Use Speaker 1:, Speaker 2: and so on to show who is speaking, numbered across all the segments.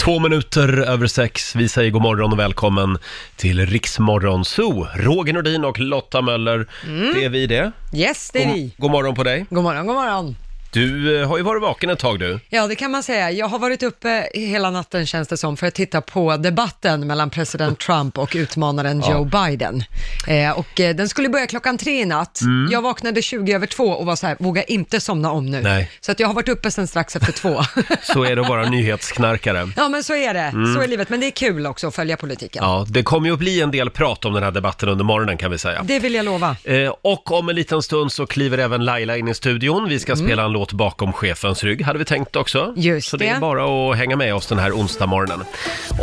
Speaker 1: Två minuter över sex. Vi säger god morgon och välkommen till Riksmorgon Zoo. Roger Nordin och Lotta Möller, det är vi det.
Speaker 2: Yes, Mm. det är vi.
Speaker 1: God, god morgon på dig.
Speaker 2: God morgon, god morgon.
Speaker 1: Du eh, har ju varit vaken ett tag du.
Speaker 2: Ja, det kan man säga. Jag har varit uppe hela natten känns det som för att titta på debatten mellan president Trump och utmanaren Joe Biden. Eh, och eh, den skulle börja klockan tre i natt.
Speaker 1: Mm.
Speaker 2: Jag vaknade 20 över två och var så här, våga inte somna om nu.
Speaker 1: Nej.
Speaker 2: Så att jag har varit uppe sedan strax efter två.
Speaker 1: Så är det att vara nyhetsknarkare.
Speaker 2: ja, men så är det. Så är livet. Men det är kul också att följa politiken.
Speaker 1: Mm. Ja, det kommer ju att bli en del prat om den här debatten under morgonen kan vi säga.
Speaker 2: Det vill jag lova.
Speaker 1: Eh, Och om en liten stund så kliver även Laila in i studion. Vi ska spela en låt bakom chefens rygg, hade vi tänkt också.
Speaker 2: Mm. Just
Speaker 1: så det är
Speaker 2: det.
Speaker 1: bara att hänga med oss den här onsdag morgonen.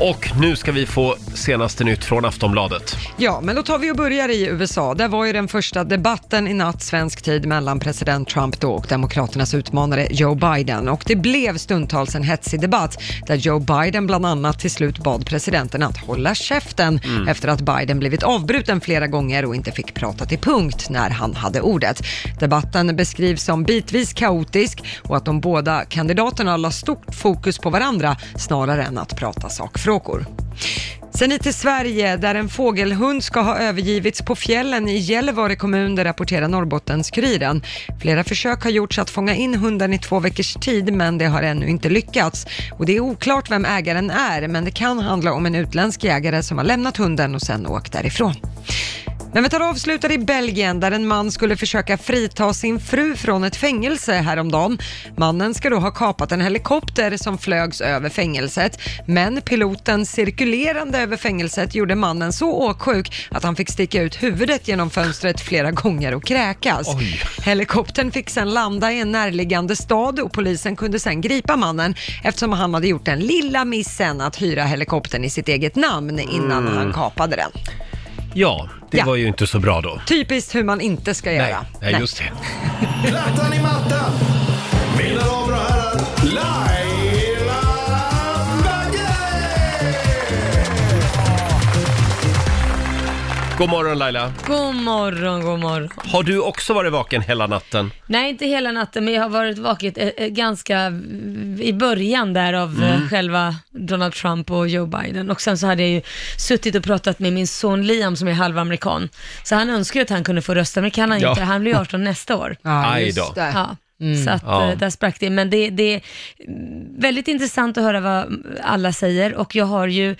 Speaker 1: Och nu ska vi få senaste nytt från Aftonbladet.
Speaker 2: Ja, men då tar vi och börjar i USA. Där var ju den första debatten i natt svensk tid mellan president Trump då och demokraternas utmanare Joe Biden. Och det blev stundtals en hetsig debatt där Joe Biden bland annat till slut bad presidenten att hålla käften efter att Biden blivit avbruten flera gånger och inte fick prata till punkt när han hade ordet. Debatten beskrivs som bitvis kaotisk och att de båda kandidaterna la stort fokus på varandra snarare än att prata sakfrågor. Sen hit till Sverige, där en fågelhund ska ha övergivits på fjällen i Gällivare kommun, det rapporterar Norrbottens-Kuriren. Flera försök har gjorts att fånga in hunden i två veckors tid, men det har ännu inte lyckats. Och det är oklart vem ägaren är, men det kan handla om en utländsk jägare som har lämnat hunden och sen åkt därifrån. Men vi tar och avslutar i Belgien där en man skulle försöka frita sin fru från ett fängelse häromdagen. Mannen ska då ha kapat en helikopter som flögs över fängelset. Men piloten cirkulerande över fängelset gjorde mannen så åksjuk att han fick sticka ut huvudet genom fönstret flera gånger och kräkas.
Speaker 1: Oj.
Speaker 2: Helikoptern fick sen landa i en närliggande stad och polisen kunde sen gripa mannen eftersom han hade gjort den lilla missen att hyra helikoptern i sitt eget namn innan han kapade den.
Speaker 1: Ja, det
Speaker 2: Ja.
Speaker 1: var ju inte så bra då.
Speaker 2: Typiskt hur man inte ska
Speaker 1: Nej,
Speaker 2: göra.
Speaker 1: nej, just det.
Speaker 3: Plattan i mattan. Mina damer och herrar, Laila Bagge!
Speaker 1: God morgon Laila.
Speaker 4: God morgon, god morgon.
Speaker 1: Har du också varit vaken hela natten?
Speaker 4: Nej, inte hela natten, men jag har varit vaket eh, eh, ganska eh, i början där av eh, själva Donald Trump och Joe Biden. Och sen så hade jag ju suttit och pratat med min son Liam som är halvamerikan. Så han önskar ju att han kunde få rösta, men det kan han
Speaker 1: Ja.
Speaker 4: inte. Han blir 18 nästa år.
Speaker 2: Ja, Mm.
Speaker 1: Aj
Speaker 2: just
Speaker 1: då.
Speaker 2: det.
Speaker 4: Ja. Så att
Speaker 1: Ja.
Speaker 4: eh, där sprack det. Men det, det är väldigt intressant att höra vad alla säger och jag har ju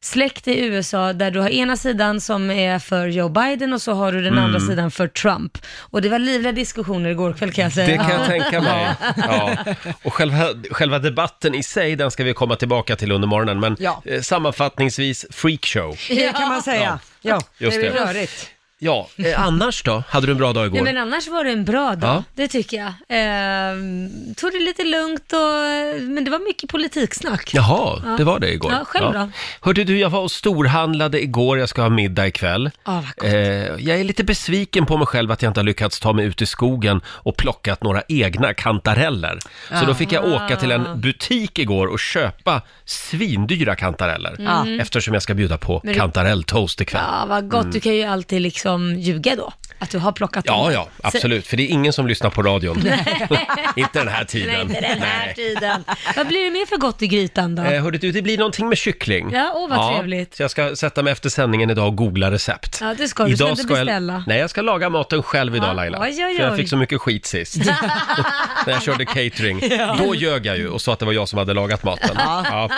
Speaker 4: släkt i USA där du har ena sidan som är för Joe Biden och så har du den andra
Speaker 1: Mm.
Speaker 4: sidan för Trump. Och det var livliga diskussioner igår kväll kan jag säga.
Speaker 1: Det kan jag tänka mig. Ja. Och själva, själva debatten i sig, den ska vi komma tillbaka till under morgonen. Men
Speaker 2: Ja.
Speaker 1: eh, sammanfattningsvis, freakshow.
Speaker 2: Det kan man säga. Ja,
Speaker 1: Just
Speaker 2: det är
Speaker 1: det.
Speaker 2: rörigt.
Speaker 1: Ja, eh, annars då? Hade du en bra dag igår?
Speaker 4: Ja, men annars var det en bra dag,
Speaker 1: Ja.
Speaker 4: det tycker jag. Ehm, tog det lite lugnt och, men det var mycket politiksnack.
Speaker 1: Jaha, det var det igår.
Speaker 4: Ja, själv då?
Speaker 1: Hörde du, jag var och storhandlade igår, jag ska ha middag ikväll.
Speaker 4: Ja, vad gott.
Speaker 1: Eh, jag är lite besviken på mig själv att jag inte har lyckats ta mig ut i skogen och plockat några egna kantareller. Så då fick jag
Speaker 4: Ah.
Speaker 1: åka till en butik igår och köpa svindyra kantareller. Eftersom jag ska bjuda på
Speaker 4: Mm. Men du-
Speaker 1: kantarelltoast ikväll.
Speaker 4: Ja, vad gott. Du kan ju alltid liksom ljuga då, att du har plockat
Speaker 1: Mm. Ja,
Speaker 4: dem.
Speaker 1: ja,
Speaker 4: Så-
Speaker 1: absolut. För det är ingen som lyssnar på radion. inte den här
Speaker 4: Nej,
Speaker 1: tiden.
Speaker 4: inte den här
Speaker 1: Nej.
Speaker 4: tiden. Vad blir det mer för gott i grytan då?
Speaker 1: Eh, hörde du, det blir någonting med kyckling.
Speaker 4: Ja, åh, vad trevligt.
Speaker 1: Så jag ska sätta mig efter sändningen idag och googla recept.
Speaker 4: Ja, det ska du. Du ska inte
Speaker 1: Jag,
Speaker 4: beställa.
Speaker 1: nej, jag ska laga maten själv idag
Speaker 4: Ja,
Speaker 1: Laila.
Speaker 4: oj, oj,
Speaker 1: För jag
Speaker 4: oj.
Speaker 1: fick så mycket skit sist. När jag körde catering. Då ljög jag ju och sa att det var jag som hade lagat maten. Ja.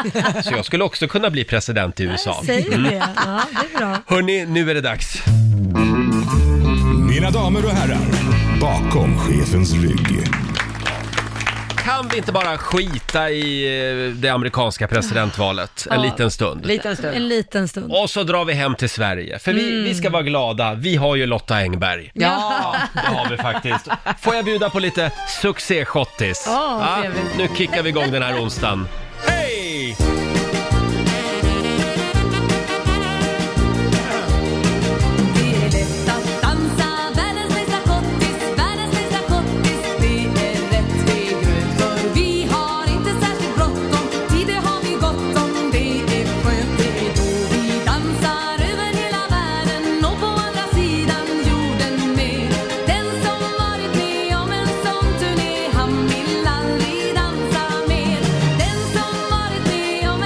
Speaker 1: Så jag skulle också kunna bli president i USA.
Speaker 4: Säg det. Ja, det är bra.
Speaker 1: Hörni, nu är det dags.
Speaker 3: Mina damer och herrar, bakom chefens rygg.
Speaker 1: Kan vi inte bara skita i eh, det amerikanska presidentvalet en liten stund?
Speaker 2: Liten stund.
Speaker 4: En liten stund.
Speaker 1: Och så drar vi hem till Sverige, för vi, vi
Speaker 4: Mm.
Speaker 1: ska vara glada. Vi har ju Lotta Engberg.
Speaker 2: Ja.
Speaker 1: Det har vi faktiskt. Får jag bjuda på lite succéschottis?
Speaker 4: Åh, trevligt.
Speaker 1: nu kickar vi igång den här onsdagen. Hej!
Speaker 5: Det är lätt att dansa världens bästa skottis, världens bästa skottis Det är rätt väg ut för vi har inte särskilt bråttom Tid det har vi gott om, det är skönt det är då vi dansar över hela världen och på andra sidan jorden med Den som varit med om en sån turné han vill aldrig dansa mer Den som varit med om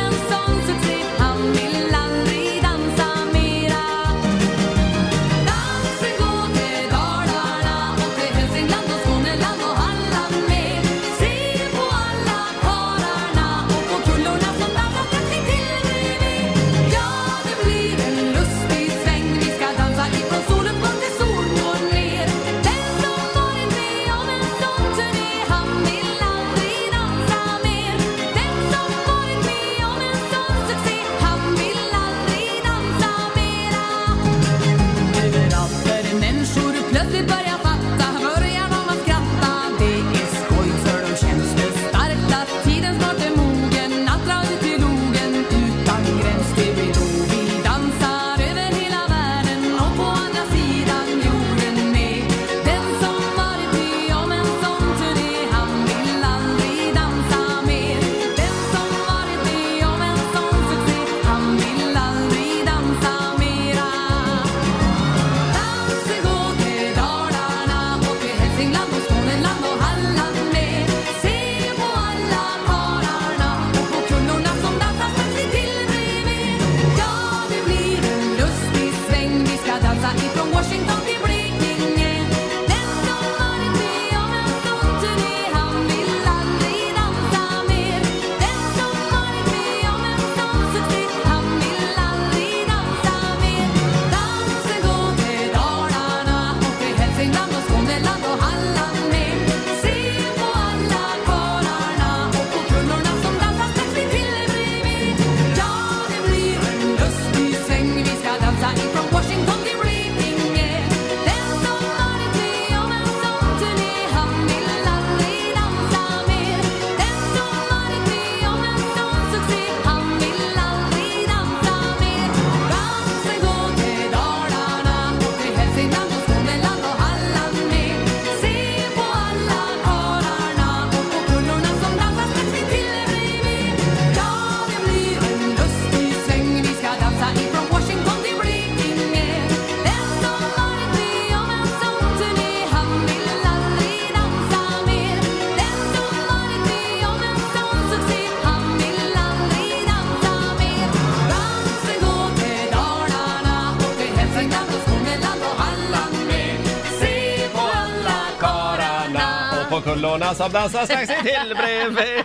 Speaker 1: Morgonkullorna som dansar strax till bredvid.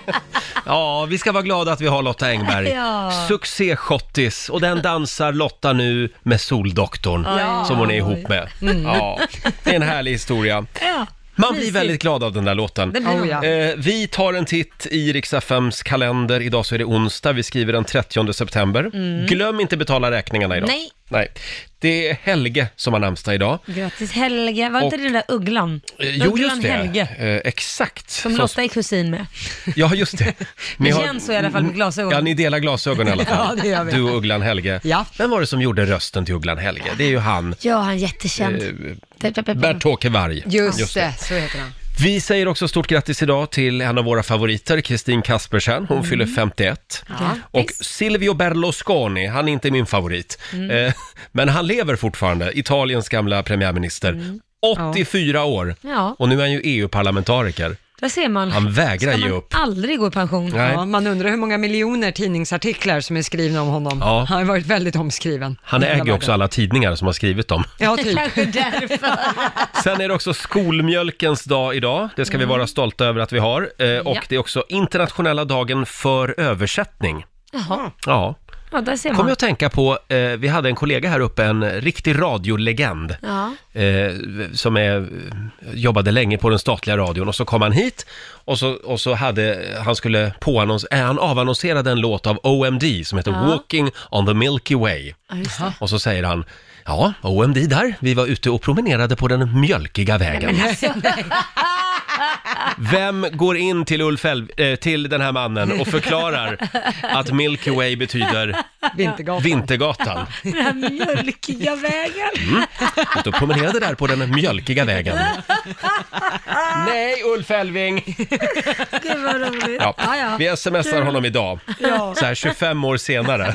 Speaker 1: Ja, vi ska vara glada att vi har Lotta Engberg.
Speaker 4: Ja.
Speaker 1: Succé-schottis och den dansar Lotta nu med Soldoktorn
Speaker 4: Ja.
Speaker 1: som hon är ihop med. Ja, det är en härlig historia.
Speaker 4: Ja.
Speaker 1: Man blir
Speaker 4: mysigt.
Speaker 1: väldigt glad av den där låten.
Speaker 4: Det blir man.
Speaker 2: Oh, ja.
Speaker 1: Eh, vi tar en titt i Riks-FMs kalender. Idag så är det onsdag, vi skriver den 30 september. Glöm inte betala räkningarna idag.
Speaker 4: Mm. Nej.
Speaker 1: Nej. Det är Helge som har namnsdag idag.
Speaker 4: Grattis Helge. Var inte
Speaker 1: Och-
Speaker 4: det den där ugglan?
Speaker 1: Eh, jo,
Speaker 4: ugglan
Speaker 1: just det.
Speaker 4: Helge.
Speaker 1: Eh, exakt.
Speaker 4: Som Lotta är kusin med.
Speaker 1: Ja, just det. Ni Mm,
Speaker 4: Det känns så i alla fall med glasögon.
Speaker 1: Ja, ni delar glasögon i alla fall.
Speaker 2: Ja, det gör vi.
Speaker 1: Du och Ugglan Helge.
Speaker 2: Ja.
Speaker 1: Vem var det som gjorde rösten till Ugglan Helge? Det är ju han,
Speaker 4: Ja, han är jättekänd.
Speaker 1: Eh, Bert-Åke Varg.
Speaker 2: Just, det, så heter han.
Speaker 1: Vi säger också stort grattis idag till en av våra favoriter, Kristin Kaspersen. Hon
Speaker 4: Mm.
Speaker 1: fyller 51. Och Silvio Berlusconi, han är inte min favorit.
Speaker 4: Mm.
Speaker 1: Eh, men han lever fortfarande, Italiens gamla premiärminister. 84 år!
Speaker 4: Mm. Ja.
Speaker 1: Och nu är han ju EU-parlamentariker.
Speaker 4: Där ser man.
Speaker 1: Han vägrar
Speaker 4: Ska
Speaker 1: ge
Speaker 4: man
Speaker 1: upp.
Speaker 4: aldrig gå i pension?
Speaker 1: Nej.
Speaker 2: Ja, man undrar hur många miljoner tidningsartiklar som är skrivna om honom.
Speaker 1: Ja.
Speaker 2: Han har varit väldigt omskriven.
Speaker 1: Han
Speaker 2: i hela
Speaker 1: äger ju också
Speaker 2: världen.
Speaker 1: alla tidningar som har skrivit dem.
Speaker 2: Ja, typ.
Speaker 4: Kanske därför.
Speaker 1: Sen är det också skolmjölkens dag idag. Det ska vi vara stolta över att vi har. Eh, och
Speaker 4: Mm. Ja.
Speaker 1: det är också internationella dagen för översättning.
Speaker 4: Jaha,
Speaker 1: Ja.
Speaker 4: ja, där ser
Speaker 1: Kommer
Speaker 4: man.
Speaker 1: jag att tänka på, eh, vi hade en kollega här uppe, en riktig radiolegend.
Speaker 4: Ja.
Speaker 1: Eh, som är, jobbade länge på den statliga radion och så kom han hit och så, och så hade, han skulle påannons, eh, han avannonserade en låt av OMD som heter
Speaker 4: Ja.
Speaker 1: Walking on the Milky Way.
Speaker 4: Ja, just det.
Speaker 1: Och så säger han, ja, OMD där, vi var ute och promenerade på den mjölkiga vägen.
Speaker 4: alltså,
Speaker 1: Vem går in till Ulf Elv, eh, till den här mannen och förklarar att Milky Way betyder
Speaker 2: Vintergatan.
Speaker 1: Vintergatan?
Speaker 4: Den här mjölkiga vägen.
Speaker 1: Mm. Ute och promenerade där på den mjölkiga vägen. Nej, Ulf Elving!
Speaker 4: Gud vad roligt.
Speaker 1: Ja,
Speaker 4: Ja, ja.
Speaker 1: vi smsar honom idag, så här 25 år senare,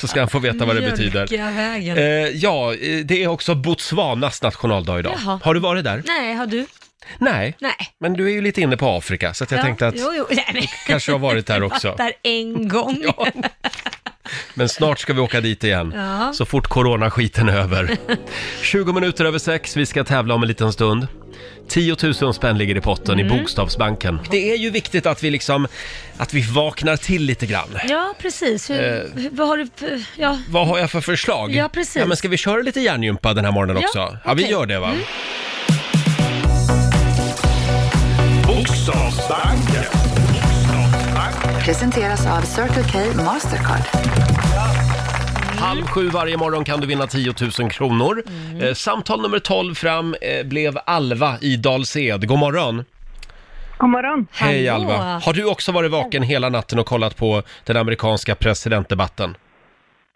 Speaker 1: så ska han få veta vad det betyder.
Speaker 4: Mjölkiga vägen.
Speaker 1: Eh, ja, eh, det är också Botswanas nationaldag idag.
Speaker 4: Jaha.
Speaker 1: Har du varit där?
Speaker 4: Nej, har du?
Speaker 1: Nej.
Speaker 4: Nej.
Speaker 1: Men du är ju lite inne på Afrika, så att jag
Speaker 4: Ja,
Speaker 1: tänkte att
Speaker 4: Jo, jo. Nej, men-
Speaker 1: kanske har varit där också.
Speaker 4: Fattar en gång.
Speaker 1: Ja. Men snart ska vi åka dit igen,
Speaker 4: Ja.
Speaker 1: så fort coronaskiten är över. 20 minuter över sex, vi ska tävla om en liten stund. 10 000 spänn ligger i potten i Bokstavsbanken. Det är ju viktigt att vi liksom, att vi vaknar till lite grann.
Speaker 4: Ja, precis. Hur,
Speaker 1: Eh.
Speaker 4: hur- vad har du... för- Ja,
Speaker 1: Vad har jag för förslag?
Speaker 4: Ja, precis.
Speaker 1: men ska vi köra lite hjärngympa den här morgonen
Speaker 4: Ja,
Speaker 1: också? Ja, vi
Speaker 4: okej. Mm.
Speaker 1: gör det va?
Speaker 3: Bokstavsbanken.
Speaker 6: Presenteras av Circle K Mastercard.
Speaker 1: Halv sju varje morgon kan du vinna 10 000 kronor.
Speaker 4: Mm.
Speaker 1: Eh, samtal nummer 12 fram eh, blev Alva i Dals-Ed. God morgon!
Speaker 7: God morgon.
Speaker 1: Hej
Speaker 4: Hallå.
Speaker 1: Alva! Har du också varit vaken hela natten och kollat på den amerikanska presidentdebatten?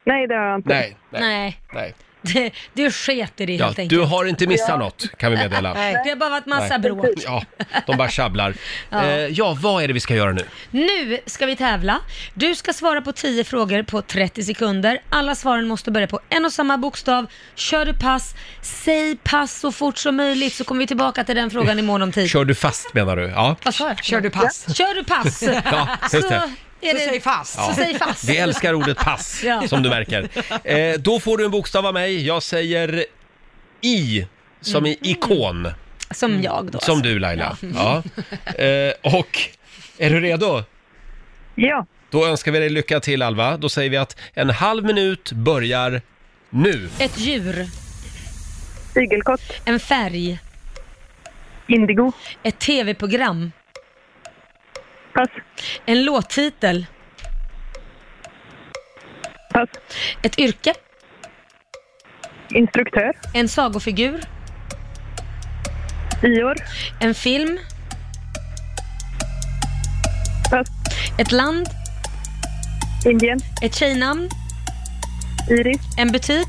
Speaker 7: Nej, det har jag inte.
Speaker 1: Nej.
Speaker 4: nej.
Speaker 1: nej.
Speaker 4: Det, det sket i det
Speaker 1: Ja,
Speaker 4: helt
Speaker 1: du
Speaker 4: enkelt.
Speaker 1: har inte missat något, kan vi meddela.
Speaker 4: Det har bara varit massa bråk.
Speaker 1: Ja, de bara tjabblar. ja. Eh, ja, vad är det vi ska göra nu?
Speaker 4: Nu ska vi tävla. Du ska svara på 10 frågor på 30 sekunder. Alla svaren måste börja på en och samma bokstav. Kör du pass, säg pass så fort som möjligt så kommer vi tillbaka till den frågan i mån om tid.
Speaker 1: Kör du fast menar du? Ja,
Speaker 4: Vad sa jag?
Speaker 2: Kör du pass?
Speaker 4: Kör du pass
Speaker 1: ja
Speaker 4: så,
Speaker 1: just det.
Speaker 4: är
Speaker 2: Så
Speaker 4: det,
Speaker 2: säg fast.
Speaker 4: så säg fast.
Speaker 1: Vi älskar ordet pass,
Speaker 4: Ja.
Speaker 1: som du märker. Eh, då får du en bokstav av mig. Jag säger I, som i ikon,
Speaker 4: Som jag då.
Speaker 1: som du Laila. Ja. Eh, och, är du redo?
Speaker 7: Ja.
Speaker 1: Då önskar vi dig lycka till Alva. Då säger vi att en halv minut börjar nu.
Speaker 4: Ett djur,
Speaker 7: Igelkott.
Speaker 4: en färg,
Speaker 7: Indigo.
Speaker 4: ett tv-program,
Speaker 7: Pass.
Speaker 4: en låttitel,
Speaker 7: Pass.
Speaker 4: ett yrke,
Speaker 7: Instruktör.
Speaker 4: en sagofigur,
Speaker 7: Ior.
Speaker 4: en film,
Speaker 7: Pass.
Speaker 4: ett land,
Speaker 7: Indien.
Speaker 4: ett tjejnamn,
Speaker 7: Iris.
Speaker 4: en butik.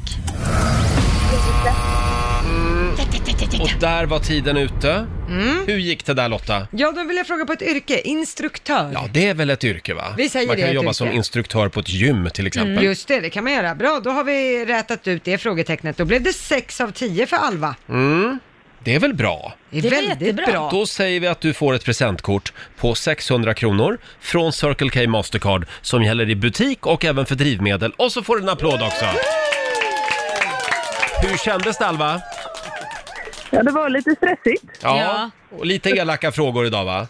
Speaker 1: Och där var tiden ute.
Speaker 2: Mm.
Speaker 1: Hur gick det där Lotta?
Speaker 2: Ja, då vill jag fråga på ett yrke. Instruktör.
Speaker 1: Ja, det är väl ett yrke va?
Speaker 2: Vi säger
Speaker 1: Man
Speaker 2: det,
Speaker 1: kan
Speaker 2: ett
Speaker 1: jobba
Speaker 2: yrke. Mm.
Speaker 1: som instruktör på ett gym till exempel.
Speaker 2: Just det, det kan man göra. Bra, då har vi rätat ut det frågetecknet. Då blev det 6 av 10 för Alva.
Speaker 1: Det är väl bra?
Speaker 2: Det är
Speaker 4: Det var
Speaker 2: väldigt
Speaker 4: jättebra.
Speaker 2: bra.
Speaker 1: Då säger vi att du får ett presentkort på 600 kronor från Circle K Mastercard som gäller i butik och även för drivmedel. Och så får du en applåd också! Hur kändes det Alva?
Speaker 7: Ja, det var lite stressigt.
Speaker 1: Ja.
Speaker 4: Ja.
Speaker 1: Och lite elaka frågor idag va?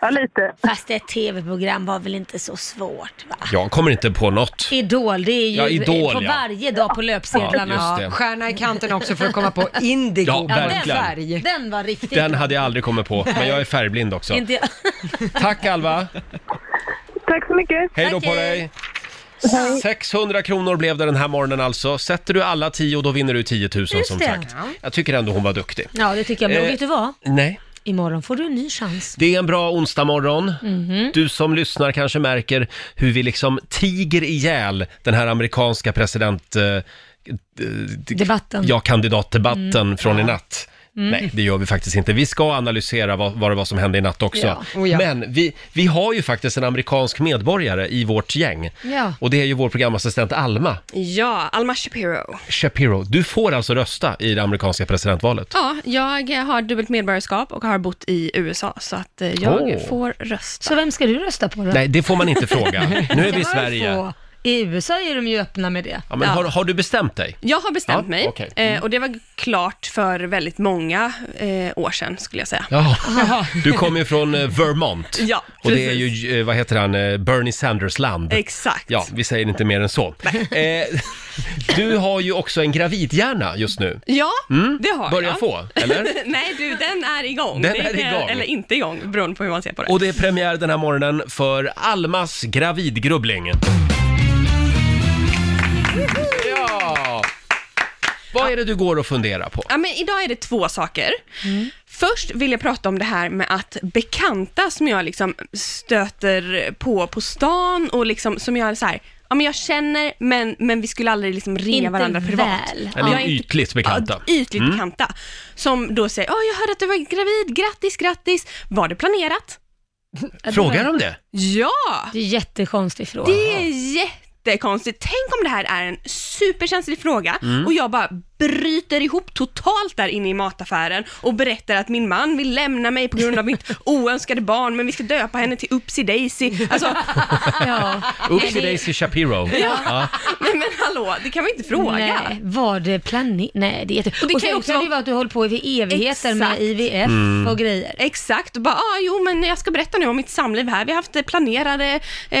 Speaker 7: Ja, lite.
Speaker 4: Fast ett tv-program var väl inte så svårt va?
Speaker 1: Jag kommer inte på något.
Speaker 4: Idol, det är ju
Speaker 1: Ja, Idol,
Speaker 4: på
Speaker 1: ja.
Speaker 4: varje dag på löpsedlarna.
Speaker 1: Ja, just det.
Speaker 2: Stjärna i kanten också för att komma på indigo.
Speaker 1: Ja,
Speaker 4: Ja,
Speaker 1: Verkligen.
Speaker 2: färg.
Speaker 4: Den, den var riktigt
Speaker 1: Den
Speaker 4: bra.
Speaker 1: hade jag aldrig kommit på, men jag är färgblind också.
Speaker 4: Inte jag.
Speaker 1: Tack Alva!
Speaker 7: Tack så mycket.
Speaker 1: Hej då
Speaker 4: Tack,
Speaker 1: på
Speaker 4: hej.
Speaker 1: dig! 600 kronor blev det den här morgonen alltså. Sätter du alla 10 då vinner du 10 000 som
Speaker 4: Just det.
Speaker 1: sagt. Jag tycker ändå hon var duktig.
Speaker 4: Ja, det tycker jag. Men
Speaker 1: Eh.
Speaker 4: vet du vad?
Speaker 1: Nej.
Speaker 4: Imorgon får du en ny chans.
Speaker 1: Det är en bra onsdagmorgon.
Speaker 4: Mhm.
Speaker 1: Du som lyssnar kanske märker hur vi liksom tiger ihjäl den här amerikanska president... Eh,
Speaker 4: Debatten.
Speaker 1: ja, kandidatdebatten från i natt. Nej, det gör vi faktiskt inte. Vi ska analysera vad, vad det var som hände i natt också.
Speaker 4: Ja.
Speaker 2: Oh ja.
Speaker 1: Men vi, vi har ju faktiskt en amerikansk medborgare i vårt gäng.
Speaker 4: Ja.
Speaker 1: Och det är ju vår programassistent Alma
Speaker 8: Ja, Alma Shapiro.
Speaker 1: Shapiro. Du får alltså rösta i det amerikanska presidentvalet.
Speaker 8: Ja, jag har dubbelt medborgarskap och har bott i USA, så att eh, jag
Speaker 1: Åh.
Speaker 8: får rösta.
Speaker 4: Så vem ska du rösta på då?
Speaker 1: Nej, det får man inte fråga. Nu
Speaker 4: Det kan
Speaker 1: är vi i
Speaker 4: man ju
Speaker 1: Sverige.
Speaker 4: få. I USA är de ju öppna med det.
Speaker 1: Ja, men har, har du bestämt dig?
Speaker 8: Jag har bestämt
Speaker 1: Ja,
Speaker 8: mig
Speaker 1: okej. Mm.
Speaker 8: eh, och det var klart för väldigt många eh, år sedan, skulle jag säga.
Speaker 1: Ja, du kommer ju från eh, Vermont.
Speaker 8: Ja,
Speaker 1: Och det är
Speaker 8: precis.
Speaker 1: ju, eh, vad heter han, eh, Bernie Sanders land.
Speaker 8: Exakt.
Speaker 1: Ja, vi säger inte mer än så. Eh, du har ju också en gravidhjärna just nu.
Speaker 8: Ja, det har
Speaker 1: Börjar
Speaker 8: jag.
Speaker 1: Mm. få, eller?
Speaker 8: Nej du, den är igång.
Speaker 1: Den
Speaker 8: Det
Speaker 1: är igång.
Speaker 8: Eller inte igång, beroende på hur man ser på det.
Speaker 1: Och det är premiär den här morgonen för Almas gravidgrubbling. Ja! Vad är det du går och funderar på?
Speaker 8: Ja, men idag är det två saker. Först vill jag prata om det här med att bekanta som jag liksom stöter på på stan och liksom som jag är så här, ja men jag känner men, men vi skulle aldrig liksom ringa
Speaker 4: Inte
Speaker 8: varandra privat.
Speaker 4: väl.
Speaker 1: Eller
Speaker 8: Jag är inte-
Speaker 1: ytligt bekanta.
Speaker 8: Ja, ytligt bekanta. Som då säger, ja jag hörde att du var gravid, grattis, grattis. Var det planerat?
Speaker 1: Frågar de det?
Speaker 8: Ja!
Speaker 4: Det är en jättekonstig fråga.
Speaker 8: Det är jättekonstigt. Tänk om det här är en superkänslig fråga
Speaker 4: Mm.
Speaker 8: och jag bara bryter ihop totalt där inne i mataffären och berättar att min man vill lämna mig på grund av mitt oönskade barn, men vi ska döpa henne till Upsi Daisy. Alltså,
Speaker 4: Ja.
Speaker 1: Oopsie Daisy Shapiro. Ja.
Speaker 8: nej men hallå, det kan man inte fråga.
Speaker 4: Nej, var det planerat? Nej, det är jätte... Och,
Speaker 8: det
Speaker 4: det
Speaker 8: kan
Speaker 4: och
Speaker 8: ju
Speaker 4: sen
Speaker 8: också
Speaker 4: kan det
Speaker 8: vara-
Speaker 4: ju vara att du håller på i evigheter med
Speaker 8: Exakt.
Speaker 4: IVF
Speaker 1: Mm.
Speaker 4: och grejer.
Speaker 8: Exakt, och bara, ah, jo men jag ska berätta nu om mitt samliv här. Vi har haft eh, planerade eh,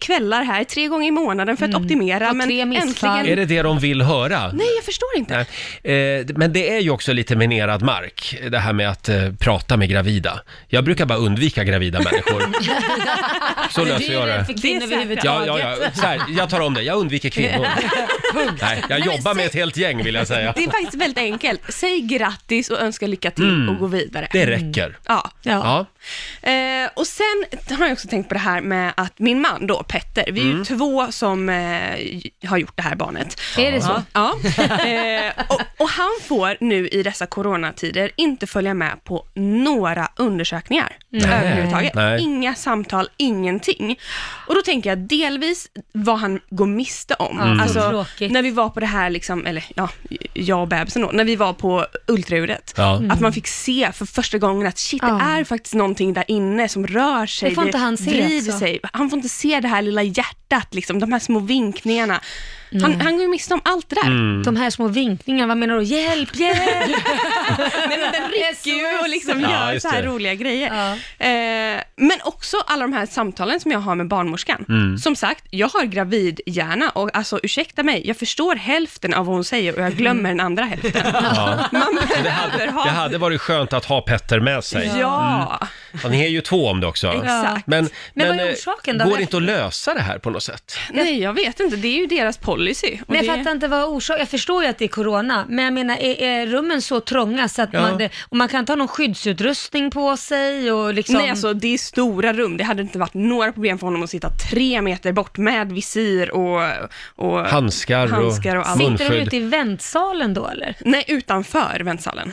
Speaker 8: kvällar här, tre gånger i månaden för att optimera,
Speaker 4: Mm. Och
Speaker 8: men
Speaker 4: tre missfall.
Speaker 8: äntligen...
Speaker 1: Är det det de vill höra?
Speaker 8: Nej, jag förstår inte.
Speaker 1: Nej. Eh, Men det är ju också lite minerad mark, det här med att eh, prata med gravida. Jag brukar bara undvika gravida människor. Så löser jag det.
Speaker 8: kvinnor
Speaker 1: Ja, ja, ja. Så här, jag tar om det. Jag undviker kvinnor. Nej, jag jobbar med ett helt gäng vill jag säga.
Speaker 8: Det är faktiskt väldigt enkelt. Säg grattis och önska lycka till och gå vidare.
Speaker 1: Mm. Det räcker.
Speaker 8: Ja.
Speaker 1: Ja.
Speaker 8: Eh, och sen har jag också tänkt på det här med att min man då, Petter, vi är
Speaker 1: Mm.
Speaker 8: ju två som eh, har gjort det här barnet.
Speaker 4: Är det så?
Speaker 8: Ja. Eh, och, och han får nu i dessa coronatider inte följa med på några undersökningar överhuvudtaget.
Speaker 1: Nej.
Speaker 8: Inga samtal, ingenting. Och då tänker jag delvis vad han går miste om.
Speaker 1: Mm.
Speaker 4: så
Speaker 8: Alltså,
Speaker 4: tråkigt.
Speaker 8: när vi var på det här, liksom, eller ja, jag och bebisen då, när vi var på ultraljudet, Mm.
Speaker 1: Ja.
Speaker 8: att man fick se för första gången att shit, det är faktiskt någonting där inne som rör sig.
Speaker 4: Det får inte han se
Speaker 8: vrider
Speaker 4: också.
Speaker 8: sig. Han får inte se det här lilla hjärtat, liksom, de här små vinkningarna. Han, han går ju miste om allt det där.
Speaker 1: Mm.
Speaker 4: De här små vinkningarna, vad menar du? Hjälp, hjälp!
Speaker 8: Nej, men den rycker ju och liksom
Speaker 1: Ja,
Speaker 8: gör
Speaker 1: just
Speaker 8: så här
Speaker 1: det.
Speaker 8: roliga grejer. Eh, men också alla de här samtalen som jag har med barnmorskan.
Speaker 1: Mm.
Speaker 8: Som sagt, jag har gravidhjärna och alltså ursäkta mig, jag förstår hälften av vad hon säger och jag glömmer den andra hälften. Man behöver ha...
Speaker 1: Det hade varit skönt att ha Petter med sig.
Speaker 8: Ja,
Speaker 1: Ja, ni är ju två om det också.
Speaker 8: Exakt.
Speaker 1: Men,
Speaker 4: Men vad är
Speaker 1: eh,
Speaker 4: orsaken då?
Speaker 1: går det
Speaker 4: Varför-
Speaker 1: inte att lösa det här på något sätt?
Speaker 8: nej jag vet inte, det är ju deras policy. Och
Speaker 4: Men
Speaker 8: det...
Speaker 4: jag fattar inte vad orsaken Jag förstår ju att det är corona, men jag menar är, är rummen så trånga så att
Speaker 1: Ja.
Speaker 4: man, det- och man kan inte ha någon skyddsutrustning på sig och liksom...
Speaker 8: Nej, alltså det är stora rum. Det hade inte varit några problem för honom att sitta tre meter bort med visir och, och
Speaker 1: Handskar,
Speaker 8: handskar och
Speaker 1: och
Speaker 8: allt.
Speaker 4: Sitter de
Speaker 1: munskydd.
Speaker 4: ute i väntsalen då eller?
Speaker 8: Nej, utanför väntsalen.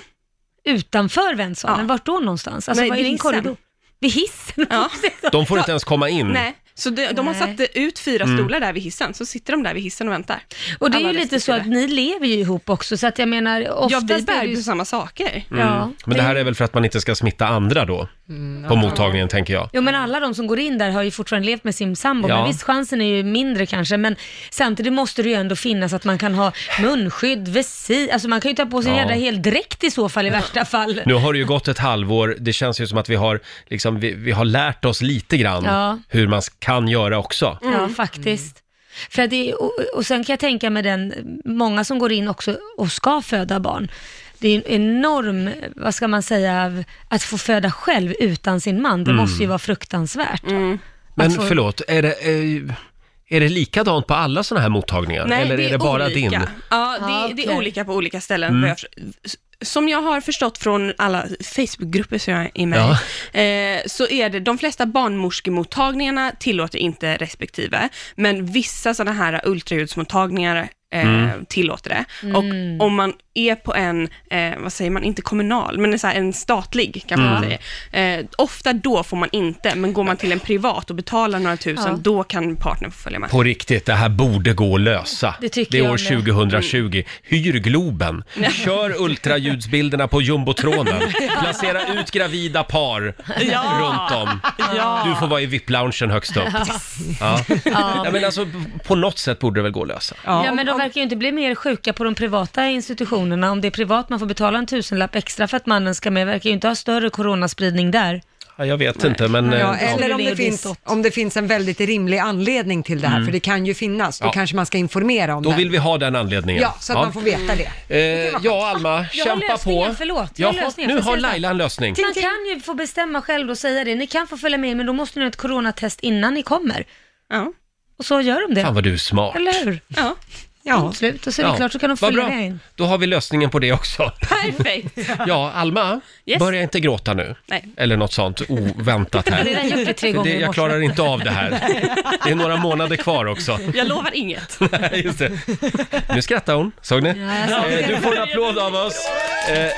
Speaker 4: Utanför väntsalen?
Speaker 8: Ja.
Speaker 4: Vart då någonstans? Alltså
Speaker 8: Nej,
Speaker 4: vad är
Speaker 8: vid
Speaker 4: din
Speaker 8: hissen.
Speaker 4: korridor? Vid hissen?
Speaker 8: Ja.
Speaker 1: De får inte ens komma in.
Speaker 8: Nej, Så de, de har
Speaker 4: Nej.
Speaker 8: satt ut fyra stolar där vid hissen, så sitter de där vid hissen och väntar.
Speaker 4: Och det är
Speaker 8: Alla
Speaker 4: ju lite så
Speaker 8: respektive.
Speaker 4: att ni lever ju ihop också, så att jag menar
Speaker 8: Ja,
Speaker 4: oftast
Speaker 8: vi
Speaker 4: är
Speaker 8: bär
Speaker 4: det
Speaker 8: ju på samma saker.
Speaker 4: Ja.
Speaker 1: Mm. Men Mm, det här är väl för att man inte ska smitta andra då? På mottagningen, tänker jag.
Speaker 4: Jo men alla de som går in där har ju fortfarande levt med sin sambo,
Speaker 1: Ja.
Speaker 4: men visst chansen är ju mindre kanske, men samtidigt måste det ju ändå finnas att man kan ha munskydd, visir, alltså man kan ju ta på sig en
Speaker 1: Ja.
Speaker 4: jädra hel dräkt i så fall i värsta fall.
Speaker 1: Nu har det ju gått ett halvår. Det känns ju som att vi har, liksom, vi, vi har lärt oss lite grann
Speaker 4: Ja.
Speaker 1: hur man kan göra också.
Speaker 4: Ja, faktiskt. För att det, och, och sen kan jag tänka mig den, många som går in också och ska föda barn. Det är en enorm, vad ska man säga, att få föda själv utan sin man. Det
Speaker 1: Mm.
Speaker 4: måste ju vara fruktansvärt.
Speaker 1: Men förlåt, är det, eh, är det likadant på alla sådana här mottagningar? Eller är det bara
Speaker 8: olika.
Speaker 1: din? Mm.
Speaker 8: Ja, det,
Speaker 4: Ja,
Speaker 8: det
Speaker 4: okej.
Speaker 8: är olika på olika ställen. vad jag förs- Som jag har förstått från alla Facebookgrupper som jag är med i, eh, så är det, de flesta barnmorskemottagningarna tillåter inte respektive, men vissa sådana här ultraljudsmottagningar eh,
Speaker 1: Mm.
Speaker 8: tillåter det.
Speaker 4: Mm.
Speaker 8: Och om man är på en, eh, vad säger man, inte kommunal, men en så här, en statlig kan man
Speaker 1: Mm.
Speaker 8: säga, eh, ofta då får man inte, men går man till en privat och betalar några tusen,
Speaker 4: Ja.
Speaker 8: då kan partnern få följa med.
Speaker 1: På riktigt, det här borde gå att lösa.
Speaker 4: Det tycker
Speaker 1: är
Speaker 4: jag
Speaker 1: år
Speaker 4: med. Mm.
Speaker 1: 2020. Hyr Globen. Kör ultraljudsbilderna på jumbotronen. Placera ut gravida par
Speaker 8: Ja.
Speaker 1: runt om.
Speaker 8: Ja.
Speaker 1: Du får vara i VIP-loungen högst upp. Ja. Ja, men alltså, på något sätt borde det väl gå att lösa.
Speaker 4: Ja, men de verkar ju inte bli mer sjuka på de privata institutionerna. Om det är privat man får betala en tusenlapp extra för att mannen ska med, verkar ju inte ha större coronaspridning
Speaker 1: Mm.
Speaker 4: där.
Speaker 1: Ja, jag vet inte, men... eh,
Speaker 2: Ja,
Speaker 1: ja.
Speaker 2: eller om det,
Speaker 4: Ledig
Speaker 2: finns,
Speaker 4: stott.
Speaker 2: om det finns en väldigt rimlig anledning till det här, för det kan ju finnas. Då
Speaker 1: Ja.
Speaker 2: kanske man ska informera om
Speaker 1: Då
Speaker 2: det.
Speaker 1: vill vi ha den anledningen.
Speaker 2: Ja, så att man får veta det.
Speaker 1: Eh, ja, Alma,
Speaker 4: Jag har
Speaker 1: kämpa
Speaker 4: lösningen,
Speaker 1: på.
Speaker 4: förlåt. Jag har
Speaker 1: Jaha,
Speaker 4: lösningen,
Speaker 1: nu
Speaker 4: får jag
Speaker 1: har
Speaker 4: säga så?
Speaker 1: Laila en lösning.
Speaker 4: Man kan ju få bestämma själv och säga det. Ni kan få följa med, men då måste ni ha ett coronatest innan ni kommer.
Speaker 8: Ja.
Speaker 4: Och så gör de det.
Speaker 1: Fan vad du är smart.
Speaker 4: Eller hur?
Speaker 8: Ja.
Speaker 2: Ja.
Speaker 4: Slut. Och så är det klart så kan de
Speaker 1: vad
Speaker 4: följa
Speaker 1: bra.
Speaker 4: med in.
Speaker 1: Då har vi lösningen på det också.
Speaker 8: Perfekt.
Speaker 1: Ja, Alma,
Speaker 8: Yes.
Speaker 1: börja inte gråta nu.
Speaker 8: Nej.
Speaker 1: Eller något sånt oväntat
Speaker 4: Jag har
Speaker 1: här.
Speaker 4: redan gjort det tre
Speaker 1: För
Speaker 4: gånger
Speaker 1: det,
Speaker 4: i
Speaker 1: jag
Speaker 4: morse.
Speaker 1: klarar inte av det här. Det är några månader kvar också.
Speaker 8: Jag lovar inget.
Speaker 1: Nej, Just det. Nu skrattar hon, såg ni?
Speaker 4: jag såg
Speaker 1: Eh, Du får en applåd av oss. Eh,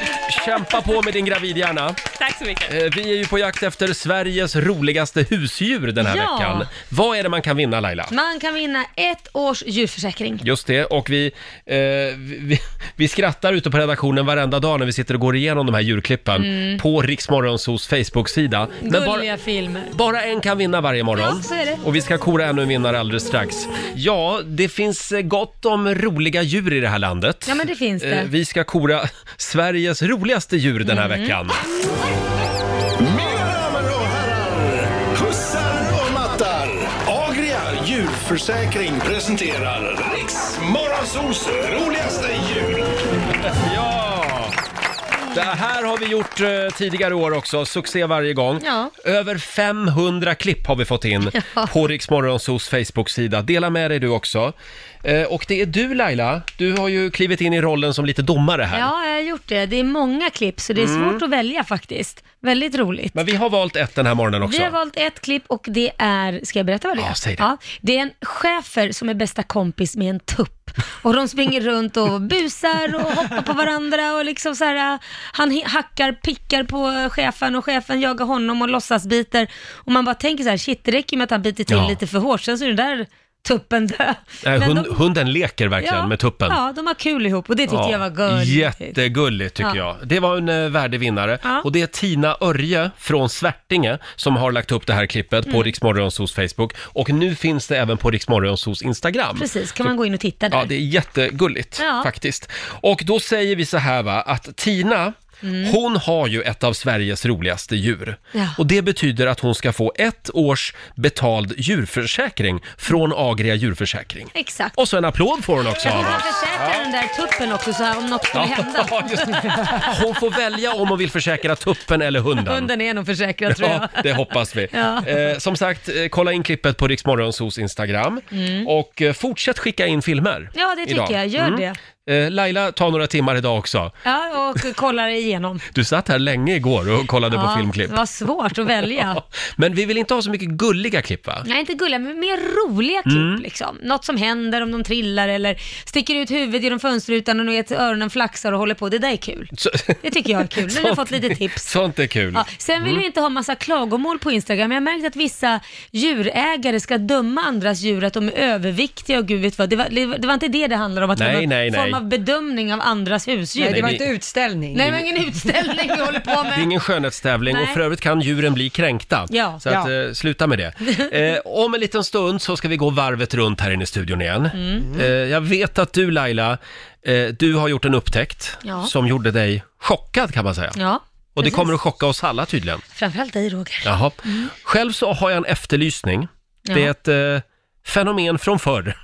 Speaker 1: kämpa på med din gravidhjärna.
Speaker 8: Tack så mycket.
Speaker 1: Eh, vi är ju på jakt efter Sveriges roligaste husdjur den här
Speaker 4: Ja.
Speaker 1: veckan. Vad är det man kan vinna Laila?
Speaker 4: Man kan vinna ett års djurförsäkring.
Speaker 1: Just det, och vi, eh, vi, vi- vi skrattar ute på redaktionen varenda dag när vi sitter och går igenom de här djurklippen på Riksmorgonsos Facebook-sida. Men bara,
Speaker 4: Mm. Gulliga filmer.
Speaker 1: bara en kan vinna varje morgon.
Speaker 4: Ja, så är det.
Speaker 1: Och vi ska kora ännu en vinnare alldeles strax. Ja, det finns eh, gott om roliga djur i det här landet.
Speaker 4: Ja, men det finns det.
Speaker 1: Eh, Vi ska kora Sveriges roligaste djur
Speaker 4: Mm.
Speaker 1: den här veckan.
Speaker 3: Mina damer och herrar, hussar och mattar. Agria djurförsäkring presenterar Riks Morgonzoos roligaste djur.
Speaker 1: Ja! Det här har vi gjort eh, tidigare år också, succé varje gång.
Speaker 4: Ja.
Speaker 1: Över 500 klipp har vi fått in
Speaker 4: Ja.
Speaker 1: på Rix Morgonzos Facebook-sida. Dela med dig du också. Eh, och det är du Laila, du har ju klivit in i rollen som lite domare här.
Speaker 4: Ja, jag har gjort det. Det är många klipp, så det är
Speaker 1: Mm.
Speaker 4: svårt att välja faktiskt. Väldigt roligt.
Speaker 1: Men vi har valt ett den här morgonen också.
Speaker 4: Vi har valt ett klipp och det är, ska jag berätta vad det är?
Speaker 1: Ja, säg det.
Speaker 4: det är en schäfer som är bästa kompis med en tupp. Och de springer runt och busar och hoppar på varandra och liksom så här, äh, han hi- hackar, pickar på äh, chefen och chefen jagar honom och låtsas biter. Och man bara tänker så här, shit det räcker med att han biter till
Speaker 1: Ja.
Speaker 4: lite för hårt, sen så är den där tuppen död.
Speaker 1: Nej,
Speaker 4: Men
Speaker 1: hund,
Speaker 4: de-
Speaker 1: Hunden leker verkligen med tuppen.
Speaker 4: Ja, de har kul ihop och det tyckte
Speaker 1: Ja,
Speaker 4: jag var gulligt.
Speaker 1: Jättegulligt tycker
Speaker 4: Ja.
Speaker 1: jag. Det var en eh, värdig vinnare.
Speaker 4: Ja.
Speaker 1: Och det är Tina Örje från Svärtinge som har lagt upp det här klippet
Speaker 4: Mm.
Speaker 1: på Riksmorgonsos Facebook. Och nu finns det även på Riksmorgonsos Instagram.
Speaker 4: Precis, kan man gå in och titta där.
Speaker 1: Ja, det är jättegulligt
Speaker 4: Ja.
Speaker 1: faktiskt. Och då säger vi så här va, att Tina, hon har ju ett av Sveriges roligaste djur.
Speaker 4: Mm. Ja.
Speaker 1: Och det betyder att hon ska få ett års betald djurförsäkring från Agria djurförsäkring.
Speaker 4: Exakt.
Speaker 1: Och så en applåd får hon också
Speaker 4: Jag
Speaker 1: av
Speaker 4: tror han
Speaker 1: oss.
Speaker 4: försäkrar den där tuppen också, så här, om något skulle hända.
Speaker 1: Ja, just det. Hon får välja om hon vill försäkra tuppen eller hunden.
Speaker 4: Hunden är nog försäkrad tror jag.
Speaker 1: Ja, det hoppas vi.
Speaker 4: Ja.
Speaker 1: Eh, som sagt, eh, kolla in klippet på Riksmorgonsos Instagram. Och eh, fortsätt skicka in filmer.
Speaker 4: Mm. Ja, det tycker
Speaker 1: idag.
Speaker 4: jag. Gör det.
Speaker 1: Eh, Laila tar några timmar idag också.
Speaker 4: Ja, och kollar igenom.
Speaker 1: Du satt här länge igår och kollade
Speaker 4: ja,
Speaker 1: på filmklipp.
Speaker 4: Det var svårt att välja.
Speaker 1: Men vi vill inte ha så mycket gulliga klipp va?
Speaker 4: Nej, inte gulliga, men mer roliga klipp
Speaker 1: Mm.
Speaker 4: liksom. Något som händer om de trillar eller sticker ut huvudet genom fönsterrutan och ni vet, öronen flaxar och håller på. Det där är kul.
Speaker 1: Så,
Speaker 4: Det tycker jag är kul. Nu har jag fått lite tips.
Speaker 1: sånt är kul.
Speaker 4: Ja, sen
Speaker 1: Mm.
Speaker 4: vill vi inte ha massa klagomål på Instagram. Jag har märkt att vissa djurägare ska döma andras djur att de är överviktiga och gud vet vad. Det var, det var- det var inte det det handlade om, att
Speaker 1: Nej,
Speaker 4: det var en
Speaker 1: nej, nej.
Speaker 4: form av bedömning av andras husdjur.
Speaker 2: Nej,
Speaker 4: Nej,
Speaker 2: det var
Speaker 1: ni-
Speaker 2: inte utställning.
Speaker 4: det var ingen utställning vi håller på
Speaker 1: Det är
Speaker 4: med.
Speaker 1: ingen skönhetstävling och
Speaker 4: Nej.
Speaker 1: för övrigt kan djuren bli kränkta.
Speaker 4: Ja.
Speaker 1: Så att,
Speaker 2: Ja.
Speaker 1: eh, sluta med det. Eh, om en liten stund så ska vi gå varvet runt här inne i studion igen.
Speaker 4: Mm.
Speaker 1: Eh, jag vet att du Laila, eh, du har gjort en upptäckt
Speaker 4: Ja.
Speaker 1: som gjorde dig chockad kan man säga.
Speaker 4: Ja,
Speaker 1: och det
Speaker 4: precis. Mm.
Speaker 1: kommer att chocka oss alla tydligen.
Speaker 4: framförallt dig Roger.
Speaker 1: Jaha. Själv så har jag en efterlysning. Det är
Speaker 4: Ja.
Speaker 1: ett eh, fenomen från förr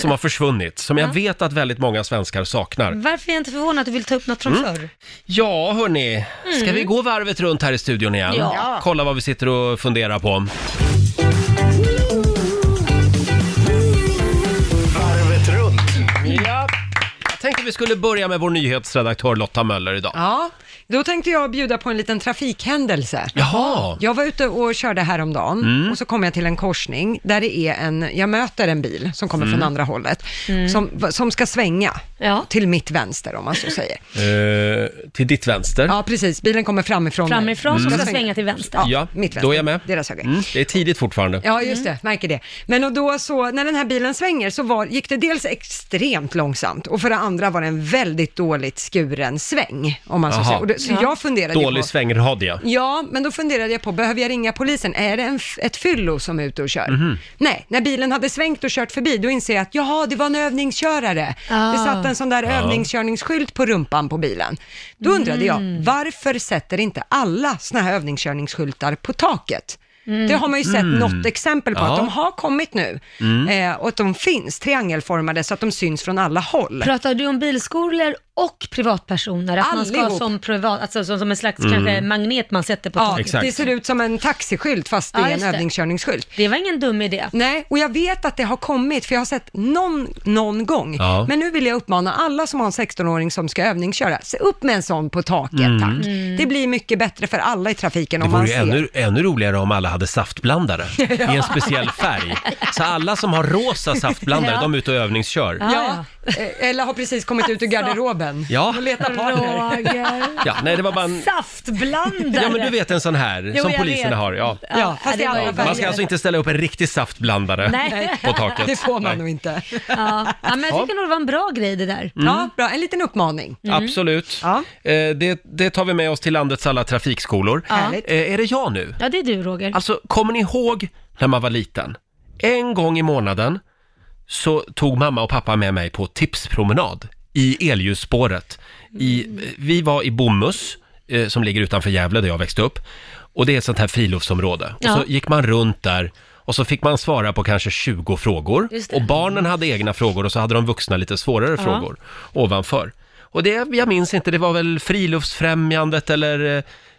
Speaker 1: som har försvunnit, som jag
Speaker 4: Ja.
Speaker 1: vet att väldigt många svenskar saknar.
Speaker 4: Varför är jag inte förvånad att du vill ta upp något från förr?
Speaker 1: Ja, hörni. Ska
Speaker 2: Mm.
Speaker 1: vi gå varvet runt här i studion igen?
Speaker 4: Ja.
Speaker 1: Kolla vad vi sitter och funderar på.
Speaker 3: Varvet runt.
Speaker 1: Ja. Jag tänkte vi skulle börja med vår nyhetsredaktör Lotta Möller idag.
Speaker 2: Ja, då tänkte jag bjuda på en liten trafikhändelse.
Speaker 1: Jaha!
Speaker 2: Jag var ute och körde häromdagen och så kom jag till en korsning där det är en, jag möter en bil som kommer från andra hållet, som, som ska svänga
Speaker 4: Mm. Ja.
Speaker 2: till mitt vänster om man så säger.
Speaker 1: Eh, till ditt vänster.
Speaker 2: Ja, precis. Bilen kommer framifrån. Mm. mig.
Speaker 4: Framifrån som ska svänga till vänster.
Speaker 2: Ja,
Speaker 1: Ja,
Speaker 2: mitt vänster.
Speaker 1: då är jag med.
Speaker 2: Deras höger.
Speaker 1: Mm, det är tidigt fortfarande.
Speaker 2: Ja, just det. Märker det. Men och då så, när den här bilen svänger så var, gick det dels extremt långsamt och för det andra var det en väldigt dåligt skuren sväng, om man så
Speaker 1: Aha.
Speaker 2: säger. Och det, så jag funderade ju
Speaker 1: Dålig
Speaker 2: på...
Speaker 1: svängradie.
Speaker 2: Ja, men då funderade jag på, behöver jag ringa polisen? Är det en, f- ett fyllo som är ute och kör?
Speaker 1: Mhm.
Speaker 2: Nej, när bilen hade svängt och kört förbi, då inser jag att jaha, det var en övningskörare.
Speaker 4: Ah.
Speaker 2: Det satt en sån där övningskörningsskylt på rumpan på bilen. Då undrade
Speaker 4: Mm.
Speaker 2: jag, varför sätter inte alla såna här övningskörningsskyltar på taket?
Speaker 4: Mm.
Speaker 2: Det har man ju sett något exempel på,
Speaker 1: Mm. Ja. Mm.
Speaker 2: att de har kommit nu eh, och att de finns triangelformade så att de syns från alla håll.
Speaker 4: Pratar du om bilskolor och privatpersoner? Att man ska
Speaker 2: Allihop.
Speaker 4: som privat, alltså som, som en slags kanske magnet man sätter på
Speaker 2: Ja,
Speaker 4: taket.
Speaker 1: Exakt.
Speaker 2: det ser ut som en taxiskylt fast det
Speaker 4: Ja,
Speaker 2: är en
Speaker 4: just det.
Speaker 2: övningskörningsskylt.
Speaker 4: Det var ingen dum idé.
Speaker 2: Nej, och jag vet att det har kommit, för jag har sett någon, någon gång.
Speaker 1: Ja.
Speaker 2: Men nu vill jag uppmana alla som har en 16-åring som ska övningsköra, se upp med en sån på taket, tack. Det blir mycket bättre för alla i trafiken
Speaker 1: Mm. Det
Speaker 2: om man
Speaker 1: vore ju
Speaker 2: ser.
Speaker 1: ännu, ännu roligare om alla hade saftblandare i en speciell färg. Så alla som har rosa saftblandare,
Speaker 4: Ja.
Speaker 1: de är ute och övningskör.
Speaker 4: Ja.
Speaker 2: Ja, eh, eller har precis kommit ut ur garderoben
Speaker 1: Ja.
Speaker 2: och letar partner.
Speaker 4: Roger.
Speaker 1: Ja, nej, det var bara en...
Speaker 4: Saftblandare.
Speaker 1: Ja, men du vet en sån här
Speaker 4: Jo,
Speaker 1: som
Speaker 4: jag
Speaker 1: poliserna
Speaker 4: vet.
Speaker 1: har. Ja.
Speaker 2: Ja, fast
Speaker 4: det
Speaker 2: i
Speaker 4: var
Speaker 2: alla
Speaker 4: ju-
Speaker 2: fall-
Speaker 1: Man ska alltså inte ställa upp en riktig saftblandare
Speaker 4: Nej.
Speaker 1: på taket.
Speaker 2: Det får man
Speaker 1: Nej. Mm.
Speaker 2: nog inte.
Speaker 4: Ja. ja, men jag tycker nog det var en bra grej det där.
Speaker 2: Ja, bra. En liten uppmaning.
Speaker 1: Absolut.
Speaker 2: Ja.
Speaker 1: Eh, det, det tar vi med oss till landets alla trafikskolor.
Speaker 2: Härligt.
Speaker 1: Eh, är det jag nu?
Speaker 4: Ja, det är du Roger.
Speaker 1: Alltså, kommer ni ihåg när man var liten? En gång i månaden så tog mamma och pappa med mig på tipspromenad i elljusspåret. I, eh, vi var i Bomhus, eh, som ligger utanför Gävle där jag växte upp. Och det är ett sånt här friluftsområde. Och
Speaker 4: Ja.
Speaker 1: så gick man runt där och så fick man svara på kanske 20 frågor.
Speaker 4: Just det.
Speaker 1: Och barnen hade egna frågor och så hade de vuxna lite svårare frågor ovanför. Och det, jag minns inte, det var väl Friluftsfrämjandet eller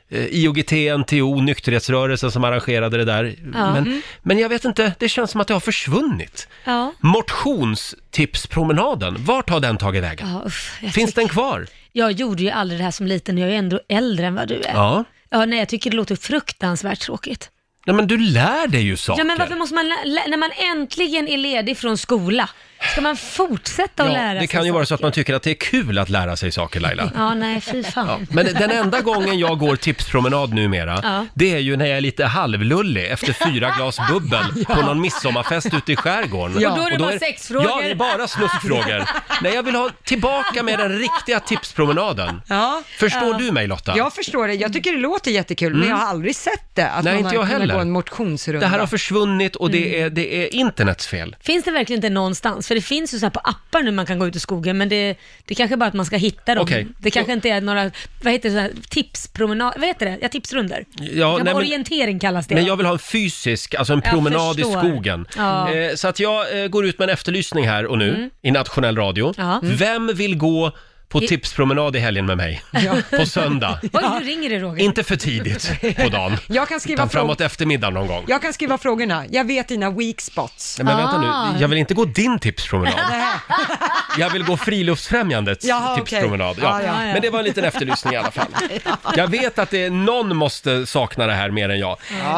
Speaker 1: eh, IOGT, NTO, nykterhetsrörelsen som arrangerade det där.
Speaker 4: Mm.
Speaker 1: Men, men jag vet inte, det känns som att det har försvunnit.
Speaker 4: Ja.
Speaker 1: Motionstipspromenaden, vart har den tagit vägen?
Speaker 4: Ja, uff, jag,
Speaker 1: Finns
Speaker 4: tycker-
Speaker 1: den kvar?
Speaker 4: jag gjorde ju aldrig det här som liten, jag är ju ändå äldre än vad du är.
Speaker 1: Ja.
Speaker 4: Ja, nej, jag tycker det låter fruktansvärt tråkigt.
Speaker 1: Nej men du lär dig ju saker.
Speaker 4: Ja, men varför måste man, lä- lä- när man äntligen är ledig från skola, ska man fortsätta att
Speaker 1: Ja,
Speaker 4: lära sig
Speaker 1: det kan ju vara så att
Speaker 4: saker?
Speaker 1: man tycker att det är kul att lära sig saker Laila.
Speaker 4: Ja, nej, fy fan.
Speaker 1: Men den enda gången jag går tipspromenad numera,
Speaker 4: Ja.
Speaker 1: det är ju när jag är lite halvlullig efter fyra glas bubbel på någon midsommarfest ute i skärgården.
Speaker 2: Ja. Och då
Speaker 4: är det bara sexfrågor.
Speaker 1: Ja, det är bara snuskfrågor. Nej, jag vill ha tillbaka med den riktiga tipspromenaden.
Speaker 2: Ja.
Speaker 1: Förstår du mig Lotta?
Speaker 2: Jag förstår det. Jag tycker det låter jättekul, men jag har aldrig sett det, att
Speaker 1: Mm. Nej,
Speaker 2: någon
Speaker 1: inte jag
Speaker 2: har kunnat
Speaker 1: heller.
Speaker 2: gå en motionsrunda.
Speaker 1: Det här har försvunnit och
Speaker 4: Mm.
Speaker 1: det är, det är internets fel.
Speaker 4: Finns det verkligen inte någonstans? För det finns ju så här på appar nu man kan gå ut i skogen, men det, det kanske bara att man ska hitta dem.
Speaker 1: Okej.
Speaker 4: Det kanske inte är några, vad heter det, så här, tipspromenad, vad heter det? Ja, tipsrunder.
Speaker 1: Ja, nej, men-
Speaker 4: orientering kallas det.
Speaker 1: Men jag vill ha en fysisk, alltså en
Speaker 4: Jag
Speaker 1: promenad i
Speaker 4: förstår.
Speaker 1: skogen.
Speaker 4: Ja. Mm.
Speaker 1: Eh, så att jag eh, går ut med en efterlysning här och nu i nationell radio.
Speaker 4: Ja. Mm.
Speaker 1: Vem vill gå på tipspromenad i helgen med mig? På söndag.
Speaker 4: Oj, nu ringer det Roger.
Speaker 1: Inte för tidigt på dagen.
Speaker 2: Jag kan skriva
Speaker 1: Utan
Speaker 2: frågor.
Speaker 1: framåt eftermiddagen någon gång.
Speaker 2: Jag kan skriva frågorna. Jag vet dina weak spots.
Speaker 1: Nej, men vänta
Speaker 4: Ah.
Speaker 1: nu, jag vill inte gå din tipspromenad. Jag vill gå Friluftsfrämjandets
Speaker 2: Jaha,
Speaker 1: tipspromenad.
Speaker 2: okej.
Speaker 4: Ah,
Speaker 2: Ja, ja, ja.
Speaker 1: Men det var en liten efterlysning i alla fall. Jag vet att det, någon måste sakna det här mer än jag.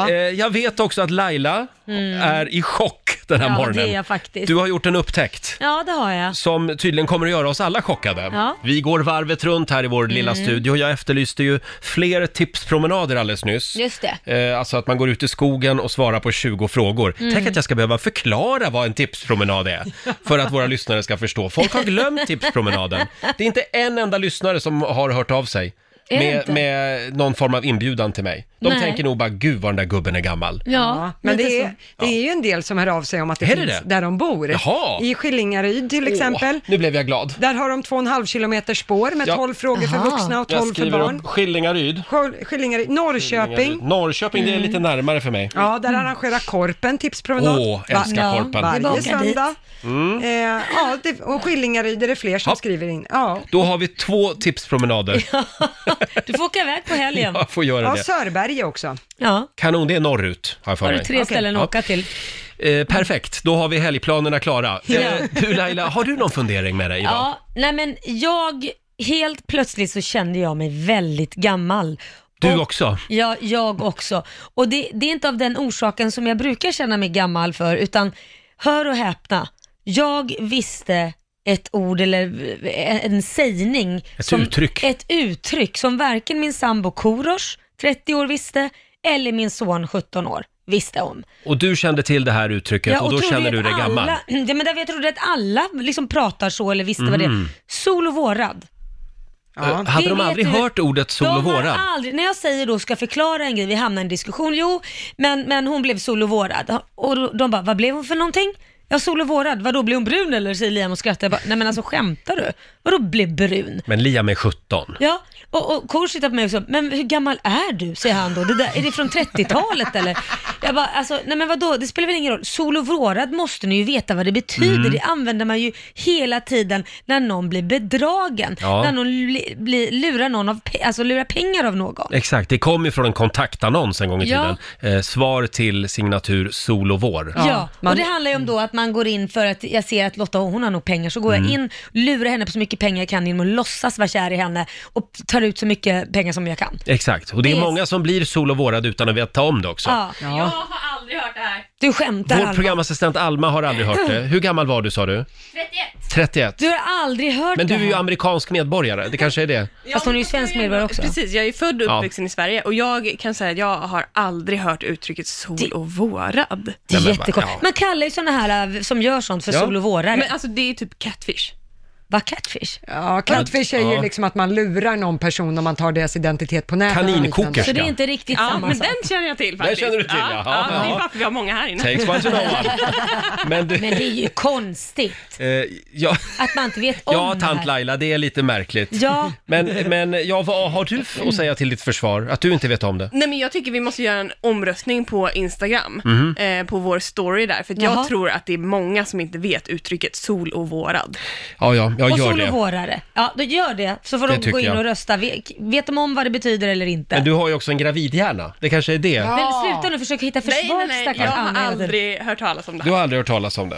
Speaker 1: Eh, jag vet också att Laila är i chock den här
Speaker 4: Mm. Ja,
Speaker 1: morgonen.
Speaker 4: det är jag faktiskt.
Speaker 1: Du har gjort en upptäckt
Speaker 4: Ja, det har jag.
Speaker 1: som tydligen kommer att göra oss alla chockade.
Speaker 4: Ja. Mm.
Speaker 1: Vi går varvet runt här i vår lilla studio. Jag efterlyste ju fler tipspromenader alldeles nyss.
Speaker 9: Just det.
Speaker 1: Eh, alltså att man går ut i skogen och svarar på 20 frågor.
Speaker 4: Mm.
Speaker 1: Tänk att jag ska behöva förklara vad en tipspromenad är för att våra lyssnare ska förstå. Folk har glömt tipspromenaden. Det är inte en enda lyssnare som har hört av sig.
Speaker 4: Är det
Speaker 1: Med,
Speaker 4: inte?
Speaker 1: med någon form av inbjudan till mig. De
Speaker 4: Nej.
Speaker 1: tänker nog bara, gud vad den där gubben är gammal.
Speaker 4: Ja,
Speaker 2: Men
Speaker 4: lite
Speaker 2: det
Speaker 4: så.
Speaker 2: är, det är ju en del som hör av sig om att det
Speaker 1: Är det
Speaker 2: finns
Speaker 1: det?
Speaker 2: där de bor.
Speaker 1: Jaha.
Speaker 2: I Skillingaryd till exempel.
Speaker 1: Åh, nu blev jag glad.
Speaker 2: Där har de 2,5 kilometer spår med
Speaker 1: Ja.
Speaker 2: 12 frågor för
Speaker 4: Aha.
Speaker 2: vuxna och
Speaker 1: Jag
Speaker 2: 12 för
Speaker 1: skriver
Speaker 2: barn.
Speaker 1: upp Skillingaryd.
Speaker 2: Skol- Skillingaryd,
Speaker 1: Norrköping.
Speaker 2: Norrköping.
Speaker 1: det är lite närmare för mig.
Speaker 2: Mm. Ja, där arrangerar Korpen tipspromenad.
Speaker 1: Mm. Åh, älskar
Speaker 2: Va-
Speaker 1: Korpen. Mm.
Speaker 4: Tillbaka
Speaker 2: Varje
Speaker 4: dit.
Speaker 2: söndag. Eh, ja, det, och Skillingaryd är det fler som
Speaker 1: Ja.
Speaker 2: skriver in. Ja,
Speaker 1: Då har vi två tipspromenader.
Speaker 4: Du får åka iväg på helgen.
Speaker 1: Jag får göra
Speaker 2: ja
Speaker 1: det.
Speaker 2: Sörberge också.
Speaker 4: Ja.
Speaker 1: Kanon, det är norrut, har jag för
Speaker 4: Har du
Speaker 1: mig.
Speaker 4: tre ställen
Speaker 1: Ja.
Speaker 4: att åka till?
Speaker 1: Eh, perfekt, då har vi helgplanerna klara. Eh,
Speaker 4: Ja.
Speaker 1: du Laila, har du någon fundering med dig idag?
Speaker 4: Ja, nej men jag, helt plötsligt så kände jag mig väldigt gammal.
Speaker 1: Du
Speaker 4: Och-
Speaker 1: också?
Speaker 4: Ja, jag också. Och det, det är inte av den orsaken som jag brukar känna mig gammal för, utan hör och häpna, jag visste ett ord eller en sägning.
Speaker 1: Ett uttryck.
Speaker 4: Ett uttryck som varken min sambo Korosh, 30 år, visste, eller min son, 17 år, visste om.
Speaker 1: Och du kände till det här uttrycket och då
Speaker 4: trodde
Speaker 1: känner
Speaker 4: att
Speaker 1: du dig
Speaker 4: alla,
Speaker 1: gammal?
Speaker 4: Ja, men därför jag trodde att alla liksom pratar så eller visste vad det
Speaker 1: Mm.
Speaker 4: är. Sol och vårad.
Speaker 1: Eh, hade
Speaker 4: Det
Speaker 1: de
Speaker 4: vet
Speaker 1: aldrig
Speaker 4: du.
Speaker 1: hört ordet sol och
Speaker 4: de har
Speaker 1: vårad?
Speaker 4: Aldrig, när jag säger då, ska förklara en grej, vi hamnar i en diskussion, jo, men, men hon blev sol och vårad. Och då- de bara, vad blev hon för någonting? Ja, sol och vårad, vadå, blev hon brun eller? Säger Liam och skrattar. Jag bara, nej men alltså skämtar du? Vadå blev brun?
Speaker 1: Men Liam är 17.
Speaker 4: Ja, och, och Kor tittar på mig och så, men hur gammal är du? Säger han då. Det där, är det från 30-talet eller? Jag bara, alltså, nej men vadå, det spelar väl ingen roll. Sol och vrårad måste ni ju veta vad det betyder. Det använder man ju hela tiden när någon blir bedragen.
Speaker 1: Ja.
Speaker 4: När någon li, blir, lurar någon av, pe- alltså lurar pengar av någon.
Speaker 1: Exakt, det kom ju från en kontaktannons en gång i
Speaker 4: Ja.
Speaker 1: tiden. Eh, svar till signatur sol och vår.
Speaker 4: Ja,
Speaker 2: man-
Speaker 4: och det handlar ju om då att man går in för att jag ser att Lotta hon har nog pengar, så går jag in, lurar henne på så mycket pengar jag kan genom att låtsas vara kär i henne och tar ut så mycket pengar som jag kan.
Speaker 1: Exakt, och det är
Speaker 4: Det är-
Speaker 1: många som blir sol och vårad utan att veta om det också.
Speaker 4: Ja.
Speaker 8: Jag har aldrig hört det här.
Speaker 4: Du skämtar
Speaker 1: Vår
Speaker 4: Alma.
Speaker 1: programassistent Alma har aldrig hört det. Hur gammal var du sa du?
Speaker 8: 31.
Speaker 1: 31.
Speaker 4: Du har aldrig hört
Speaker 1: Men du
Speaker 4: det
Speaker 1: är ju
Speaker 4: här.
Speaker 1: amerikansk medborgare, det kanske är det.
Speaker 4: Fast hon är ju svensk medborgare också.
Speaker 8: Precis, jag är född och
Speaker 1: Ja.
Speaker 8: uppvuxen i Sverige och jag kan säga att jag har aldrig hört uttrycket sol och vårad.
Speaker 4: Det är
Speaker 1: Nej, men va-
Speaker 4: jättekonstigt.
Speaker 1: ja.
Speaker 4: Man kallar ju sådana här äh, som gör sånt för
Speaker 1: Ja.
Speaker 4: sol och vårare.
Speaker 8: Men alltså det är typ catfish.
Speaker 4: Vad catfish?
Speaker 2: Ja, catfish är ju
Speaker 1: Ja.
Speaker 2: liksom att man lurar någon person om man tar deras identitet på nätet. och
Speaker 1: Kaninkoker.
Speaker 2: liknande.
Speaker 4: Så det är inte riktigt
Speaker 8: Ja,
Speaker 4: samma
Speaker 8: men
Speaker 4: sak.
Speaker 8: den känner jag till faktiskt.
Speaker 1: känner du till, ja.
Speaker 8: ja. ja,
Speaker 1: Ja.
Speaker 8: Det är varför vi har många här inne.
Speaker 1: Takes one to know one. Men du,
Speaker 4: Men det är ju konstigt
Speaker 1: eh, ja,
Speaker 4: att man inte vet om
Speaker 1: ja
Speaker 4: det
Speaker 1: tant
Speaker 4: här.
Speaker 1: Laila, det är lite märkligt.
Speaker 4: Ja,
Speaker 1: Men, men ja, vad har du f- att säga till ditt försvar? Att du inte vet om det?
Speaker 8: Nej men jag tycker vi måste göra en omröstning på Instagram,
Speaker 1: Mhm.
Speaker 8: eh, på vår story där, för att
Speaker 4: Jaha.
Speaker 8: jag tror att det är många som inte vet uttrycket sol och vårad.
Speaker 1: Ja, ja, jag
Speaker 4: och
Speaker 1: gör
Speaker 4: sol och
Speaker 1: det.
Speaker 4: vårare. Ja, då gör det. Så får
Speaker 1: Det
Speaker 4: de
Speaker 1: tycker
Speaker 4: gå in
Speaker 1: jag.
Speaker 4: och rösta. Vet, vet de om vad det betyder eller inte?
Speaker 1: Men
Speaker 4: Men,
Speaker 1: du har ju också en gravidhjärna. Det kanske är det.
Speaker 4: sluta nu försöka hitta försvar
Speaker 8: nej, nej, nej,
Speaker 4: stackars
Speaker 8: jag
Speaker 4: Anna
Speaker 8: har
Speaker 4: hela tiden.
Speaker 8: aldrig hört talas om det
Speaker 1: Du
Speaker 8: här.
Speaker 1: har aldrig hört talas om det.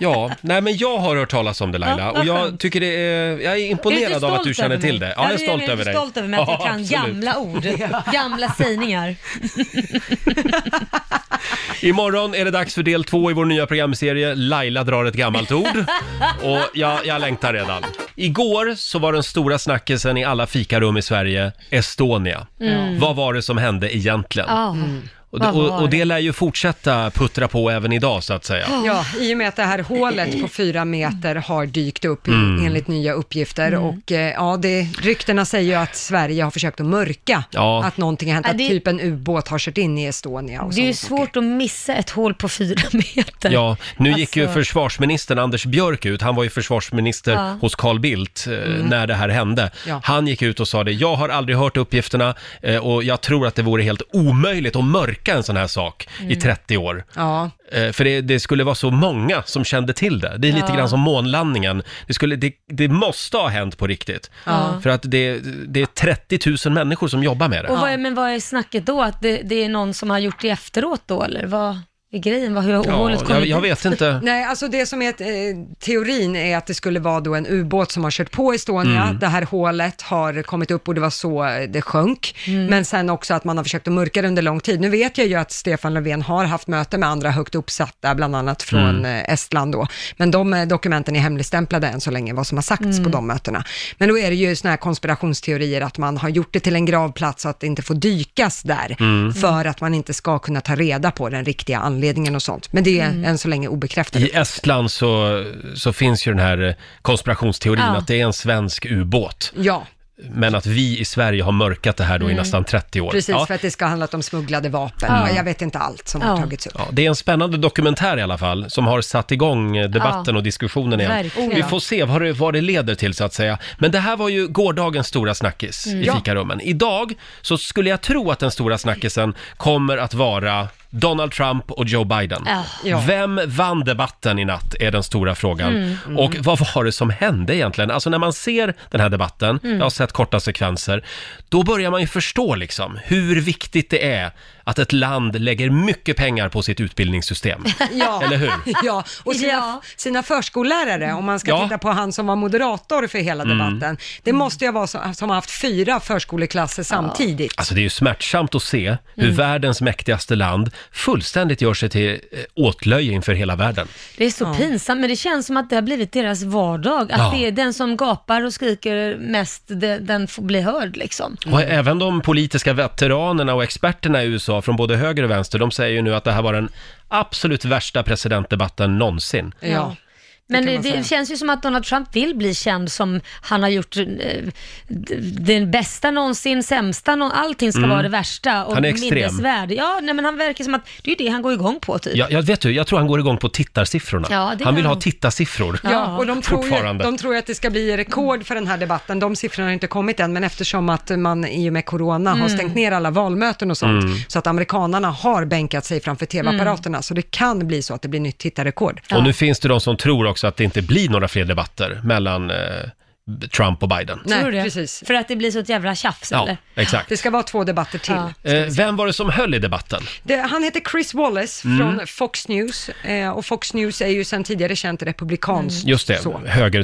Speaker 1: Ja, nej men jag har hört talas om det Laila
Speaker 4: Ja, vad
Speaker 1: och jag
Speaker 4: skönt.
Speaker 1: tycker det är, jag är
Speaker 4: Är du
Speaker 1: imponerad av att
Speaker 4: stolt
Speaker 1: du känner
Speaker 4: över
Speaker 1: till
Speaker 4: mig?
Speaker 1: det. Ja, jag
Speaker 4: du
Speaker 1: är stolt
Speaker 4: lite
Speaker 1: över dig.
Speaker 4: stolt över mig att jag
Speaker 1: Ja,
Speaker 4: kan
Speaker 1: absolut.
Speaker 4: gamla ord, gamla sägningar.
Speaker 1: Imorgon är det dags för del två i vår nya programserie Laila drar ett gammalt ord. Och jag, jag längtar redan. Igår så var den stora snackisen i alla fikarum i Sverige Estonia. Vad var det som hände egentligen?
Speaker 4: Mm. Ja.
Speaker 1: och, det-
Speaker 4: vad var
Speaker 1: och, och det
Speaker 4: det?
Speaker 1: lär ju fortsätta puttra på även idag så att säga.
Speaker 2: Ja, i och med att det här hålet på fyra meter har dykt upp i- enligt nya uppgifter
Speaker 4: Mm.
Speaker 2: och eh, ja, det, ryktena säger ju att Sverige har försökt att mörka
Speaker 1: Ja.
Speaker 2: att någonting har hänt,
Speaker 4: Ja,
Speaker 2: att
Speaker 4: det-
Speaker 2: typ en ubåt har kört in i Estonia och
Speaker 4: Det är ju
Speaker 2: sådana saker.
Speaker 4: svårt att missa ett hål på fyra meter.
Speaker 1: Ja, nu gick ju
Speaker 4: Alltså-
Speaker 1: försvarsministern Anders Björk ut. Han var ju försvarsminister
Speaker 4: Ja. Mm.
Speaker 1: hos Carl Bildt eh, när det här hände.
Speaker 2: Ja.
Speaker 1: Han gick ut och sa det. Jag har aldrig hört uppgifterna eh, och jag tror att det vore helt omöjligt att mörka en sån här sak
Speaker 4: Mm.
Speaker 1: i 30 år.
Speaker 2: Ja,
Speaker 1: Eh, För det, det skulle vara så många som kände till det. Det är lite grann som månlandningen. Det, skulle, det, det måste ha hänt på riktigt. För att det, det är 30 000 människor som jobbar med det.
Speaker 4: Och vad är, men vad är snacket då? Att det, det är någon som har gjort det efteråt då eller? Vad? är grejen? Vad, hur har
Speaker 1: Ja,
Speaker 4: hålet kommit
Speaker 1: jag, jag
Speaker 4: dit?
Speaker 1: vet inte.
Speaker 2: Nej, alltså det som är eh, teorin är att det skulle vara då en ubåt som har kört på Estonia. Det här hålet har kommit upp och det var så eh, det sjönk.
Speaker 4: Mm.
Speaker 2: Men sen också att man har försökt att mörka det under lång tid. Nu vet jag ju att Stefan Löfven har haft möte med andra högt uppsatta, bland annat från eh, Estland då. Men de eh, dokumenten är hemligstämplade än så länge, vad som har sagts på de mötena. Men då är det ju såna här konspirationsteorier att man har gjort det till en gravplats så att det inte får dykas där, för att man inte ska kunna ta reda på den riktiga anledningen och sånt. Men det är än så länge obekräftat.
Speaker 1: I Estland så, så finns ju den här eh, konspirationsteorin
Speaker 4: Ja.
Speaker 1: att det är en svensk ubåt.
Speaker 2: Ja,
Speaker 1: Men att vi i Sverige har mörkat det här då i nästan 30 år.
Speaker 2: Mm. precis,
Speaker 1: ja.
Speaker 2: för att det ska ha handlat om smugglade vapen. Och Jag vet inte allt som har
Speaker 4: Ja.
Speaker 2: tagits upp.
Speaker 1: Ja, det är en spännande dokumentär i alla fall som har satt igång eh, debatten och diskussionen igen.
Speaker 4: verkligen.
Speaker 1: Vi får se vad det, vad det leder till så att säga. Men det här var ju gårdagens stora snackis
Speaker 2: Mm.
Speaker 1: i fikarummen. Idag så skulle jag tro att den stora snackisen kommer att vara Donald Trump och Joe Biden.
Speaker 2: Ja. Mm.
Speaker 1: Vem vann debatten i natt är den stora frågan. Och vad var det som hände egentligen? Alltså när man ser den här debatten,
Speaker 2: Mm.
Speaker 1: jag har sett korta sekvenser, då börjar man ju förstå liksom hur viktigt det är att ett land lägger mycket pengar på sitt utbildningssystem.
Speaker 2: Ja.
Speaker 1: Eller hur?
Speaker 2: Ja, och sina,
Speaker 4: Ja.
Speaker 2: sina förskollärare, om man ska
Speaker 1: Ja. Mm.
Speaker 2: titta på han som var moderator för hela debatten. Det
Speaker 4: Mm.
Speaker 2: måste ju vara så, som har haft fyra förskoleklasser samtidigt.
Speaker 1: Alltså det är ju smärtsamt att se hur
Speaker 4: Mm.
Speaker 1: världens mäktigaste land fullständigt gör sig till eh, åtlöje inför hela världen.
Speaker 4: Det är så pinsamt, men det känns som att det har blivit deras vardag. Att
Speaker 1: Ja.
Speaker 4: det är den som gapar och skriker mest, det, den får bli hörd liksom.
Speaker 1: Och även de politiska veteranerna och experterna i USA från både höger och vänster, de säger ju nu att det här var den absolut värsta presidentdebatten någonsin.
Speaker 2: Ja.
Speaker 4: Men det,
Speaker 2: man
Speaker 4: det
Speaker 2: säga.
Speaker 4: känns ju som att Donald Trump vill bli känd som han har gjort eh, d- den bästa någonsin, sämsta, nå- allting ska vara det värsta och
Speaker 1: Mm. Han är extrem.
Speaker 4: minnesvärd. Ja, nej, men han verkar som att det är ju det han går igång på typ.
Speaker 1: Jag, jag vet du, jag tror han går igång på tittarsiffrorna.
Speaker 4: Ja, det gör
Speaker 1: han vill ha
Speaker 4: han.
Speaker 1: tittarsiffror.
Speaker 2: Ja, och de tror, ju,
Speaker 1: Fortfarande.
Speaker 2: de tror ju att det ska bli rekord för den här debatten. De siffrorna har inte kommit än, men eftersom att man i och med corona har
Speaker 4: Mm.
Speaker 2: stängt ner alla valmöten och sånt,
Speaker 1: Mm.
Speaker 2: så att amerikanarna har bänkat sig framför tv-apparaterna,
Speaker 4: Mm.
Speaker 2: så det kan bli så att det blir nytt tittarrekord.
Speaker 1: Och nu finns det de som tror också att det inte blir några fler debatter mellan eh, Trump och Biden.
Speaker 4: Tror
Speaker 2: Nej,
Speaker 4: du det?
Speaker 2: precis.
Speaker 4: För att det blir så ett jävla tjafs
Speaker 1: Ja,
Speaker 4: eller?
Speaker 1: exakt.
Speaker 2: Det ska vara två debatter till.
Speaker 4: Ja.
Speaker 1: Eh, vem var det som höll i debatten?
Speaker 2: Det, han heter Chris Wallace
Speaker 1: Mm.
Speaker 2: från Fox News eh, och Fox News är ju sedan tidigare känt republikanskt.
Speaker 1: Mm. Just det,
Speaker 2: Så.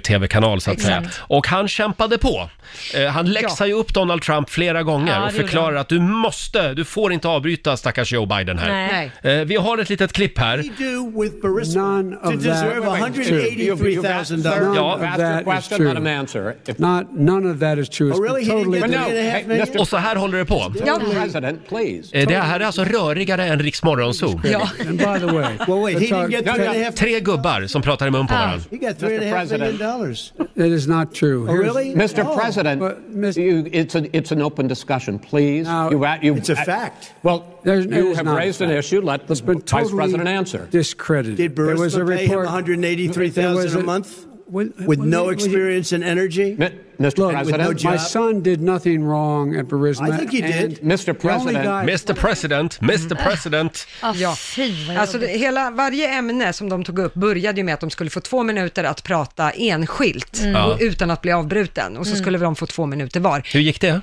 Speaker 1: höger-tv-kanal så att
Speaker 2: Exakt.
Speaker 1: säga. Och han kämpade på. Eh, han läxar ju upp Donald Trump flera gånger
Speaker 4: Ja, det
Speaker 1: och
Speaker 4: gjorde
Speaker 1: förklarar att du måste, du får inte avbryta stackars Joe Biden här.
Speaker 4: Nej.
Speaker 2: Nej.
Speaker 1: Eh, vi har ett litet klipp här.
Speaker 9: do with Barista
Speaker 10: None
Speaker 9: to
Speaker 10: of that
Speaker 9: deserve
Speaker 10: is true.
Speaker 9: $183,000?
Speaker 10: None
Speaker 1: Ja.
Speaker 10: of
Speaker 9: Ask
Speaker 10: that
Speaker 9: a
Speaker 10: is
Speaker 9: question,
Speaker 10: true.
Speaker 9: let him answer. If
Speaker 10: Not, none of that is true. It's
Speaker 9: Oh, really? He didn't
Speaker 10: totally
Speaker 9: get the
Speaker 10: different.
Speaker 9: three and a half million?
Speaker 1: Och så här håller det på.
Speaker 9: No,
Speaker 4: Mm.
Speaker 9: President, please.
Speaker 1: Eh, det här är alltså rörigare än Riks Morgonzoo.
Speaker 2: Ja.
Speaker 10: And by the way,
Speaker 9: Well, wait, he
Speaker 10: let's
Speaker 9: didn't
Speaker 10: talk-
Speaker 9: get three and a half.
Speaker 1: Tre gubbar som pratar i mun på
Speaker 4: Ja.
Speaker 1: varandra.
Speaker 9: He got three and a
Speaker 10: Mr.
Speaker 9: half million
Speaker 10: President.
Speaker 9: dollars.
Speaker 10: That is not true.
Speaker 9: Oh,
Speaker 10: Here's-
Speaker 9: really? Mr. President,
Speaker 10: But, Mr.
Speaker 9: you, it's, a, it's an open discussion, please.
Speaker 10: No,
Speaker 9: you, a- you,
Speaker 10: it's
Speaker 9: a
Speaker 10: fact.
Speaker 9: Well,
Speaker 10: There's- it
Speaker 9: you
Speaker 10: is
Speaker 9: have
Speaker 10: not a
Speaker 9: raised an
Speaker 10: fact.
Speaker 9: issue. Let the
Speaker 10: It's been
Speaker 9: Vice
Speaker 10: totally
Speaker 9: President answer.
Speaker 10: Discredited.
Speaker 9: Did
Speaker 10: There was a
Speaker 9: Burisma pay him
Speaker 10: report- there was
Speaker 9: $183,000 a month
Speaker 10: When-
Speaker 9: with
Speaker 10: when-
Speaker 9: no
Speaker 10: when-
Speaker 9: experience and energy?
Speaker 10: Mi-
Speaker 9: Mr.
Speaker 10: Look,
Speaker 9: President,
Speaker 10: my
Speaker 9: with no job.
Speaker 10: son did nothing wrong at Burisma.
Speaker 9: I think he did.
Speaker 10: and
Speaker 9: Mr.
Speaker 10: the only
Speaker 9: President.
Speaker 10: guy-
Speaker 1: Mr President, Mr President.
Speaker 4: Ah,
Speaker 2: Ja.
Speaker 4: Fy, vad
Speaker 2: Alltså det,
Speaker 4: jobbigt.
Speaker 2: hela, varje ämne som de tog upp började ju med att de skulle få två minuter att prata enskilt
Speaker 1: Mm.
Speaker 2: och, utan att bli avbruten och så skulle de få två minuter var. Eh,
Speaker 1: Hur gick det?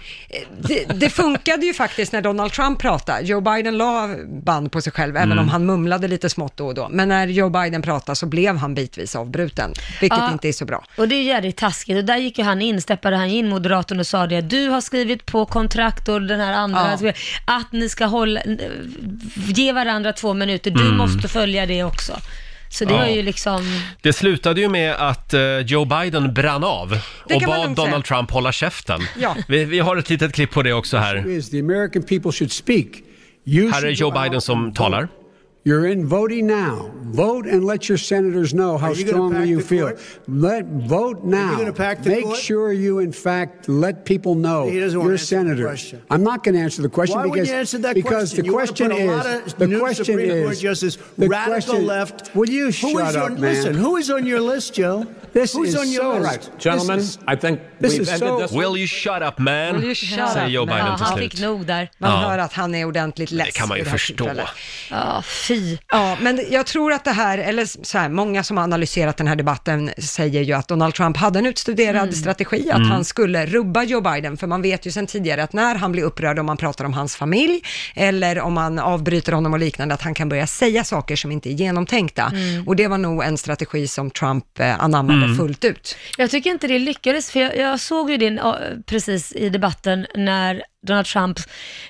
Speaker 2: det, det funkade ju faktiskt när Donald Trump pratade. Joe Biden la band på sig själv,
Speaker 1: Mm.
Speaker 2: även om han mumlade lite smått då och då. Men när Joe Biden pratade så blev han bitvis avbruten, vilket
Speaker 4: Ja.
Speaker 2: inte är så bra.
Speaker 4: Ah. Och det är ju jävligt taskigt. Och där gick ju han in, steppade han in, moderatorn, och sa det. Du har skrivit på kontrakt och den här andra,
Speaker 2: Ja.
Speaker 4: att ni ska hålla, ge varandra två minuter. Du måste följa det också. Så det
Speaker 1: Mm. Ja.
Speaker 4: var ju liksom...
Speaker 1: Det slutade ju med att eh, Joe Biden brann av
Speaker 2: Det
Speaker 1: och
Speaker 2: kan man
Speaker 1: bad
Speaker 2: lugnt
Speaker 1: Donald Trump hålla käften.
Speaker 2: Ja.
Speaker 1: Vi, vi har ett litet klipp på det också här.
Speaker 10: is the American people should speak. You
Speaker 1: Här är
Speaker 10: should
Speaker 1: Joe
Speaker 10: go out
Speaker 1: Biden som
Speaker 10: and
Speaker 1: talar.
Speaker 10: vote. You're in voting now. Vote and let your senators know how
Speaker 9: Are you gonna pack
Speaker 10: strongly you
Speaker 9: the
Speaker 10: feel.
Speaker 9: court?
Speaker 10: Let vote now.
Speaker 9: gonna pack the
Speaker 10: Make
Speaker 9: court?
Speaker 10: sure you, in fact, let people know
Speaker 9: He doesn't wanna
Speaker 10: you're
Speaker 9: answer the
Speaker 10: senators.
Speaker 9: question.
Speaker 10: I'm not going to answer the question
Speaker 9: Why would
Speaker 10: because
Speaker 9: you answer that
Speaker 10: because
Speaker 9: question?
Speaker 10: the
Speaker 9: You wanna
Speaker 10: question
Speaker 9: put a
Speaker 10: is
Speaker 9: lot of
Speaker 10: the
Speaker 9: new
Speaker 10: question
Speaker 9: Supreme
Speaker 10: is
Speaker 9: Court justice,
Speaker 10: the
Speaker 9: radical
Speaker 10: question-
Speaker 9: left.
Speaker 10: Will you
Speaker 9: who
Speaker 10: shut
Speaker 9: is
Speaker 10: up,
Speaker 9: on,
Speaker 10: man?
Speaker 9: Listen, who is on your list, Joe?
Speaker 10: This
Speaker 9: Who's
Speaker 10: is
Speaker 9: on your
Speaker 10: so-
Speaker 9: list?
Speaker 10: Right.
Speaker 9: Gentlemen,
Speaker 10: This is-
Speaker 9: I think
Speaker 10: this
Speaker 9: we've
Speaker 10: is
Speaker 9: ended
Speaker 10: so-
Speaker 9: this
Speaker 1: Will you shut up man?
Speaker 2: Will you shut
Speaker 1: säger
Speaker 2: up,
Speaker 1: Joe
Speaker 2: man?
Speaker 1: Biden
Speaker 4: Ja,
Speaker 1: till
Speaker 4: han
Speaker 1: slut.
Speaker 4: fick nog där.
Speaker 2: Man
Speaker 1: Ja.
Speaker 2: hör att han är ordentligt less.
Speaker 1: Det kan man ju
Speaker 2: vid här
Speaker 1: förstå.
Speaker 2: tillfället.
Speaker 4: Ja, Ah, fy parti.
Speaker 2: Ja, men jag tror att det här, eller så här, många som har analyserat den här debatten säger ju att Donald Trump hade en utstuderad strategi, att
Speaker 11: Mm.
Speaker 2: han skulle rubba Joe Biden, för man vet ju sedan tidigare att när han blir upprörd, om man pratar om hans familj, eller om man avbryter honom och liknande, att han kan börja säga saker som inte är genomtänkta.
Speaker 4: Mm.
Speaker 2: Och det var nog en strategi som Trump eh, anammade
Speaker 4: Mm.
Speaker 2: fullt ut.
Speaker 4: Jag tycker inte det lyckades, för jag, jag såg ju det ja, precis i debatten när Donald Trump,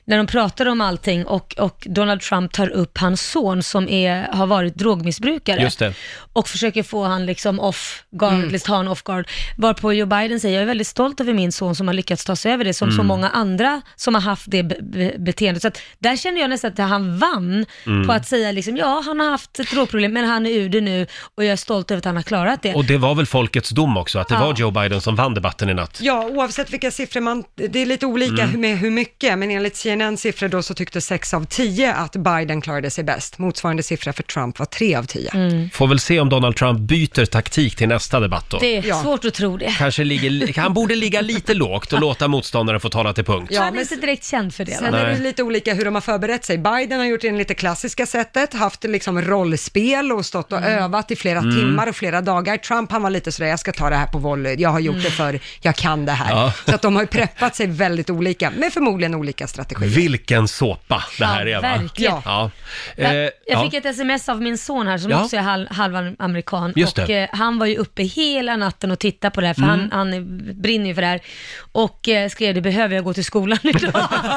Speaker 4: när de pratade om allting och, och Donald Trump tar upp hans son som är, har varit drogmissbrukare.
Speaker 1: Just det.
Speaker 4: och försöker få han liksom off guard,
Speaker 1: Mm.
Speaker 4: liksom ta han off guard. Varpå Joe Biden säger, jag är väldigt stolt över min son som har lyckats ta sig över det, som så
Speaker 1: Mm.
Speaker 4: många andra som har haft det be- be- beteendet. Så att där känner jag nästan att han vann
Speaker 1: Mm.
Speaker 4: på att säga liksom, ja han har haft ett drogproblem, men han är ur det nu och jag är stolt över att han har klarat det.
Speaker 1: Och det var väl folkets dom också, att det
Speaker 4: Ja.
Speaker 1: var Joe Biden som vann debatten i natt.
Speaker 2: Ja, oavsett vilka siffror man, det är lite olika
Speaker 1: Mm.
Speaker 2: hur- med hur mycket, men enligt CNN siffror då så tyckte 6 av 10 att Biden klarade sig bäst. Motsvarande siffra för Trump var 3 av 10.
Speaker 1: Får väl se om Donald Trump byter taktik till nästa debatt då.
Speaker 4: Det är svårt att tro det.
Speaker 1: Kanske ligger, han borde ligga lite lågt och låta motståndaren få tala till punkt.
Speaker 2: Ja,
Speaker 4: han är inte direkt känd för det.
Speaker 2: Sen
Speaker 1: Nej.
Speaker 2: är det lite olika hur de har förberett sig. Biden har gjort det lite klassiska sättet, haft liksom rollspel och stått och övat i flera
Speaker 1: Mm.
Speaker 2: timmar och flera dagar. Trump han var lite sådär, jag ska ta det här på volley, jag har gjort
Speaker 1: Mm.
Speaker 2: det för jag kan det här.
Speaker 1: Ja.
Speaker 2: Så att de har ju preppat sig väldigt olika, med förmodligen olika strategier.
Speaker 1: Vilken såpa det här
Speaker 4: Ja,
Speaker 1: är va?
Speaker 4: verkligen.
Speaker 1: Ja. Eh,
Speaker 4: Jag, jag fick
Speaker 1: ja.
Speaker 4: ett sms av min son här som
Speaker 1: Ja.
Speaker 4: också är halv, halvan amerikan.
Speaker 1: Just
Speaker 4: och
Speaker 1: det.
Speaker 4: eh, Han var ju uppe hela natten och tittade på det här, för
Speaker 1: Mm.
Speaker 4: han, han är- brinner ju för det här. Och eh, skrev, det behöver jag gå till skolan idag.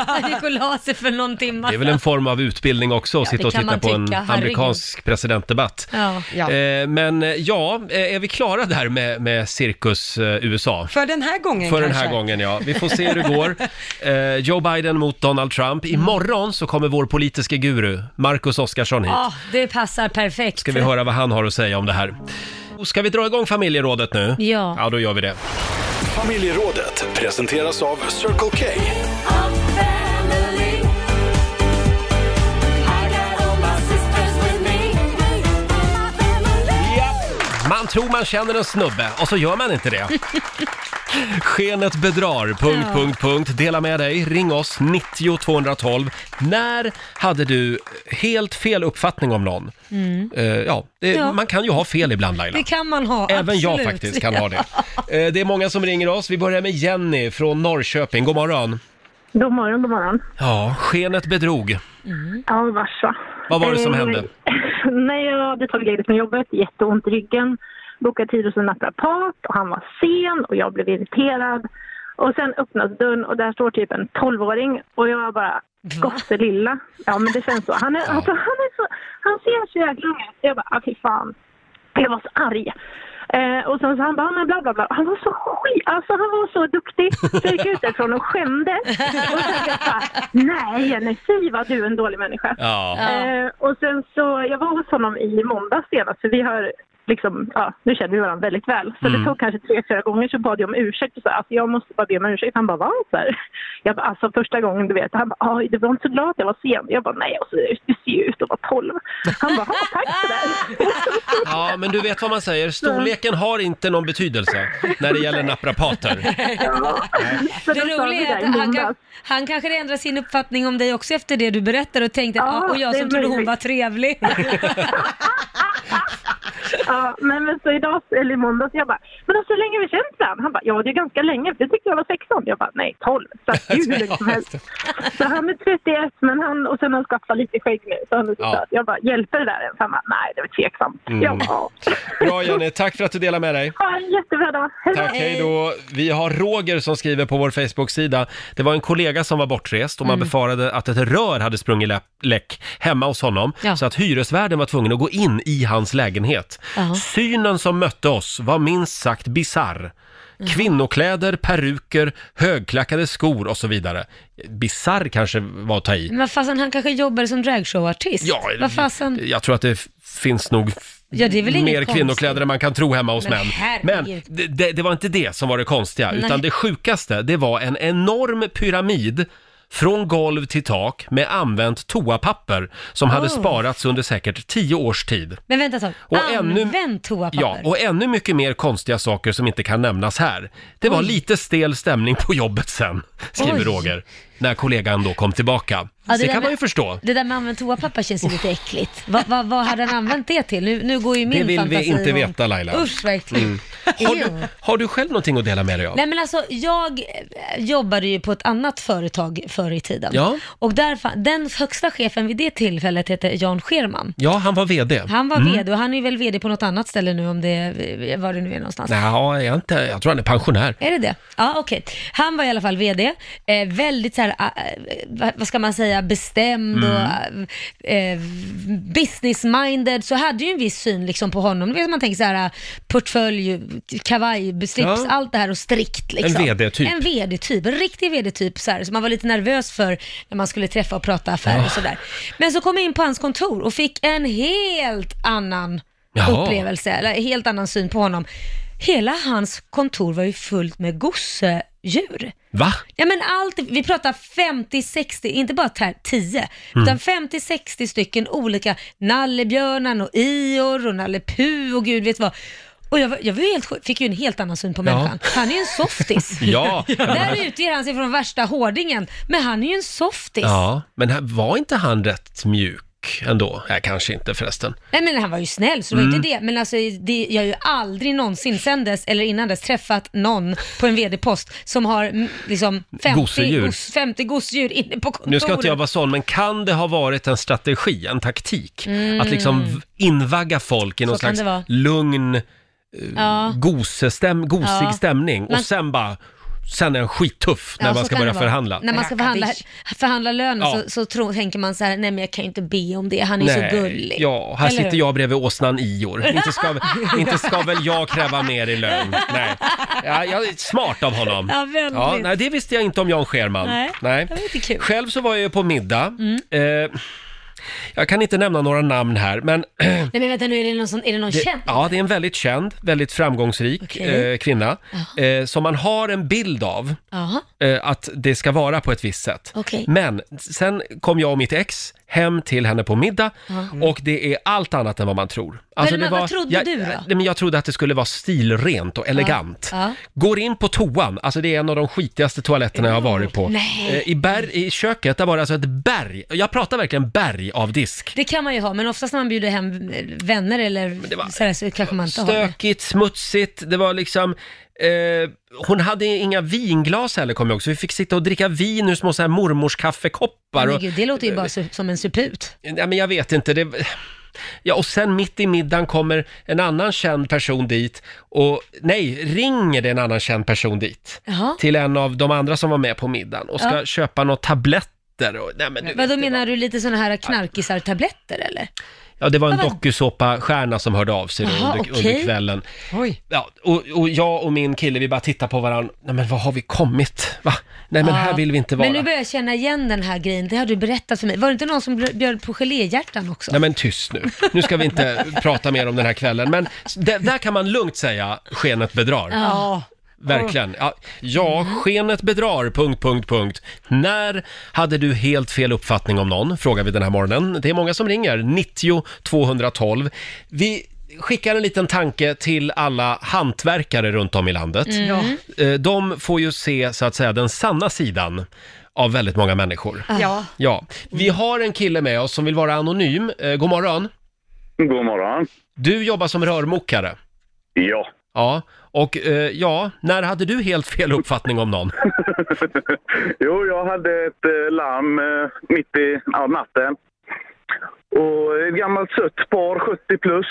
Speaker 4: Han gick och la sig för någon timme
Speaker 1: Det är väl en form av utbildning också, att
Speaker 4: Ja, det
Speaker 1: sitta och
Speaker 4: kan
Speaker 1: titta
Speaker 4: man
Speaker 1: på en
Speaker 4: tycka, herregud.
Speaker 1: amerikansk presidentdebatt.
Speaker 4: Ja.
Speaker 1: Eh, Men eh, ja, eh, är vi klara där med, med cirkus eh, USA?
Speaker 2: För den här gången
Speaker 1: För den
Speaker 2: kanske.
Speaker 1: här gången, ja. Vi får se hur det går. Eh, Joe Biden mot Donald Trump.
Speaker 4: Mm.
Speaker 1: Imorgon så kommer vår politiska guru, Marcus Oskarsson, hit.
Speaker 4: Ah, det passar perfekt.
Speaker 1: Ska vi höra vad han har att säga om det här. Ska vi dra igång familjerådet nu?
Speaker 4: Ja.
Speaker 1: Ja, då gör vi det.
Speaker 3: Familjerådet presenteras av Circle K.
Speaker 1: Man tror man känner en snubbe och så gör man inte det. Skenet bedrar, punkt,
Speaker 3: Ja.
Speaker 1: punkt, punkt. Dela med dig, ring oss, 90 212. När hade du helt fel uppfattning om någon?
Speaker 4: Mm.
Speaker 1: Eh, ja, det,
Speaker 4: Ja.
Speaker 1: man kan ju ha fel ibland Laila.
Speaker 4: Det kan man ha,
Speaker 1: Även jag
Speaker 4: absolut.
Speaker 1: faktiskt kan ha det. Eh, det är många som ringer oss. Vi börjar med Jenny från Norrköping. God morgon.
Speaker 12: God morgon, god morgon.
Speaker 1: Ja, skenet bedrog.
Speaker 12: Ja, vars va?
Speaker 1: Vad var det som
Speaker 12: Eh,
Speaker 1: hände?
Speaker 12: Nej, jag hade tagit ledigt från jobbet, jätteont i ryggen. Bokat tid hos en naprapat och han var sen och jag blev irriterad. Och sen öppnas dörren och där står typ en 12-åring och jag bara gosse lilla. Ja, men det känns så. Han, är, alltså, han, är så, han ser så jäkla ung ut. Jag bara, ah, fy fan. Jag var så arg. Eh, och sen så han bara, men bla bla bla. Han var så skit, alltså han var så duktig. Så jag gick ut därifrån och skämdes. Och sen så jag bara, nej Jenny, fy vad du är en dålig människa.
Speaker 1: Ja.
Speaker 12: Eh, och sen så, jag var hos honom i måndags senast, för vi har liksom, ja, nu känner vi varandra väldigt väl. Så
Speaker 13: Mm.
Speaker 12: det tog kanske tre, fyra gånger så bad jag om ursäkt och sa, alltså jag måste bara be om ursäkt. Han bara, va? Så här. Jag bara, alltså första gången du vet, han bara, oj, du var inte så glad att jag var sen. Jag bara, nej, alltså, du ser ju ut att vara tolv. Han bara, ja, tack för det.
Speaker 1: Ja, men du vet vad man säger. Storleken har inte någon betydelse när det gäller naprapater.
Speaker 12: Så
Speaker 4: Det
Speaker 12: då sa vi
Speaker 4: roliga
Speaker 12: där i
Speaker 4: är att han, kan,
Speaker 12: måndags.
Speaker 4: han kanske ändrar sin uppfattning om dig också efter det du berättar och tänkte att
Speaker 12: Ja,
Speaker 4: ah, och jag
Speaker 12: det
Speaker 4: som
Speaker 12: är
Speaker 4: trodde hon
Speaker 12: möjligt.
Speaker 4: var trevlig.
Speaker 12: Ja, nej, men så idag, eller i måndags, jag bara, men alltså hur länge har vi känt varandra? Han bara, ja det är ganska länge, för du tyckte jag var 16. Jag bara, nej 12. Så att hur länge som helst. Så han är 31, men han, och sen har han skaffat lite skägg nu, så han är så
Speaker 1: Ja.
Speaker 12: söt. Jag bara, hjälper det där ens? Han bara, nej det var tveksamt.
Speaker 1: Mm.
Speaker 12: Jag bara, ja.
Speaker 1: Bra Jenny, tack för att du delar med dig.
Speaker 12: ha en jättebra dag. Hej då.
Speaker 1: Tack, hej då. Vi har Roger som skriver på vår Facebook-sida. Det var en kollega som var bortrest och man
Speaker 3: Mm.
Speaker 1: befarade att ett rör hade sprungit lä- läck hemma hos honom. Så att hyresvärden var tvungen att gå in i hans lägenhet.
Speaker 3: Jaha.
Speaker 1: Synen som mötte oss var minst sagt bizarr. Kvinnokläder, peruker, högklackade skor och så vidare. Bizarr kanske var att ta i.
Speaker 4: Men vad fasen, han kanske jobbar som dragshowartist?
Speaker 1: Ja,
Speaker 4: vad fasen?
Speaker 1: Jag tror att det f- finns nog f-
Speaker 4: Ja, det är väl inget
Speaker 1: mer
Speaker 4: konstigt.
Speaker 1: kvinnokläder än man kan tro hemma hos
Speaker 4: Men
Speaker 1: män. Men
Speaker 4: herregud.
Speaker 1: det- det, det var inte det som var det konstiga,
Speaker 4: Nej.
Speaker 1: utan det sjukaste, det var en enorm pyramid från golv till tak med använt toapapper som hade
Speaker 4: Oh.
Speaker 1: sparats under säkert tio års tid.
Speaker 4: Men vänta ett tag,
Speaker 1: Och ännu-
Speaker 4: använd toapapper.
Speaker 1: Ja, och ännu mycket mer konstiga saker som inte kan nämnas här. Det var
Speaker 4: Oj.
Speaker 1: lite stel stämning på jobbet sen, skriver
Speaker 4: Oj.
Speaker 1: Roger. när kollegan då kom tillbaka.
Speaker 4: Ja, det
Speaker 1: det
Speaker 4: där
Speaker 1: kan man ju
Speaker 4: med-
Speaker 1: förstå.
Speaker 4: Det där med använt toapapper känns ju lite äckligt. Vad va, vad hade han använt det till? Nu, nu går ju min
Speaker 1: Det vill vi
Speaker 4: fantasi
Speaker 1: inte
Speaker 4: om-
Speaker 1: veta Laila.
Speaker 4: Usch vad äckligt.
Speaker 1: Mm. Har,
Speaker 4: Ew.
Speaker 1: du, har du själv någonting att dela med dig av?
Speaker 4: Nej men alltså jag eh, jobbade ju på ett annat företag förr i tiden.
Speaker 1: Ja.
Speaker 4: Och där, fa- den högsta chefen vid det tillfället hette Jan Scherman.
Speaker 1: Ja, han var VD.
Speaker 4: Han var vd och han är väl vd på något annat ställe nu om det, eh, var det nu är någonstans.
Speaker 1: Nej, jag, är inte, jag tror han är pensionär.
Speaker 4: Är det det? Ja, okej. Han var i alla fall vd. Eh, väldigt så här, eh, vad- vad ska man säga, bestämd
Speaker 1: Mm.
Speaker 4: och eh, business-minded. Så hade ju en viss syn liksom på honom. Du vet, Man tänker så här, eh, portfölj, kavaj, slips,
Speaker 1: Ja.
Speaker 4: allt det här och strikt liksom.
Speaker 1: En typ. VD-typ.
Speaker 4: En vd-typ, en riktig vd-typ så här. Så man var lite nervös för när man skulle träffa och prata affärer
Speaker 1: Ja.
Speaker 4: och sådär. Men så kom jag in på hans kontor och fick en helt annan
Speaker 1: Jaha.
Speaker 4: upplevelse, eller helt annan syn på honom. Hela hans kontor var ju fullt med gosedjur.
Speaker 1: Va?
Speaker 4: Ja men allt, vi pratar 50-60, inte bara här 10,
Speaker 1: Mm.
Speaker 4: utan 50-60 stycken olika nallebjörnar och ior och Nalle Puh och gud vet vad. Och jag, var, jag var ju helt, sjuk- fick ju en helt annan syn på
Speaker 1: Ja.
Speaker 4: människan. Han är ju en softis.
Speaker 1: Ja.
Speaker 4: Där utger han sig från värsta hårdingen, men han är ju en softis.
Speaker 1: Ja, men här- var inte han rätt mjuk ändå? Nej, kanske inte förresten.
Speaker 4: Nej men han var ju snäll så det var ju
Speaker 1: Mm.
Speaker 4: inte det. Men alltså det, jag har ju aldrig någonsin sen dess eller innan dess träffat någon på en vd-post som har mm, liksom 50
Speaker 1: Gosedjur.
Speaker 4: gos- 50 gosedjur inne på kontoret.
Speaker 1: Nu ska inte jag vara sån, men kan det ha varit en strategi, en taktik?
Speaker 4: Mm.
Speaker 1: Att liksom v- invagga folk i
Speaker 4: Så
Speaker 1: någon
Speaker 4: kan
Speaker 1: slags
Speaker 4: det vara.
Speaker 1: lugn, eh,
Speaker 4: Ja.
Speaker 1: gosestäm, gosig
Speaker 4: Ja.
Speaker 1: stämning och
Speaker 4: Man-
Speaker 1: sen bara, sen är den skittuff när
Speaker 4: Ja,
Speaker 1: man
Speaker 4: så
Speaker 1: ska
Speaker 4: kan
Speaker 1: börja
Speaker 4: det vara.
Speaker 1: förhandla.
Speaker 4: När man ska förhandla, förhandla lönen
Speaker 1: Ja.
Speaker 4: så, så tror, tänker man så här, nej men jag kan ju inte be om det, han är
Speaker 1: Nej,
Speaker 4: så gullig.
Speaker 1: Ja, här
Speaker 4: Eller
Speaker 1: sitter
Speaker 4: hur?
Speaker 1: jag bredvid åsnan Ior. Inte ska, inte ska väl jag kräva mer i lön? Nej. Ja, jag är smart av honom.
Speaker 4: Ja, väldigt.
Speaker 1: nej, det visste jag inte om Jan Scherman.
Speaker 4: Nej, det var lite kul.
Speaker 1: Själv så var jag ju på middag. Eh, jag kan inte nämna några namn här, men...
Speaker 4: Nej men vänta nu, är det någon, sån, är det någon
Speaker 1: Det,
Speaker 4: känd?
Speaker 1: ja, det är en väldigt känd, väldigt framgångsrik
Speaker 4: Okej.
Speaker 1: eh, kvinna eh, som man har en bild av
Speaker 4: Jaha,
Speaker 1: eh, att det ska vara på ett visst sätt.
Speaker 4: okej.
Speaker 1: Men sen kom jag och mitt ex hem till henne på middag
Speaker 4: Ja.
Speaker 1: och det är allt annat än vad man tror. Alltså,
Speaker 4: men vad trodde
Speaker 1: jag,
Speaker 4: du då?
Speaker 1: Nej, men Jag trodde att det skulle vara stilrent och elegant.
Speaker 4: Ja.
Speaker 1: Går in på toan, alltså det är en av de skitigaste toaletterna jag har varit på.
Speaker 4: Nej.
Speaker 1: Eh, I, berg, I köket, där var det alltså ett berg, jag pratar verkligen berg av disk.
Speaker 4: Det kan man ju ha, men oftast när man bjuder hem eh, vänner eller sådär så kanske man inte har det.
Speaker 1: Stökigt, smutsigt, det var liksom... Eh, hon hade inga vinglas heller kommer jag ihåg, så vi fick sitta och dricka vin ur små så här mormorskaffekoppar.
Speaker 4: Men
Speaker 1: Och,
Speaker 4: gud, det låter ju bara su- som en suput.
Speaker 1: Nej, men jag vet inte. Det... Ja, och sen mitt i middagen kommer en annan känd person dit och nej, ringer det en annan känd person dit
Speaker 4: Jaha.
Speaker 1: till en av de andra som var med på middagen och ska
Speaker 4: Ja.
Speaker 1: köpa några tabletter. Och, nej, men du,
Speaker 4: Vadå, menar du lite sådana här knarkisar-tabletter eller?
Speaker 1: ja, det var en
Speaker 4: Vad var-
Speaker 1: dokusåpa-stjärna som hörde av sig då
Speaker 4: Jaha,
Speaker 1: under, under
Speaker 4: okej.
Speaker 1: kvällen.
Speaker 2: Oj.
Speaker 1: Ja, och, och jag och min kille, vi bara tittar på varandra. Nej men vad har vi kommit? Va? Nej men
Speaker 4: Ja.
Speaker 1: här vill vi inte vara.
Speaker 4: Men nu börjar jag känna igen den här grejen, det har du berättat för mig. Var det inte någon som bl- bjöd på geléhjärtan också?
Speaker 1: Nej men tyst nu. Nu ska vi inte prata mer om den här kvällen. Men d- där kan man lugnt säga skenet bedrar.
Speaker 4: Ja.
Speaker 1: Verkligen. Ja, ja, skenet bedrar, punkt, punkt, punkt. När hade du helt fel uppfattning om någon? Frågar vi den här morgonen. Det är många som ringer, 90 212. Vi skickar en liten tanke till alla hantverkare runt om i landet.
Speaker 3: Mm. Ja.
Speaker 1: Eh, De får ju se, så att säga, den sanna sidan av väldigt många människor.
Speaker 3: Ja.
Speaker 1: Ja,
Speaker 11: Mm.
Speaker 1: vi har en kille med oss som vill vara anonym. Eh, god morgon.
Speaker 11: God morgon.
Speaker 1: Du jobbar som rörmokare.
Speaker 11: Ja.
Speaker 1: Ja, och eh, ja, när hade du helt fel uppfattning om någon?
Speaker 11: Jo, jag hade ett eh, larm eh, mitt i ja, natten. Och ett gammalt sött par, 70 plus,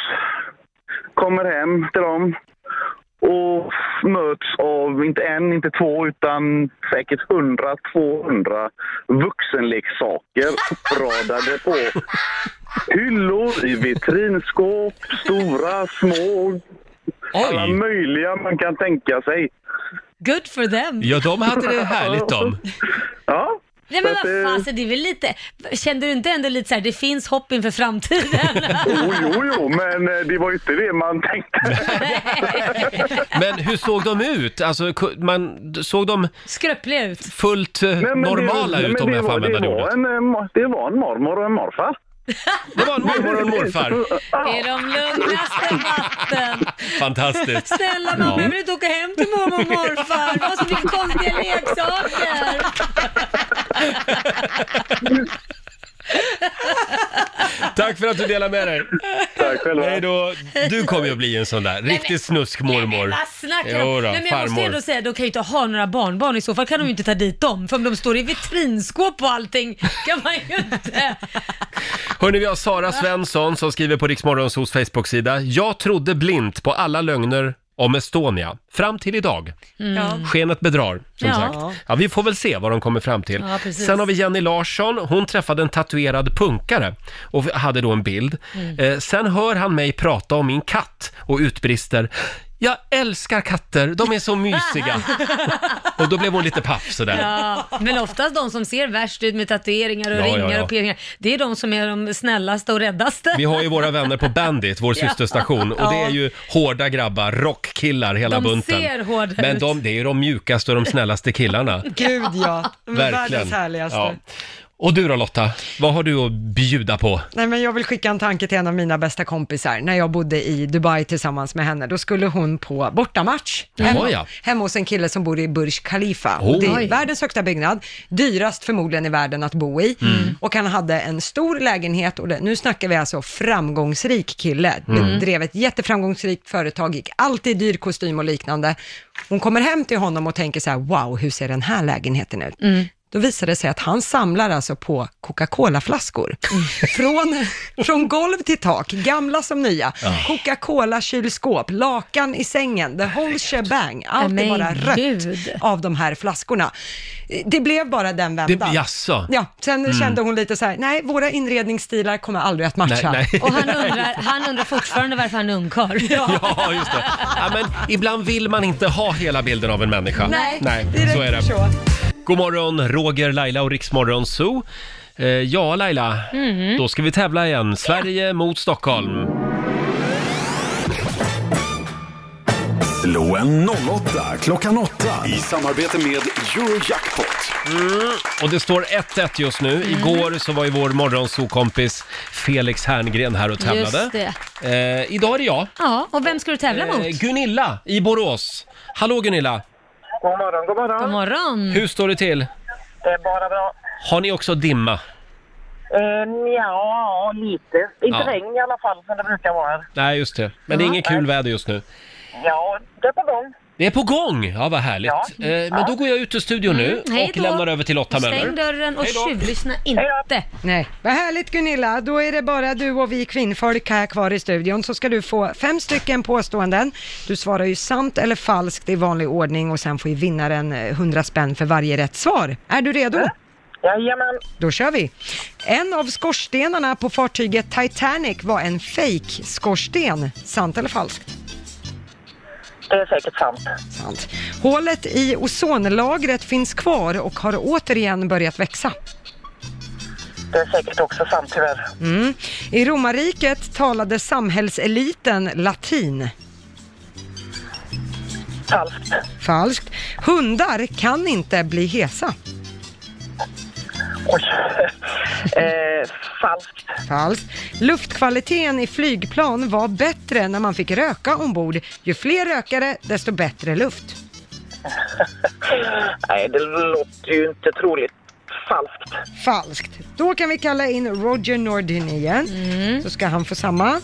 Speaker 11: kommer hem till dem och möts av inte en, inte två, utan säkert 100-200 vuxenleksaker uppradade på hyllor, i vitrinskåp, stora, små. Alla möjliga man kan tänka sig.
Speaker 4: Good for them.
Speaker 1: Ja, de hade det härligt de.
Speaker 11: Ja.
Speaker 4: Nej
Speaker 11: Så
Speaker 4: men
Speaker 11: att, eh,
Speaker 4: vad fasen, det är väl lite, kände du inte ändå lite så här, det finns hopp inför framtiden?
Speaker 11: Jo, jo, jo, men eh, det var ju inte det man tänkte.
Speaker 1: Men hur såg de ut? Alltså, ku- man, såg de
Speaker 4: Skröpliga ut?
Speaker 1: fullt eh,
Speaker 11: Nej, men det-
Speaker 1: normala
Speaker 11: nej,
Speaker 1: ut
Speaker 11: men
Speaker 1: om
Speaker 11: det
Speaker 1: jag får
Speaker 11: var-
Speaker 1: använda det
Speaker 11: det var
Speaker 1: ordet?
Speaker 11: en, eh, ma- Det var en mormor och en morfar.
Speaker 1: Det var en mormor och en morfar.
Speaker 4: Det är de lugnaste vatten.
Speaker 1: Fantastiskt.
Speaker 4: Snälla man
Speaker 1: Ja.
Speaker 4: behöver du inte åka hem till mormor och morfar? Du har så mycket konstiga leksaker.
Speaker 1: Tack för att du delar med dig. Tack själva. Nej då, du kommer ju att bli en sån där
Speaker 4: men-
Speaker 1: riktig snuskmormor.
Speaker 4: Vad snackar
Speaker 1: Jo
Speaker 4: du om?
Speaker 1: då,
Speaker 4: Nej, men jag måste
Speaker 1: farmor.
Speaker 4: ändå säga, de kan ju inte ha några barnbarn i så fall kan de ju inte ta dit dem. För om de står i vitrinskåp och allting kan man ju inte.
Speaker 1: Hörni, vi har Sara Svensson som skriver på Riksmorgonsos Facebook-sida. Jag trodde blint på alla lögner om Estonia, fram till idag.
Speaker 5: Mm. Ja.
Speaker 1: Skenet bedrar, som
Speaker 5: Ja.
Speaker 1: sagt. Ja, vi får väl se vad de kommer fram till.
Speaker 5: Ja, precis.
Speaker 1: Sen har vi Jenny Larsson. Hon träffade en tatuerad punkare och hade då en bild.
Speaker 5: Mm.
Speaker 1: Eh, sen hör han mig prata om min katt och utbrister “Jag älskar katter, de är så mysiga”. och då blev hon lite paff sådär.
Speaker 4: Ja, men oftast de som ser värst ut med tatueringar och
Speaker 1: Ja, ja,
Speaker 4: ringar
Speaker 1: ja.
Speaker 4: och pirringar, det är de som är de snällaste och räddaste.
Speaker 1: Vi har ju våra vänner på Bandit, vår
Speaker 4: Ja.
Speaker 1: systerstation. Och det
Speaker 4: Ja.
Speaker 1: är ju hårda grabbar, rockkillar hela
Speaker 4: De
Speaker 1: bunten.
Speaker 4: ser hårda
Speaker 1: Men
Speaker 4: ut.
Speaker 1: de, det är ju de mjukaste och de snällaste killarna.
Speaker 2: Gud ja, de är
Speaker 1: Verkligen.
Speaker 2: världens härligaste.
Speaker 1: Ja. Och du då Lotta, vad har du att bjuda på?
Speaker 2: Nej, men jag vill skicka en tanke till en av mina bästa kompisar. När jag bodde i Dubai tillsammans med henne, då skulle hon på bortamatch.
Speaker 5: Jaha,
Speaker 2: Hemma,
Speaker 5: ja.
Speaker 2: hemma hos en kille som bor i Burj Khalifa.
Speaker 5: Oh.
Speaker 2: Och det
Speaker 5: Oj.
Speaker 2: är världens högsta byggnad, dyrast förmodligen i världen att bo i.
Speaker 5: Mm.
Speaker 2: Och han hade en stor lägenhet och det, nu snackar vi alltså framgångsrik kille.
Speaker 5: Mm.
Speaker 2: Drev ett jätteframgångsrikt företag, gick alltid i dyr kostym och liknande. Hon kommer hem till honom och tänker så här, wow, hur ser den här lägenheten ut? Då visade det sig att han samlar alltså på Coca-Cola-flaskor. Från, från golv till tak, gamla som nya.
Speaker 5: Ja.
Speaker 2: Coca-Cola-kylskåp, lakan i sängen, the whole shebang. Allt
Speaker 4: Men
Speaker 2: är bara rött
Speaker 4: gud.
Speaker 2: av de här flaskorna. Det blev bara den vändan.
Speaker 1: Det- jaså?
Speaker 2: Ja, sen
Speaker 1: Mm.
Speaker 2: kände hon lite så här, nej, våra inredningsstilar kommer aldrig att matcha.
Speaker 1: Nej, nej. Och han
Speaker 4: undrar- han undrar fortfarande varför han är ungkarl.
Speaker 1: Ja, just det. Ja, men ibland vill man inte ha hela bilden av en människa.
Speaker 5: Nej,
Speaker 1: Nej så är det. God morgon, Roger, Laila och Riksmorgon Zoo. Eh, ja, Laila,
Speaker 4: Mhm.
Speaker 5: Mm.
Speaker 1: då ska vi tävla igen. Sverige mot Stockholm.
Speaker 3: Loen 08, klockan 8 i samarbete med Eurojackpot.
Speaker 1: Mm. Och det står 1-1 just nu.
Speaker 4: Mm.
Speaker 1: Igår så var ju vår morgonsokompis Felix Herngren här och tävlade.
Speaker 4: Just det.
Speaker 1: Eh, idag är det jag.
Speaker 4: Ja, och vem ska du tävla mot?
Speaker 1: Eh, Gunilla i Borås. Hallå Gunilla!
Speaker 13: God morgon, god morgon.
Speaker 4: God morgon.
Speaker 1: Hur står det till?
Speaker 13: Det är bara bra.
Speaker 1: Har ni också dimma?
Speaker 13: Um, ja, lite. Inte
Speaker 1: Ja.
Speaker 13: regn i alla fall som det brukar vara. här.
Speaker 1: Nej, just det. Men det är
Speaker 13: Ja.
Speaker 1: inget kul väder just nu.
Speaker 13: Ja, det är på gång.
Speaker 1: Det är på gång! Ja, vad härligt.
Speaker 13: Ja.
Speaker 1: Eh, men då går jag ut ur studion nu
Speaker 4: Mm, hej
Speaker 1: och
Speaker 4: då.
Speaker 1: lämnar över till Lotta
Speaker 4: Stäng
Speaker 1: Möller.
Speaker 4: dörren och tjuvlyssna inte.
Speaker 2: Nej. Vad härligt Gunilla, då är det bara du och vi kvinnfolk här kvar i studion så ska du få fem stycken påståenden. Du svarar ju sant eller falskt i vanlig ordning och sen får ju vinnaren eh, 100 spänn för varje rätt svar. Är du redo?
Speaker 13: Jajamän.
Speaker 2: Då kör vi! En av skorstenarna på fartyget Titanic var en fake skorsten Sant eller falskt?
Speaker 13: Det är säkert sant.
Speaker 2: Sant. Hålet i ozonlagret finns kvar och har återigen börjat växa.
Speaker 13: Det är säkert också sant tyvärr.
Speaker 2: Mm. I romarriket talade samhällseliten latin.
Speaker 13: Falskt.
Speaker 2: Falskt. Hundar kan inte bli hesa.
Speaker 13: Oj. eh, falskt.
Speaker 2: Falskt. Luftkvaliteten i flygplan var bättre när man fick röka ombord. Ju fler rökare, desto bättre luft.
Speaker 13: Nej, det låter ju inte troligt. Falskt.
Speaker 2: Falskt. Då kan vi kalla in Roger Nordin igen,
Speaker 1: Mm.
Speaker 2: så ska han få samma.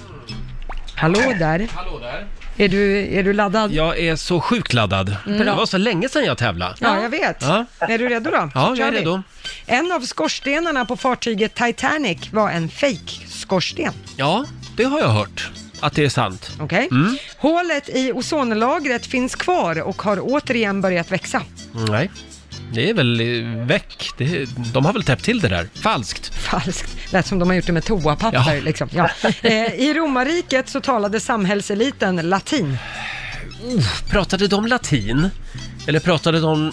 Speaker 2: Hallå där.
Speaker 1: Hallå där.
Speaker 2: Är du, är du laddad?
Speaker 1: Jag är så sjukt laddad.
Speaker 2: Mm.
Speaker 1: Det var så länge sedan jag tävlade.
Speaker 2: Ja, jag vet.
Speaker 1: Ja.
Speaker 2: Är du redo då?
Speaker 1: Ja, jag
Speaker 2: Kör
Speaker 1: är
Speaker 2: vi.
Speaker 1: redo.
Speaker 2: En av skorstenarna på fartyget Titanic var en fake skorsten
Speaker 1: Ja, det har jag hört. Att det är sant.
Speaker 2: Okej.
Speaker 1: Mm.
Speaker 2: Hålet i ozonlagret finns kvar och har återigen börjat växa.
Speaker 1: Nej. Det är väl eh, väck. Det, de har väl täppt till det där. Falskt.
Speaker 2: Falskt. Lät som de har gjort det med toapapper.
Speaker 1: Ja.
Speaker 2: Liksom. Ja. Eh, I romarriket så talade samhällseliten latin.
Speaker 1: Uff, pratade de latin? Eller pratade de...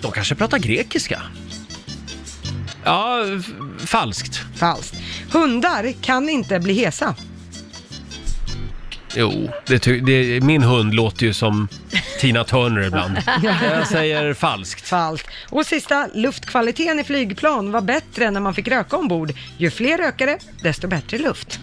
Speaker 1: De kanske pratar grekiska? Ja, f- falskt.
Speaker 2: Falskt. Hundar kan inte bli hesa.
Speaker 1: Jo, det ty- det, min hund låter ju som Tina Turner ibland. Jag säger falskt.
Speaker 2: Falskt. Och sista, luftkvaliteten i flygplan var bättre när man fick röka ombord. Ju fler rökare, desto bättre luft.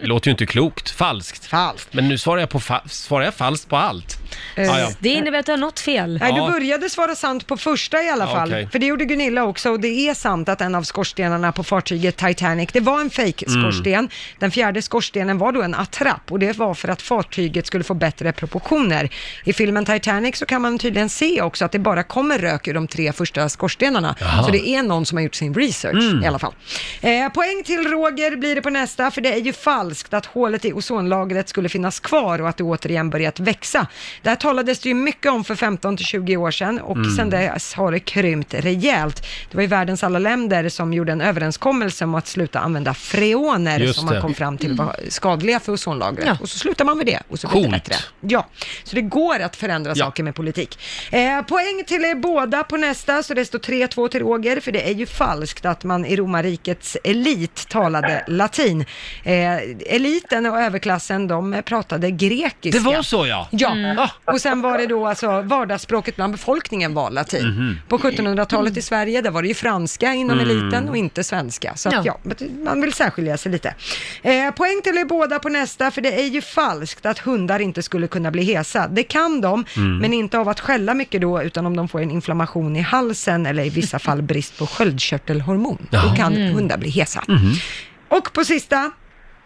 Speaker 1: Det låter ju inte klokt. Falskt.
Speaker 2: Falskt.
Speaker 1: Men nu svarar jag, på fa- svarar jag falskt på allt.
Speaker 4: Eh,
Speaker 1: Ja, ja.
Speaker 4: Det innebär att du har något fel.
Speaker 2: Nej,
Speaker 1: Ja.
Speaker 2: du började svara sant på första i alla
Speaker 1: Ja,
Speaker 2: fall.
Speaker 1: okej.
Speaker 2: För det gjorde Gunilla också och det är sant att en av skorstenarna på fartyget Titanic, det var en fake
Speaker 1: Mm.
Speaker 2: skorsten Den fjärde skorstenen var då en attrapp och det var för att fartyget skulle få bättre proportioner. I filmen Titanic så kan man tydligen se också att det bara kommer rök ur de tre första skorstenarna.
Speaker 5: Jaha.
Speaker 2: Så det är någon som har gjort sin research
Speaker 5: Mm.
Speaker 2: i alla fall. Eh, poäng till Roger blir det på nästa, för det är ju falskt att hålet i ozonlagret skulle finnas kvar och att det återigen börjat växa. Det här talades det ju mycket om för 15 till 20 år sedan och
Speaker 5: Mm.
Speaker 2: sedan dess har det krympt rejält. Det var ju världens alla länder som gjorde en överenskommelse om att sluta använda freoner
Speaker 5: Just
Speaker 2: som
Speaker 5: det.
Speaker 2: man kom fram till var skadliga för ozonlagret.
Speaker 5: Ja.
Speaker 2: Och så slutar man med det och så blir det
Speaker 5: Coolt.
Speaker 2: bättre. Ja, så det går att förändra
Speaker 5: Ja.
Speaker 2: saker med politik. Eh, poäng till er båda på nästa, så det står 3-2 till Roger, för det är ju falskt att man i romarrikets elit talade latin. Eh, eliten och överklassen, de pratade grekiska.
Speaker 1: Det var så, ja.
Speaker 2: Ja,
Speaker 1: Mm.
Speaker 2: och sen var det då alltså vardagsspråket bland befolkningen var latin.
Speaker 1: Mhm.
Speaker 2: På 1700-talet i Sverige, där var det ju franska inom
Speaker 1: Mm.
Speaker 2: eliten och inte svenska. Så att,
Speaker 5: Ja.
Speaker 2: ja. man vill särskilja sig lite. Eh, poäng till er båda på nästa, för det är ju falskt att hundar inte skulle kunna bli hesa. Det kan de,
Speaker 5: Mm.
Speaker 2: men inte av att skälla mycket då, utan om de får en inflammation i halsen eller i vissa fall brist på sköldkörtelhormon. Då
Speaker 5: Jaha.
Speaker 2: kan
Speaker 5: Mm.
Speaker 2: hundar bli hesa. Och på sista,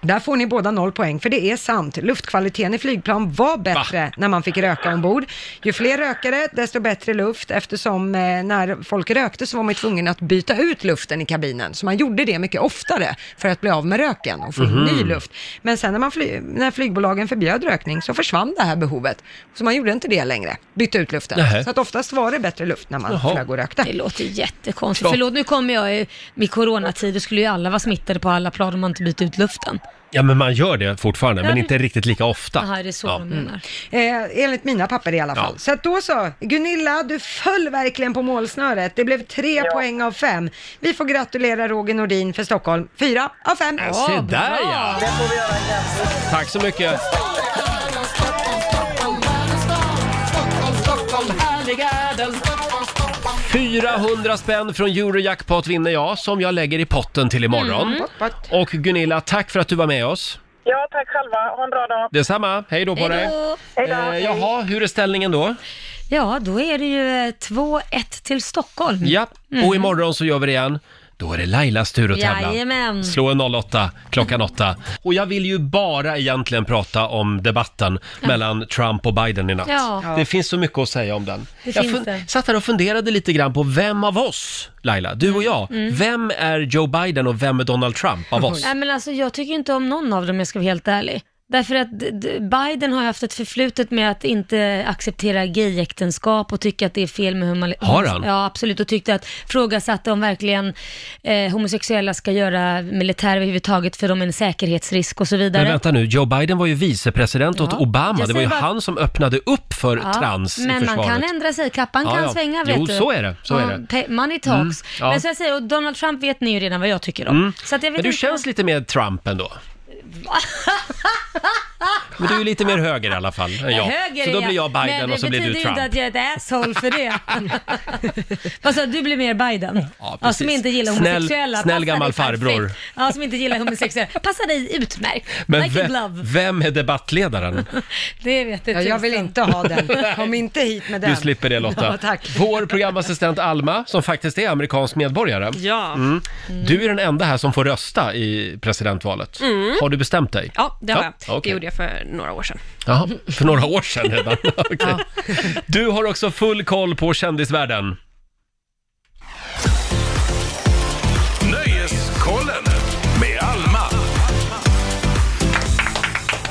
Speaker 2: där får ni båda noll poäng, för det är sant. Luftkvaliteten i flygplan var bättre när man fick röka ombord. Ju fler rökare, desto bättre luft, eftersom eh, när folk rökte så var man ju tvungen att byta ut luften i kabinen. Så man gjorde det mycket oftare för att bli av med röken och få in ny
Speaker 5: Mhm.
Speaker 2: luft. Men sen när, man fly- när flygbolagen förbjöd rökning så försvann det här behovet. Så man gjorde inte det längre, bytte ut luften.
Speaker 4: Nähä.
Speaker 2: Så att oftast var det bättre luft när man
Speaker 4: Jaha.
Speaker 2: flög och rökte.
Speaker 4: Det låter jättekonstigt.
Speaker 2: Bra.
Speaker 4: Förlåt, nu kommer jag i, i coronatid, då skulle ju alla vara smittade på alla plan om man inte byter ut luften.
Speaker 1: Ja, men man gör det fortfarande,
Speaker 4: Ja,
Speaker 1: men
Speaker 4: det-
Speaker 1: inte riktigt lika ofta.
Speaker 4: Aha, det är så
Speaker 1: ja. Mm.
Speaker 4: de menar.
Speaker 2: Eh, enligt mina papper i alla fall. Så att då så, Gunilla, du föll verkligen på målsnöret. Det blev tre poäng av fem. Vi får gratulera Roger Nordin för Stockholm. Fyra av fem.
Speaker 1: Ja, se där ja! Tack så mycket!
Speaker 5: Stockholm, härliga den.
Speaker 1: 400 spänn från Eurojackpot vinner jag, som jag lägger i potten till imorgon.
Speaker 5: Mm.
Speaker 1: Och Gunilla, tack för att du var med oss.
Speaker 13: Ja, tack själva. Ha en bra dag.
Speaker 1: Detsamma, hej då på
Speaker 13: Hej då.
Speaker 1: dig!
Speaker 13: Hej då.
Speaker 1: Eh, jaha, hur är ställningen då?
Speaker 4: Ja, då är det ju eh, 2-1 till Stockholm.
Speaker 1: Ja,
Speaker 4: Mm.
Speaker 1: och imorgon så gör vi det igen. Då är det Lailas tur att tävla.
Speaker 4: Jajamän. Mm.
Speaker 1: Slå en 08 klockan 8. Och jag vill ju bara egentligen prata om debatten mellan Trump och Biden i natt.
Speaker 5: Ja.
Speaker 1: Det finns så mycket att säga om den.
Speaker 5: Det
Speaker 1: jag
Speaker 5: finns
Speaker 1: fun-
Speaker 5: det.
Speaker 1: satt här och funderade lite grann på vem av oss, Laila, du och jag,
Speaker 4: Mm.
Speaker 1: vem är Joe Biden och vem är Donald Trump av oss?
Speaker 4: Nej, men alltså, jag tycker inte om någon av dem, jag ska vara helt ärlig. Därför att d- d- Biden har ju haft ett förflutet med att inte acceptera gayäktenskap och tycka att det är fel med humali-
Speaker 5: Har han?
Speaker 4: Ja, absolut. Och tyckte att frågasatte om verkligen eh, homosexuella ska göra militär överhuvudtaget för de är en säkerhetsrisk och så vidare.
Speaker 1: Men vänta nu, Joe Biden var ju vicepresident åt
Speaker 4: Ja.
Speaker 1: Obama.
Speaker 4: Jag
Speaker 1: Det var ju
Speaker 4: säger bara-
Speaker 1: han som öppnade upp för
Speaker 4: Ja,
Speaker 1: trans i
Speaker 4: Men
Speaker 1: försvaret.
Speaker 4: man kan ändra sig, kappan
Speaker 1: Ja,
Speaker 4: kan
Speaker 1: ja.
Speaker 4: svänga vet
Speaker 1: Jo,
Speaker 4: du.
Speaker 1: så är det, så är det.
Speaker 4: pe- Money talks.
Speaker 1: Mm, ja.
Speaker 4: Men så jag säger, och Donald Trump vet ni ju redan vad jag tycker om.
Speaker 1: Mm.
Speaker 4: Så att jag vet
Speaker 1: Men du
Speaker 4: inte-
Speaker 1: känns lite mer Trump ändå. Men du är ju lite mer höger i alla fall än jag.
Speaker 4: Höger
Speaker 1: så
Speaker 4: är
Speaker 1: då blir jag
Speaker 4: men
Speaker 1: Biden
Speaker 4: det
Speaker 1: och så blir du
Speaker 4: betyder ju
Speaker 1: Trump.
Speaker 4: inte att jag är ett asshole för det. Vad sa du, du blir mer Biden?
Speaker 1: Ja, precis.
Speaker 4: som inte gillar
Speaker 1: Snäll-
Speaker 4: homosexuella.
Speaker 1: snäll
Speaker 4: passar dig
Speaker 1: gammal
Speaker 4: perfekt.
Speaker 1: farbror.
Speaker 4: Ja, som inte gillar homosexuella. Passar dig utmärkt.
Speaker 1: Men
Speaker 4: like a
Speaker 1: vem,
Speaker 4: glove.
Speaker 1: vem är debattledaren?
Speaker 4: Det vet
Speaker 2: Ja, jag vill inte ha den. Kom inte hit med den.
Speaker 1: Du slipper det Lotta.
Speaker 2: Ja, tack.
Speaker 1: Vår programassistent Alma, som faktiskt är amerikansk medborgare.
Speaker 14: Ja.
Speaker 1: Mm. Du är den enda här som får rösta i presidentvalet.
Speaker 14: Mm.
Speaker 1: Har du bestämt dig?
Speaker 14: Ja, det har jag. Det
Speaker 1: okej.
Speaker 14: gjorde jag för några år sedan.
Speaker 1: Jaha, för några år sedan redan. Okej. Du har också full koll på kändisvärlden.
Speaker 3: Nöjeskollen med Alma.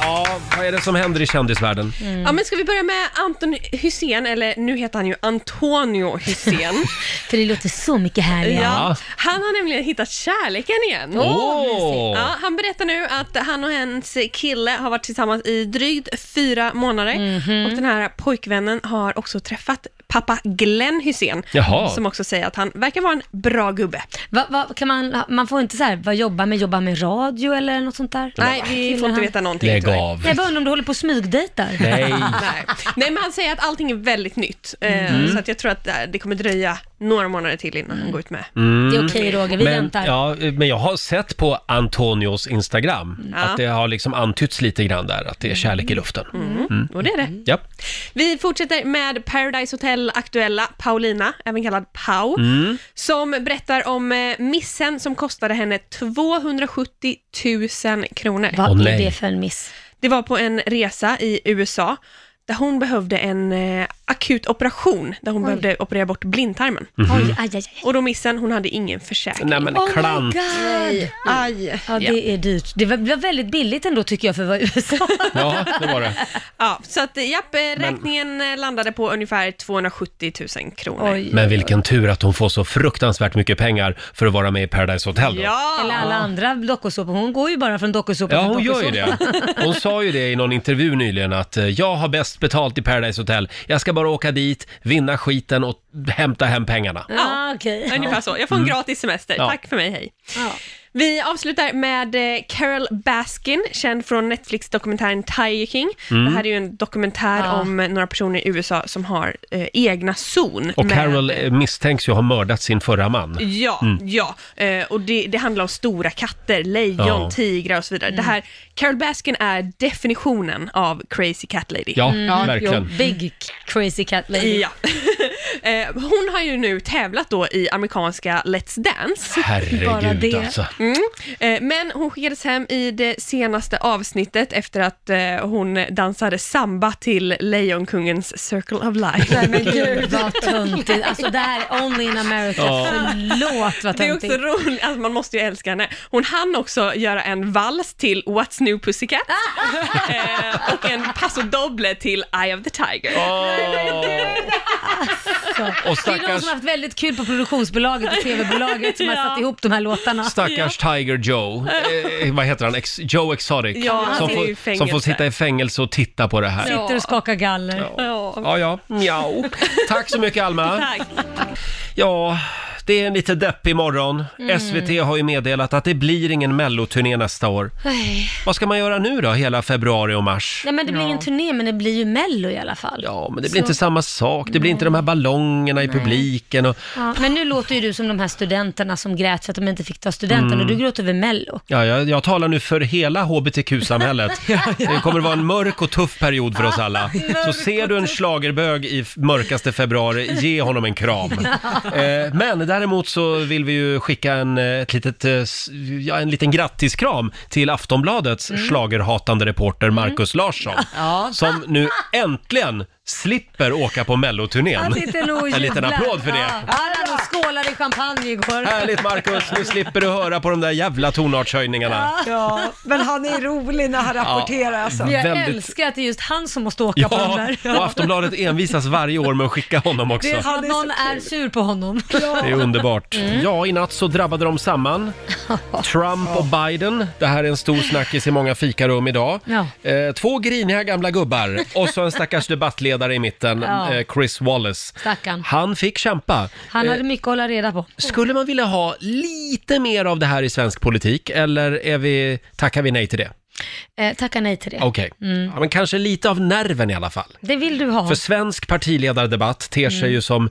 Speaker 1: Ja, vad är det som händer i kändisvärlden?
Speaker 14: Ja, men ska vi börja med Anton Hussein, eller nu heter han ju Antonio Hussein.
Speaker 4: För det låter så mycket härligare.
Speaker 14: Ja. Han har nämligen hittat kärleken igen.
Speaker 4: Åh, mysigt.
Speaker 14: ja, han berättar nu att han och hennes kille har varit tillsammans i drygt fyra månader och den här pojkvännen har också träffat pappa Glenn Hussein
Speaker 4: Jaha.
Speaker 14: som också säger att han verkar vara en bra gubbe.
Speaker 4: Va, va, kan man, man får inte så här, vad jobbar med, jobbar med radio eller något sånt där?
Speaker 14: Nej, vi får inte veta någonting,
Speaker 1: Lägg
Speaker 14: tyvärr.
Speaker 1: av.
Speaker 4: Jag bara undrar om du håller på och smygdejtar?
Speaker 1: Nej.
Speaker 8: Nej. Nej, men han säger att allting är väldigt nytt. Eh,
Speaker 1: Mm.
Speaker 8: Så att jag tror att eh, det kommer dröja några månader till innan han går ut med.
Speaker 1: Mm.
Speaker 4: Det är okej, Roger, vi
Speaker 1: men,
Speaker 4: väntar.
Speaker 1: Ja, men jag har sett på Antonios Instagram
Speaker 8: Ja.
Speaker 1: att det har liksom antytts lite grann där att det är kärlek i luften.
Speaker 8: Mm.
Speaker 1: Mm.
Speaker 8: Och det är det.
Speaker 1: Ja.
Speaker 8: Vi fortsätter med Paradise Hotel aktuella Paulina, även kallad Pau,
Speaker 1: Mm.
Speaker 8: som berättar om eh, missen som kostade henne 270 000 kronor.
Speaker 4: Vad Åh, är nej. det för en miss?
Speaker 8: Det var på en resa i USA där hon behövde en eh, akut operation, där hon
Speaker 4: Oj.
Speaker 8: behövde operera bort blindtarmen.
Speaker 1: Mhm.
Speaker 10: Oh,
Speaker 1: Oj, aj,
Speaker 8: Och då missen, hon hade ingen försäkring.
Speaker 1: Nej, men Oh my klant. God.
Speaker 4: Nej.
Speaker 8: Aj.
Speaker 4: Ja, det är dyrt. Det var- var väldigt billigt ändå tycker jag för att vara USA.
Speaker 1: Ja, det var det.
Speaker 8: Ja, så att japp, eh, räkningen eh, landade på ungefär 270 000 kronor.
Speaker 1: Men vilken tur att hon får så fruktansvärt mycket pengar för att vara med i Paradise Hotel då.
Speaker 4: Eller alla andra dokusåpor. Hon går ju bara från dokusåpa
Speaker 1: Ja,
Speaker 4: till
Speaker 1: hon gör
Speaker 4: dokusåpa.
Speaker 1: ju det. Hon sa ju det i någon intervju nyligen att eh, jag har bäst betalt i Paradise Hotel. Jag ska bara åka dit, vinna skiten och hämta hem pengarna.
Speaker 4: Ja, okej.
Speaker 8: Ungefär så. Jag får en
Speaker 1: Mm.
Speaker 8: gratis semester.
Speaker 1: Ja.
Speaker 8: Tack för mig, hej. Vi avslutar med eh, Carol Baskin, känd från Netflix-dokumentären Tiger King.
Speaker 1: Mm.
Speaker 8: Det här är ju en dokumentär
Speaker 1: Ja.
Speaker 8: om eh, några personer i USA som har eh, egna zon.
Speaker 1: Och
Speaker 8: med-
Speaker 1: Carol eh, misstänks ju ha mördat sin förra man.
Speaker 8: Ja,
Speaker 1: Mm.
Speaker 8: ja. Eh, och det, det handlar om stora katter, lejon,
Speaker 1: Ja. Mm.
Speaker 8: tigrar och så vidare. Det här, Carol Baskin är definitionen av crazy cat lady.
Speaker 1: Ja, Mm. Ja, verkligen.
Speaker 4: jo, big crazy cat lady.
Speaker 8: Ja. Eh, Hon har ju nu tävlat då i amerikanska Let's Dance.
Speaker 1: Herregud, Bara det. alltså.
Speaker 8: Mm. Eh, Men hon skickades hem i det senaste avsnittet efter att eh, hon dansade samba till Lejonkungens Circle of Life.
Speaker 4: Nej, men gud vad töntigt. Alltså det här är only in America.
Speaker 8: Ja.
Speaker 4: Förlåt vad
Speaker 8: Det är
Speaker 4: töntigt.
Speaker 8: också roligt, alltså man måste ju älska henne. Hon hann också göra en vals till What's New Pussycat eh, och en paso doble till Eye of the Tiger.
Speaker 4: Det
Speaker 1: Och
Speaker 4: är de
Speaker 1: stackars,
Speaker 4: som har haft väldigt kul på produktionsbolaget och tv-bolaget som har
Speaker 8: Ja.
Speaker 4: satt ihop de här låtarna.
Speaker 1: stackars Tiger Joe, eh, vad heter han, Ex Joe Exotic,
Speaker 4: Ja, han
Speaker 1: som,
Speaker 4: sitter ju i
Speaker 1: får, som får
Speaker 4: fängelse.
Speaker 1: sitta i fängelse och titta på det här.
Speaker 4: Sitter och skakar galler.
Speaker 1: Ja, ja. Mjau. Tack så mycket Alma.
Speaker 8: Tack.
Speaker 1: Ja, det är en lite deppig morgon.
Speaker 4: Mm.
Speaker 1: SVT har ju meddelat att det blir ingen melloturné nästa år.
Speaker 4: Nej.
Speaker 1: Vad ska man göra nu då, hela februari och mars?
Speaker 4: Nej men det blir ingen turné men det blir ju mello i alla fall.
Speaker 1: Ja, Men det blir inte samma sak, det blir inte de här ballongerna i publiken och...
Speaker 4: Ja, men nu låter ju du som de här studenterna som grät för att de inte fick ta studenten
Speaker 1: Mm.
Speaker 4: och du gråter över mello.
Speaker 1: Ja, jag, jag talar nu för hela hbtq-samhället. Det kommer att vara en mörk och tuff period för oss alla. Så ser du en schlagerbög i f- mörkaste februari, ge honom en kram. Eh, Men däremot så vill vi ju skicka en, eh, ett litet, eh, s- ja, en liten grattiskram till Aftonbladets
Speaker 4: Mm.
Speaker 1: schlagerhatande reporter Markus Larsson.
Speaker 4: Ja.
Speaker 1: Som nu äntligen slipper åka på melloturnén.
Speaker 4: Han sitter nog och
Speaker 1: En liten
Speaker 4: jublar.
Speaker 1: applåd för det.
Speaker 4: Ja, han nog skålade i champagne igår.
Speaker 1: Härligt Markus, nu slipper du höra på de där jävla tonartshöjningarna.
Speaker 2: Ja, men han är rolig när han rapporterar
Speaker 1: Ja.
Speaker 2: alltså.
Speaker 1: Men jag Väldigt-
Speaker 4: älskar att det är just han som måste åka på den
Speaker 1: Ja,
Speaker 4: där.
Speaker 1: och Aftonbladet envisas varje år med att skicka honom också.
Speaker 4: Det är Mm. som att någon är sur på honom.
Speaker 1: Det är underbart. Ja, i natt så drabbade de samman. Trump och Biden. Det här är en stor snackis i många fikarum idag.
Speaker 4: Ja.
Speaker 1: Eh, två griniga gamla gubbar och så en stackars debattledare i mitten,
Speaker 4: Ja.
Speaker 1: eh, Chris Wallace.
Speaker 4: Stackarn.
Speaker 1: Han fick kämpa.
Speaker 4: Han hade
Speaker 1: Eh,
Speaker 4: mycket att hålla reda på.
Speaker 1: Skulle man vilja ha lite mer av det här i svensk politik eller är vi, tackar vi nej till det?
Speaker 4: Eh, tacka nej till det.
Speaker 1: Okej,
Speaker 4: Mm.
Speaker 1: ja, men kanske lite av nerven i alla fall.
Speaker 4: Det vill du ha.
Speaker 1: För svensk partiledardebatt ter sig
Speaker 4: Mm.
Speaker 1: ju som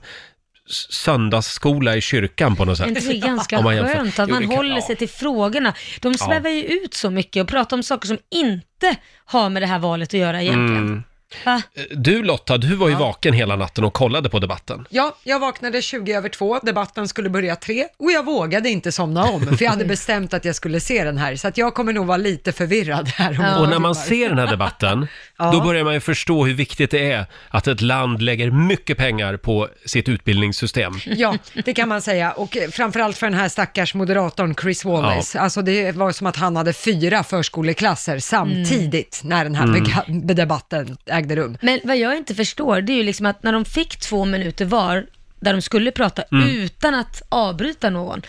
Speaker 1: s- söndagsskola i kyrkan på något sätt.
Speaker 4: Men Det är ganska
Speaker 1: Om man jämför.
Speaker 4: skönt att
Speaker 1: Jo,
Speaker 4: man
Speaker 1: det kan-
Speaker 4: håller
Speaker 1: ja.
Speaker 4: sig till frågorna. De
Speaker 1: Ja.
Speaker 4: svävar ju ut så mycket och pratar om saker som inte har med det här valet att göra egentligen.
Speaker 1: Mm.
Speaker 4: Va?
Speaker 1: Du Lotta, du var ju vaken hela natten och kollade på debatten.
Speaker 2: Ja, jag vaknade 20 över två, debatten skulle börja tre och jag vågade inte somna om för jag hade bestämt att jag skulle se den här så att jag kommer nog vara lite förvirrad här om några
Speaker 1: Och när man
Speaker 2: timmar.
Speaker 1: ser den här debatten,
Speaker 2: Ja.
Speaker 1: då börjar man ju förstå hur viktigt det är att ett land lägger mycket pengar på sitt utbildningssystem.
Speaker 2: Ja, det kan man säga. Och eh, framförallt för den här stackars moderatorn Chris Wallace. Alltså det var som att han hade fyra förskoleklasser samtidigt när den här
Speaker 4: Mm.
Speaker 2: bega- debatten ägde rum.
Speaker 4: Men vad jag inte förstår, det är ju liksom att när de fick två minuter var, där de skulle prata
Speaker 2: Mm.
Speaker 4: utan att avbryta någon,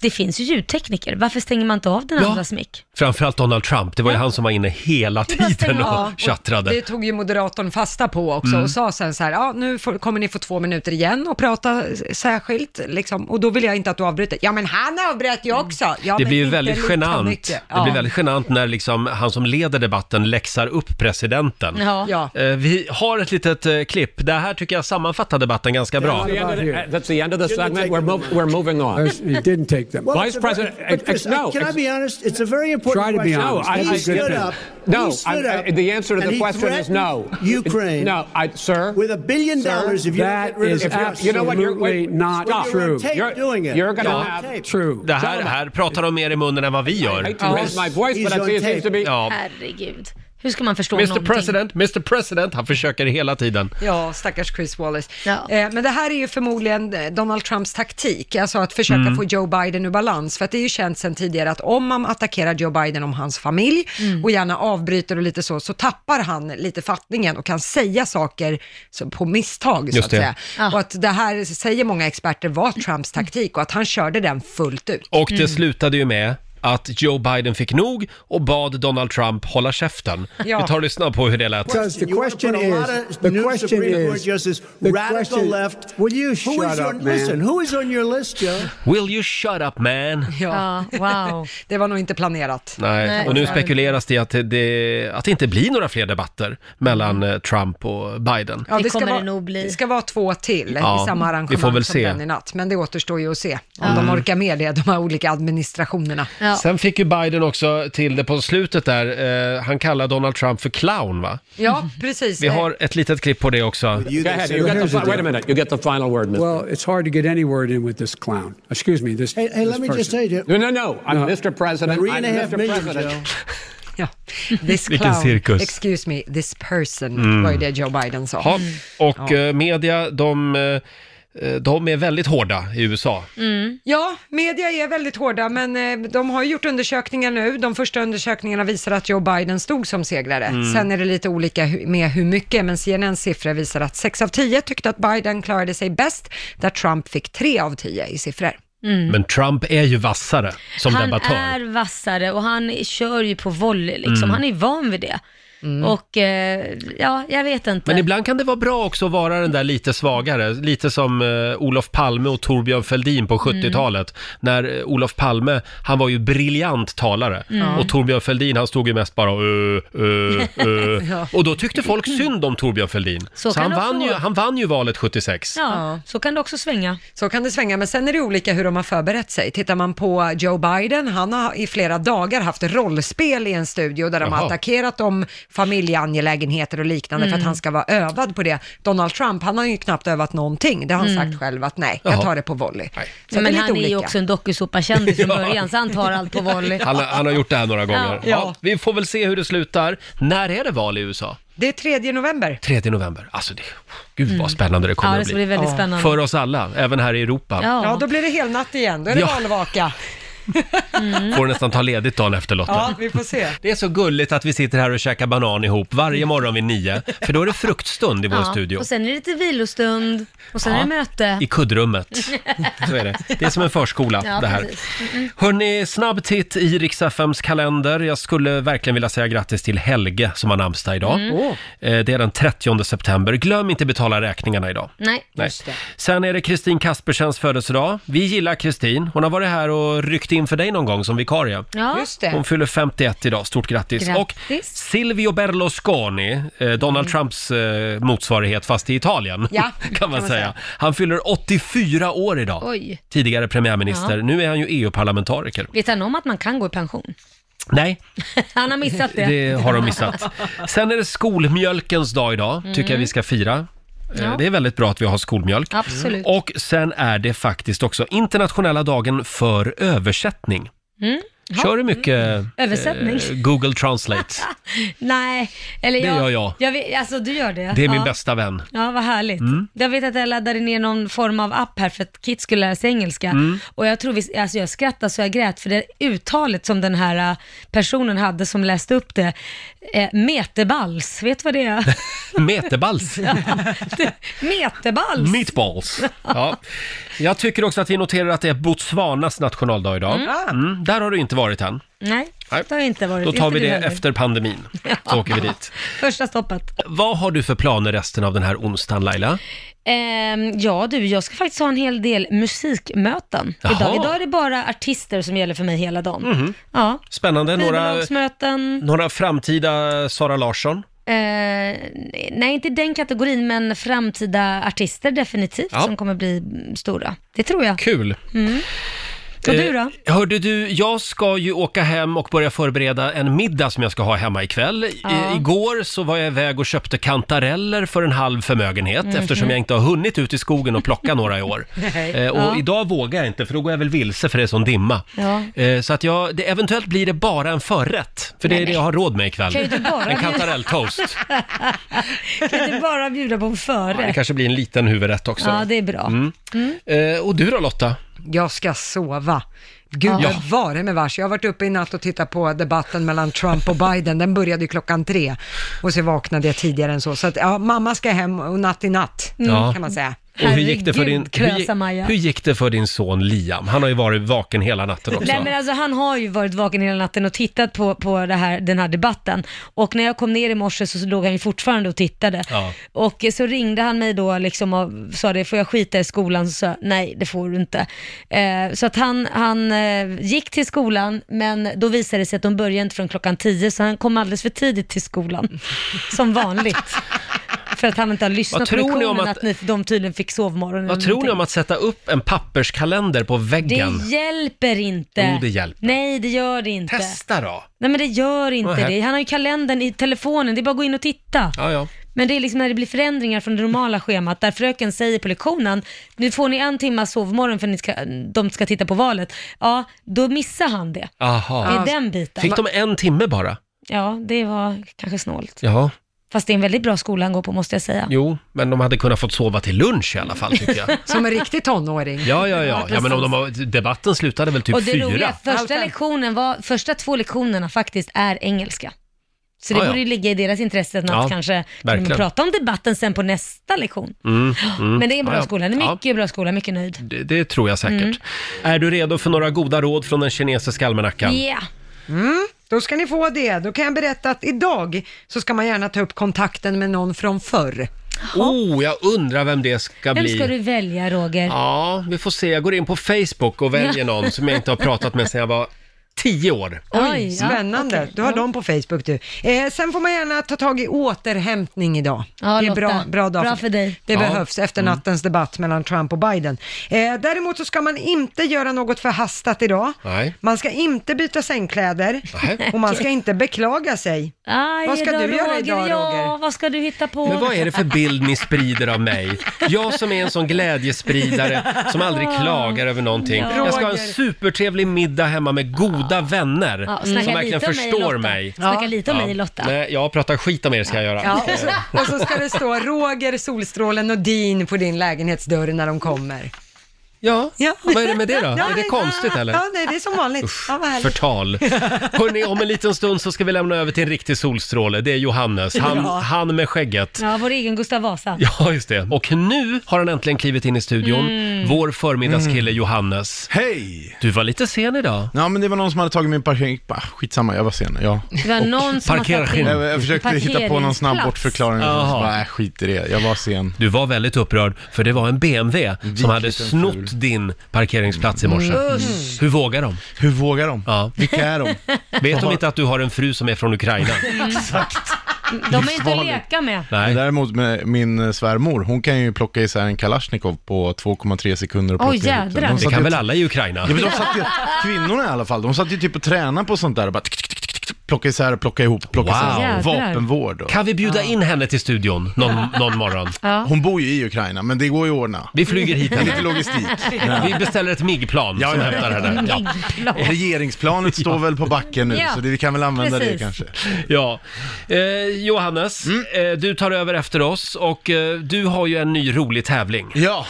Speaker 4: det finns ju ljudtekniker. Varför stänger man inte av den
Speaker 1: Ja.
Speaker 4: andras mick?
Speaker 1: Framförallt Donald Trump, det var ju han som var inne hela tiden och
Speaker 2: Det
Speaker 1: tjattrade.
Speaker 2: tog ju moderatorn fasta på också
Speaker 1: Mm.
Speaker 2: och sa sen så här, ja nu får, kommer ni få två minuter igen och prata s- särskilt liksom. Och då vill jag inte att du avbryter. Ja men han avbröt ju också. Ja,
Speaker 1: Mm. Det
Speaker 2: men
Speaker 1: blir ju
Speaker 2: inte
Speaker 1: väldigt
Speaker 2: lika
Speaker 1: genant.
Speaker 2: mycket.
Speaker 1: Det blir väldigt genant när liksom han som leder debatten läxar upp presidenten.
Speaker 2: Ja. Ja.
Speaker 1: Eh, Vi har ett litet eh, klipp. Det här tycker jag sammanfattar debatten ganska bra.
Speaker 10: That's the end of the-
Speaker 9: That's the end of the segment. We're, mov- we're moving on.
Speaker 10: It didn't take them.
Speaker 9: Well, it's
Speaker 10: Vice
Speaker 9: a
Speaker 10: President,
Speaker 9: very- but Chris,
Speaker 10: ex- no,
Speaker 9: Can I
Speaker 10: ex-
Speaker 9: be honest? It's a very important
Speaker 10: Try to be
Speaker 9: question.
Speaker 10: honest.
Speaker 9: No,
Speaker 10: That's
Speaker 9: I,
Speaker 10: a good
Speaker 9: stood
Speaker 10: thing.
Speaker 9: up.
Speaker 10: No,
Speaker 9: he stood
Speaker 10: I-
Speaker 9: up
Speaker 10: I- the answer to the
Speaker 9: and he
Speaker 10: question is
Speaker 9: threatened
Speaker 10: no.
Speaker 9: Ukraine.
Speaker 10: No,
Speaker 9: I, sir. With a billion
Speaker 10: Sir,
Speaker 9: dollars, if you don't
Speaker 10: that
Speaker 9: get rid of
Speaker 10: is
Speaker 9: the press.
Speaker 10: absolutely You know what, you're- wait, not
Speaker 9: Stop.
Speaker 10: true.
Speaker 9: You're on tape
Speaker 10: You're-
Speaker 9: doing it.
Speaker 10: you're gonna
Speaker 9: on
Speaker 10: have-
Speaker 9: tape.
Speaker 10: True.
Speaker 1: Det här, här pratar de mer i munnen än vad vi gör.
Speaker 10: I hate to raise my voice, but I see it seems to be...
Speaker 1: Ja.
Speaker 4: Herregud. Hur ska man förstå
Speaker 1: Mr
Speaker 4: någonting?
Speaker 1: President, Mr President, han försöker hela tiden.
Speaker 2: Ja, stackars Chris Wallace. Eh, men det här är ju förmodligen eh, Donald Trumps taktik, alltså att försöka
Speaker 1: Mm.
Speaker 2: få Joe Biden ur balans. För att det är ju känt sedan tidigare att om man attackerar Joe Biden om hans familj och gärna avbryter och lite så, så tappar han lite fattningen och kan säga saker som på misstag, så
Speaker 1: Just
Speaker 2: att
Speaker 1: det.
Speaker 2: säga. Och att det här, säger många experter, var Trumps taktik och att han körde den fullt ut.
Speaker 1: Och det slutade ju med att Joe Biden fick nog och bad Donald Trump hålla käften.
Speaker 2: Ja.
Speaker 1: Vi tar och lyssnar på hur det lät.
Speaker 10: Because the
Speaker 9: You wanna
Speaker 10: question
Speaker 9: put a lot
Speaker 10: is,
Speaker 9: of
Speaker 10: the
Speaker 9: new
Speaker 10: question
Speaker 9: Supreme Court
Speaker 10: is,
Speaker 9: justice,
Speaker 10: the
Speaker 9: radical
Speaker 10: question-
Speaker 9: left.
Speaker 10: Will you
Speaker 9: Who
Speaker 10: shut
Speaker 9: is
Speaker 10: up,
Speaker 9: on,
Speaker 10: man?
Speaker 9: Listen, who is on your list, Joe?
Speaker 1: Will you shut up man?
Speaker 2: Ja, wow. det var nog inte planerat.
Speaker 1: Nej.
Speaker 2: Nej.
Speaker 1: och nu spekuleras det i att det- det, att det inte blir några fler debatter mellan eh, Trump och Biden.
Speaker 2: Ja,
Speaker 4: Det
Speaker 2: ska
Speaker 4: kommer
Speaker 2: vara,
Speaker 4: det nog bli.
Speaker 2: Det ska vara två till
Speaker 1: Ja,
Speaker 2: i samma
Speaker 1: vi får
Speaker 2: arrangemang
Speaker 1: väl
Speaker 2: som
Speaker 1: se.
Speaker 2: den i natt. Men det återstår ju att se om
Speaker 1: Mm.
Speaker 2: de orkar med det, de här olika administrationerna.
Speaker 1: Sen fick ju Biden också till det på slutet där, eh, han kallar Donald Trump för clown va?
Speaker 2: Ja, precis.
Speaker 1: Vi har ett litet klipp på det också.
Speaker 10: Go ahead, you got the fi- wait a minute, you get the final word, Mr. Well, it's hard to get any word in with this clown. Excuse me, this
Speaker 9: Hey, hey let me just say, Joe.
Speaker 10: No, no, no, I'm Mr. President.
Speaker 9: Three
Speaker 10: I'm
Speaker 9: and a half
Speaker 10: Mr.
Speaker 9: million,
Speaker 10: President.
Speaker 9: Joe.
Speaker 2: This
Speaker 1: Vilken
Speaker 2: clown,
Speaker 1: cirkus.
Speaker 2: excuse me, this person,
Speaker 1: Mm.
Speaker 2: var ju det Joe Biden sa.
Speaker 1: Ja, och
Speaker 2: Ja.
Speaker 1: eh, media, de, eh, de är väldigt hårda i USA.
Speaker 2: Ja, media är väldigt hårda, men eh, de har ju gjort undersökningar nu. De första undersökningarna visar att Joe Biden stod som segrare.
Speaker 15: Mm.
Speaker 2: Sen är det lite olika hu- med hur mycket, men CNNs siffror visar att 6 av 10 tyckte att Biden klarade sig bäst, där Trump fick 3 av 10 i siffror.
Speaker 4: Mm.
Speaker 1: Men Trump är ju vassare som
Speaker 4: han
Speaker 1: debattör.
Speaker 4: är vassare och han kör ju på volley liksom.
Speaker 1: Mm.
Speaker 4: Han är van vid det. Och eh, ja, jag vet inte.
Speaker 1: Men ibland kan det vara bra också att vara den där lite svagare, lite som eh, Olof Palme och Torbjörn Fälldin
Speaker 4: Mm.
Speaker 1: på 70-talet. När eh, Olof Palme, han var ju briljant talare
Speaker 3: Mm.
Speaker 1: och Torbjörn Fälldin han stod ju mest bara ö, ö, ö.
Speaker 4: Ja.
Speaker 1: Och då tyckte folk synd om Torbjörn Fälldin. Så,
Speaker 4: Så kan
Speaker 1: han,
Speaker 4: det också
Speaker 1: vann ju,
Speaker 4: vara.
Speaker 1: han vann ju valet 76.
Speaker 4: Ja, så kan det också svänga.
Speaker 2: Så kan det svänga, men sen är det olika hur de har förberett sig. Tittar man på Joe Biden, han har i flera dagar haft rollspel i en studio där de
Speaker 15: Jaha.
Speaker 2: har attackerat om familjeangelägenheter och liknande för
Speaker 15: Mm.
Speaker 2: att han ska vara övad på det. Donald Trump, han har ju knappt övat någonting. Det har han
Speaker 4: Mm.
Speaker 2: sagt själv att nej,
Speaker 1: Jaha.
Speaker 2: jag tar det på volley. Så det är
Speaker 4: men
Speaker 2: lite
Speaker 4: han är ju
Speaker 2: olika.
Speaker 4: också en dokusåpakändis från
Speaker 1: Ja.
Speaker 4: början, så han tar allt på volley.
Speaker 1: Han, har- han har gjort det här några gånger.
Speaker 4: Ja.
Speaker 1: Ja. vi får väl se hur det slutar. När är det val i USA?
Speaker 2: Det är 3 november.
Speaker 1: 3 november. Alltså, det, gud
Speaker 4: Mm.
Speaker 1: vad spännande det kommer
Speaker 2: Ja, det
Speaker 1: att bli.
Speaker 2: ska bli väldigt Ja. spännande.
Speaker 1: För oss alla, även här i Europa.
Speaker 2: Ja. då blir det helnatt igen. Då är det
Speaker 1: Ja.
Speaker 2: valvaka.
Speaker 1: Får nästan ta ledigt dagen efter Lotta.
Speaker 2: Ja, vi får se.
Speaker 1: Det är så gulligt att vi sitter här och käkar banan ihop varje morgon vid nio, för då är det fruktstund i vår
Speaker 4: Ja,
Speaker 1: studio.
Speaker 4: Och sen är det lite vilostund och sen
Speaker 1: Ja.
Speaker 4: är det möte.
Speaker 1: I kuddrummet. Så är det. Det är som en förskola
Speaker 4: Ja,
Speaker 1: det här.
Speaker 4: precis. Mm-mm.
Speaker 1: Hörni, snabb titt i Rix FMs kalender. Jag skulle verkligen vilja säga grattis till Helge som har namnsdag idag.
Speaker 4: Mm. Åh.
Speaker 1: Eh, Det är den 30 september. Glöm inte betala räkningarna idag.
Speaker 4: Nej.
Speaker 1: Nej. Sen är det Kristin Kaspersens födelsedag. Vi gillar Kristin. Hon har varit här och ryckt in för dig någon gång som vikarie.
Speaker 4: Ja. Just det.
Speaker 1: Hon fyller 51 idag. Stort grattis.
Speaker 4: Grattis. Mm.
Speaker 1: Och Silvio Berlusconi, eh, Donald Trumps eh, motsvarighet fast i Italien,
Speaker 4: Ja,
Speaker 1: kan man säga. Han fyller 84 år idag.
Speaker 4: Oj.
Speaker 1: Tidigare premiärminister.
Speaker 4: Ja.
Speaker 1: Nu är han ju E EU-parlamentariker.
Speaker 4: Vet han om att man kan gå i pension?
Speaker 1: Nej,
Speaker 4: Han har missat det.
Speaker 1: det har de missat. Sen är det skolmjölkens dag idag, tycker jag
Speaker 4: Mm.
Speaker 1: vi ska fira. Eh,
Speaker 4: Ja.
Speaker 1: Det är väldigt bra att vi har skolmjölk.
Speaker 4: Absolut.
Speaker 1: Och sen är det faktiskt också internationella dagen för översättning.
Speaker 4: Mm.
Speaker 1: Kör du mycket
Speaker 4: Översättning.
Speaker 1: eh, Google Translate?
Speaker 4: Nej, eller
Speaker 1: Det
Speaker 4: jag...
Speaker 1: gör jag.
Speaker 4: vet, alltså du gör det?
Speaker 1: Det är min
Speaker 4: ja.
Speaker 1: bästa vän.
Speaker 4: Ja, vad härligt.
Speaker 1: Mm.
Speaker 4: Jag vet att jag laddade ner någon form av app här för att Kit skulle lära sig engelska.
Speaker 1: Mm.
Speaker 4: Och jag tror vi, alltså jag skrattade så jag grät för det uttalet som den här äh, personen hade som läste upp det. Eh, meteballs, vet du vad det är?
Speaker 1: Meteballs.
Speaker 4: meteballs!
Speaker 1: Meatballs. Ja. Jag tycker också att vi noterar att det är Botswanas nationaldag idag.
Speaker 4: Mm. Ah.
Speaker 1: Mm, där har du inte varit än.
Speaker 4: Nej,
Speaker 1: Nej.
Speaker 4: det har inte varit.
Speaker 1: Då tar
Speaker 4: inte
Speaker 1: vi
Speaker 4: du
Speaker 1: det
Speaker 4: heller.
Speaker 1: efter pandemin. Så åker vi dit.
Speaker 4: Första stoppet.
Speaker 1: Vad har du för planer resten av den här onsdagen Laila?
Speaker 4: Ehm, ja du, jag ska faktiskt ha en hel del musikmöten
Speaker 1: Jaha.
Speaker 4: idag. Idag är det bara artister som gäller för mig hela dagen.
Speaker 1: Mhm.
Speaker 4: Ja.
Speaker 1: Spännande. Några,
Speaker 4: Skivbolagsmöten.
Speaker 1: några framtida Sara Larsson?
Speaker 4: Eh, nej, inte i den kategorin, men framtida artister definitivt
Speaker 1: Ja. Eh.
Speaker 4: som kommer bli mm, stora. Det tror jag.
Speaker 1: Kul.
Speaker 4: Mm. Och du då?
Speaker 1: Eh, hörde du, jag ska ju åka hem och börja förbereda en middag som jag ska ha hemma ikväll. I-
Speaker 4: Ja.
Speaker 1: igår så var jag iväg och köpte kantareller för en halv förmögenhet
Speaker 4: Mhm.
Speaker 1: eftersom jag inte har hunnit ut i skogen och plocka några i år. Eh, och
Speaker 4: ja.
Speaker 1: idag vågar jag inte för då går jag väl vilse för det är sån dimma.
Speaker 4: Ja.
Speaker 1: Eh, så att jag, det, eventuellt blir det bara en förrätt, för det
Speaker 4: Nej,
Speaker 1: är det
Speaker 4: nej.
Speaker 1: jag har råd med ikväll.
Speaker 4: Kan ju inte bara
Speaker 1: en
Speaker 4: bli-
Speaker 1: kantarelltoast.
Speaker 4: kan inte bara bjuda på en
Speaker 1: Det
Speaker 4: förrätt.
Speaker 1: kanske blir en liten huvudrätt också.
Speaker 4: Ja, det är bra.
Speaker 1: Mm.
Speaker 4: Mm.
Speaker 1: Eh, och du då Lotta?
Speaker 2: Jag ska sova. Gud
Speaker 1: Ja.
Speaker 2: bevare mig vars. Jag har varit uppe i natt och tittat på debatten mellan Trump och Biden. Den började ju klockan tre och så vaknade jag tidigare än så. Så att, ja, mamma ska hem och natt i natt
Speaker 1: Mm. Ja.
Speaker 2: kan man säga.
Speaker 1: Och hur gick, det för din, hur,
Speaker 4: krösa Maja.
Speaker 1: gick- hur gick det för din son Liam? Han har ju varit vaken hela natten också.
Speaker 4: Nej men alltså han har ju varit vaken hela natten och tittat på, på det här, den här debatten. Och när jag kom ner i morse så, så låg han ju fortfarande och tittade.
Speaker 1: Ja.
Speaker 4: Och eh, så ringde han mig då liksom och sa det, får jag skita i skolan? Så sa jag, nej det får du inte. Eh, så att han, han eh, gick till skolan, men då visade det sig att de började inte från klockan 10, så han kom alldeles för tidigt till skolan. Som vanligt. För att han inte har lyssnat på
Speaker 1: tror ni om
Speaker 4: lektionen,
Speaker 1: att-
Speaker 4: att, ni, de tydligen fick sovmorgon.
Speaker 1: Vad tror ni om att sätta upp en papperskalender på väggen?
Speaker 4: Det hjälper inte.
Speaker 1: Jo, det hjälper.
Speaker 4: Nej, det gör det inte.
Speaker 1: Testa då!
Speaker 4: Nej men det gör inte
Speaker 1: Nähä.
Speaker 4: det. Han har ju kalendern i telefonen, det är bara att gå in och titta.
Speaker 1: Ja, ja.
Speaker 4: Men det är liksom när det blir förändringar från det normala schemat, där fröken säger på lektionen, nu får ni en timma sovmorgon för ni ska, de ska titta på valet. Ja, då missar han det.
Speaker 1: Aha.
Speaker 4: Det är den biten.
Speaker 1: Fick de en timme bara?
Speaker 4: Ja, det var kanske snålt.
Speaker 1: Ja,
Speaker 4: Fast det är en väldigt bra skola han går på måste jag säga.
Speaker 1: jo, men de hade kunnat fått sova till lunch i alla fall tycker jag.
Speaker 2: Som en riktig tonåring.
Speaker 1: Ja, ja, ja. ja men om de har, debatten slutade väl typ
Speaker 4: och det
Speaker 1: fyra?
Speaker 4: roliga, första, lektionen var, första två lektionerna faktiskt är engelska. Så det
Speaker 1: Ah, ja.
Speaker 4: borde ju ligga i deras intresse att
Speaker 1: Ja,
Speaker 4: kanske
Speaker 1: verkligen.
Speaker 4: kunna prata om debatten sen på nästa lektion.
Speaker 1: Mm, mm.
Speaker 4: Men det är en bra
Speaker 1: Ja, ja.
Speaker 4: skola, det är
Speaker 1: Ja.
Speaker 4: mycket bra skola, mycket nöjd.
Speaker 1: Det, det tror jag säkert.
Speaker 4: Mm.
Speaker 1: Är du redo för några goda råd från den kinesiska almanackan?
Speaker 2: Mm, då ska ni få det. Då kan jag berätta att idag så ska man gärna ta upp kontakten med någon från förr.
Speaker 1: Oh, jag undrar vem det ska
Speaker 4: Vem
Speaker 1: bli.
Speaker 4: ska du välja Roger?
Speaker 1: Ja, vi får se. Jag går in på Facebook och väljer
Speaker 4: Ja.
Speaker 1: någon som jag inte har pratat med sedan jag var tio år.
Speaker 2: Oj, spännande. Du har dem på Facebook du. Eh, sen får man gärna ta tag i återhämtning idag.
Speaker 4: Ja,
Speaker 2: det är
Speaker 4: Lotta.
Speaker 2: bra, bra, dag
Speaker 4: Bra för dig.
Speaker 2: Det
Speaker 4: Ja.
Speaker 2: behövs efter
Speaker 4: Mm.
Speaker 2: nattens debatt mellan Trump och Biden. Eh, däremot så ska man inte göra något förhastat idag.
Speaker 1: Nej.
Speaker 2: Man ska inte byta sängkläder
Speaker 1: Nej.
Speaker 2: och man ska inte beklaga sig.
Speaker 4: Aj,
Speaker 2: Vad ska
Speaker 4: då,
Speaker 2: du göra
Speaker 4: Roger,
Speaker 2: idag,
Speaker 4: ja,
Speaker 2: Roger?
Speaker 4: vad ska du hitta på?
Speaker 1: Men vad är det för bild ni sprider av mig? Jag som är en sån glädjespridare som aldrig klagar över någonting.
Speaker 4: Ja.
Speaker 1: Jag ska ha en
Speaker 4: Roger.
Speaker 1: supertrevlig middag hemma med goda vänner
Speaker 4: Ja, snacka
Speaker 1: som
Speaker 4: lite
Speaker 1: verkligen
Speaker 4: om mig,
Speaker 1: förstår
Speaker 4: Lotta.
Speaker 1: mig.
Speaker 4: Snacka lite om mig, Lotta.
Speaker 1: Nej, jag pratar skit om er ska jag göra.
Speaker 2: Ja, och, så, och så ska det stå Roger, Solstrålen och Din på din lägenhetsdörr när de kommer.
Speaker 1: Ja,
Speaker 2: ja.
Speaker 1: vad är det med det då?
Speaker 2: Ja,
Speaker 1: är det
Speaker 2: nej,
Speaker 1: konstigt eller?
Speaker 2: Ja, nej, det är som vanligt. ja, vad härligt.
Speaker 1: Förtal. Hörrni, om en liten stund så ska vi lämna över till en riktig solstråle. Det är Johannes, han,
Speaker 4: Ja.
Speaker 1: han med skägget.
Speaker 4: Ja, vår egen Gustav Vasa.
Speaker 1: Ja, just det. Och nu har han äntligen klivit in i studion.
Speaker 4: Mm.
Speaker 1: Vår förmiddagskille
Speaker 15: Mm.
Speaker 1: Johannes.
Speaker 15: Hej!
Speaker 1: Du var lite sen idag.
Speaker 15: Ja, men det var någon som hade tagit min parkering... Ah, skitsamma, jag var sen. Ja.
Speaker 4: Det var någon som har tagit in
Speaker 15: Jag, jag försökte hitta på någon snabb
Speaker 4: parkeringsplats.
Speaker 15: bortförklaring. och
Speaker 1: Jaha.
Speaker 15: så Bara, äh, skit i det, jag var sen.
Speaker 1: Du var väldigt upprörd, för det var en BMW som hade snott din parkeringsplats i morse.
Speaker 15: Mm.
Speaker 1: Hur vågar de?
Speaker 15: Hur vågar de?
Speaker 1: Ja.
Speaker 15: Vilka är de?
Speaker 1: Vet de inte att du har en fru som är från Ukraina?
Speaker 4: Mm. De är inte att leka med.
Speaker 15: Men Däremot med min eh, svärmor, hon kan ju plocka isär en Kalashnikov på 2,3 sekunder. och
Speaker 4: Oj,
Speaker 15: plocka ut den.
Speaker 4: jädrar.
Speaker 15: De
Speaker 4: Det
Speaker 15: satt
Speaker 1: kan
Speaker 15: ju-
Speaker 1: väl alla i Ukraina?
Speaker 15: Ja, men de satt ju, kvinnorna i alla fall, de satt ju typ och tränade på sånt där och bara... tick, tick, tick, tick, plocka isär, plocka ihop, plocka
Speaker 1: Wow.
Speaker 15: isär.
Speaker 1: Jädrar.
Speaker 15: Vapenvård. Och.
Speaker 1: Kan vi bjuda in henne till studion någon, någon morgon?
Speaker 4: Ja.
Speaker 15: Hon bor ju i Ukraina, men det går ju att ordna.
Speaker 1: Vi flyger hit henne.
Speaker 15: Lite logistik.
Speaker 1: Vi beställer ett MIG-plan som hämtar
Speaker 4: Mm,
Speaker 1: henne. Ja.
Speaker 4: Flygplan.
Speaker 15: Regeringsplanet står väl på backen nu,
Speaker 4: Ja.
Speaker 15: så det, vi kan väl använda det
Speaker 4: Precis.
Speaker 15: kanske.
Speaker 1: Ja. Eh, Johannes,
Speaker 2: Mm.
Speaker 1: eh, du tar över efter oss och eh, du har ju en ny rolig tävling.
Speaker 15: Ja,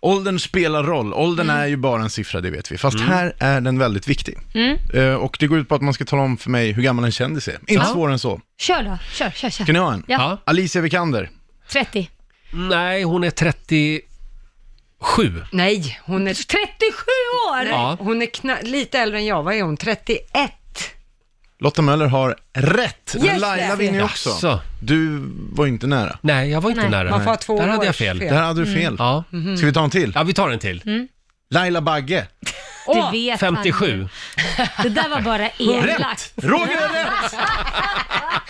Speaker 15: åldern spelar roll. Åldern är ju bara en siffra, det vet vi. Fast här är den väldigt viktig.
Speaker 4: Mm.
Speaker 15: Eh, Och det går ut på att man ska tala om för mig hur gammal en kändis är. Inte
Speaker 4: Ja.
Speaker 15: svårare än så.
Speaker 4: Kör då, kör, kör, kör.
Speaker 15: Ska ni ha en?
Speaker 4: Ja.
Speaker 15: Alicia Vikander.
Speaker 4: 30.
Speaker 1: Nej, hon är 37.
Speaker 2: Nej, hon är...
Speaker 4: 37 år!
Speaker 1: Ja.
Speaker 2: Hon är kna- lite äldre än jag. Vad är hon? 31?
Speaker 15: Lotta Möller har rätt. Men
Speaker 2: Yes,
Speaker 15: Laila
Speaker 2: det.
Speaker 15: vinner ju också.
Speaker 1: Jaså.
Speaker 15: Du var ju inte nära.
Speaker 1: Nej, jag var inte
Speaker 2: Nej.
Speaker 1: nära.
Speaker 2: Man får ha två
Speaker 1: Där hade jag
Speaker 2: års
Speaker 1: fel.
Speaker 2: fel.
Speaker 15: Där hade du
Speaker 2: Mm.
Speaker 15: fel.
Speaker 1: Ja.
Speaker 2: Mhm.
Speaker 15: Ska vi ta en till?
Speaker 1: Ja, vi tar en till.
Speaker 4: Mm.
Speaker 15: Laila Bagge.
Speaker 4: Det vet han.
Speaker 2: Mm.
Speaker 1: 57.
Speaker 4: Det där var bara elakt.
Speaker 15: Roger har rätt!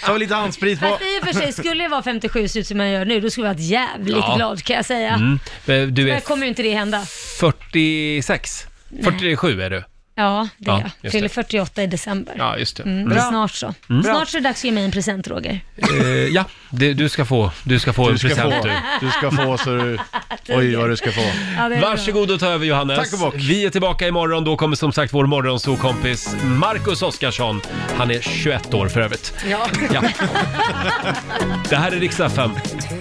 Speaker 15: Ta lite handsprit på.
Speaker 4: Fast i och för sig, skulle jag vara 57 så ut som jag gör nu, då skulle jag varit jävligt
Speaker 1: Ja.
Speaker 4: glad kan jag säga.
Speaker 1: Mm. Eh, Du
Speaker 4: Men
Speaker 1: är
Speaker 4: jag kommer ju inte det hända.
Speaker 1: 46. 47 är du.
Speaker 4: Ja, det
Speaker 1: Ja,
Speaker 4: är
Speaker 1: just det.
Speaker 4: jag. Fyller 48 i december.
Speaker 1: Ja, just det.
Speaker 4: Mm,
Speaker 1: Mm.
Speaker 4: det är snart så.
Speaker 1: Mm. Bra.
Speaker 4: Snart så är det dags att ge mig en present, Roger.
Speaker 1: Eh, ja, det, du ska få, du ska få
Speaker 15: Du
Speaker 1: en
Speaker 15: ska
Speaker 1: present
Speaker 15: få.
Speaker 1: du.
Speaker 15: Du ska få så du... Oj, vad du ska få.
Speaker 4: Ja, det är bra.
Speaker 1: Varsågod och ta över Johannes.
Speaker 15: Tack och bock.
Speaker 1: Vi är tillbaka imorgon. Då kommer som sagt vår morgonsokompis Marcus Oskarsson. Han är 21 år för övrigt.
Speaker 2: Ja.
Speaker 1: Ja. Det här är Riksdag 5.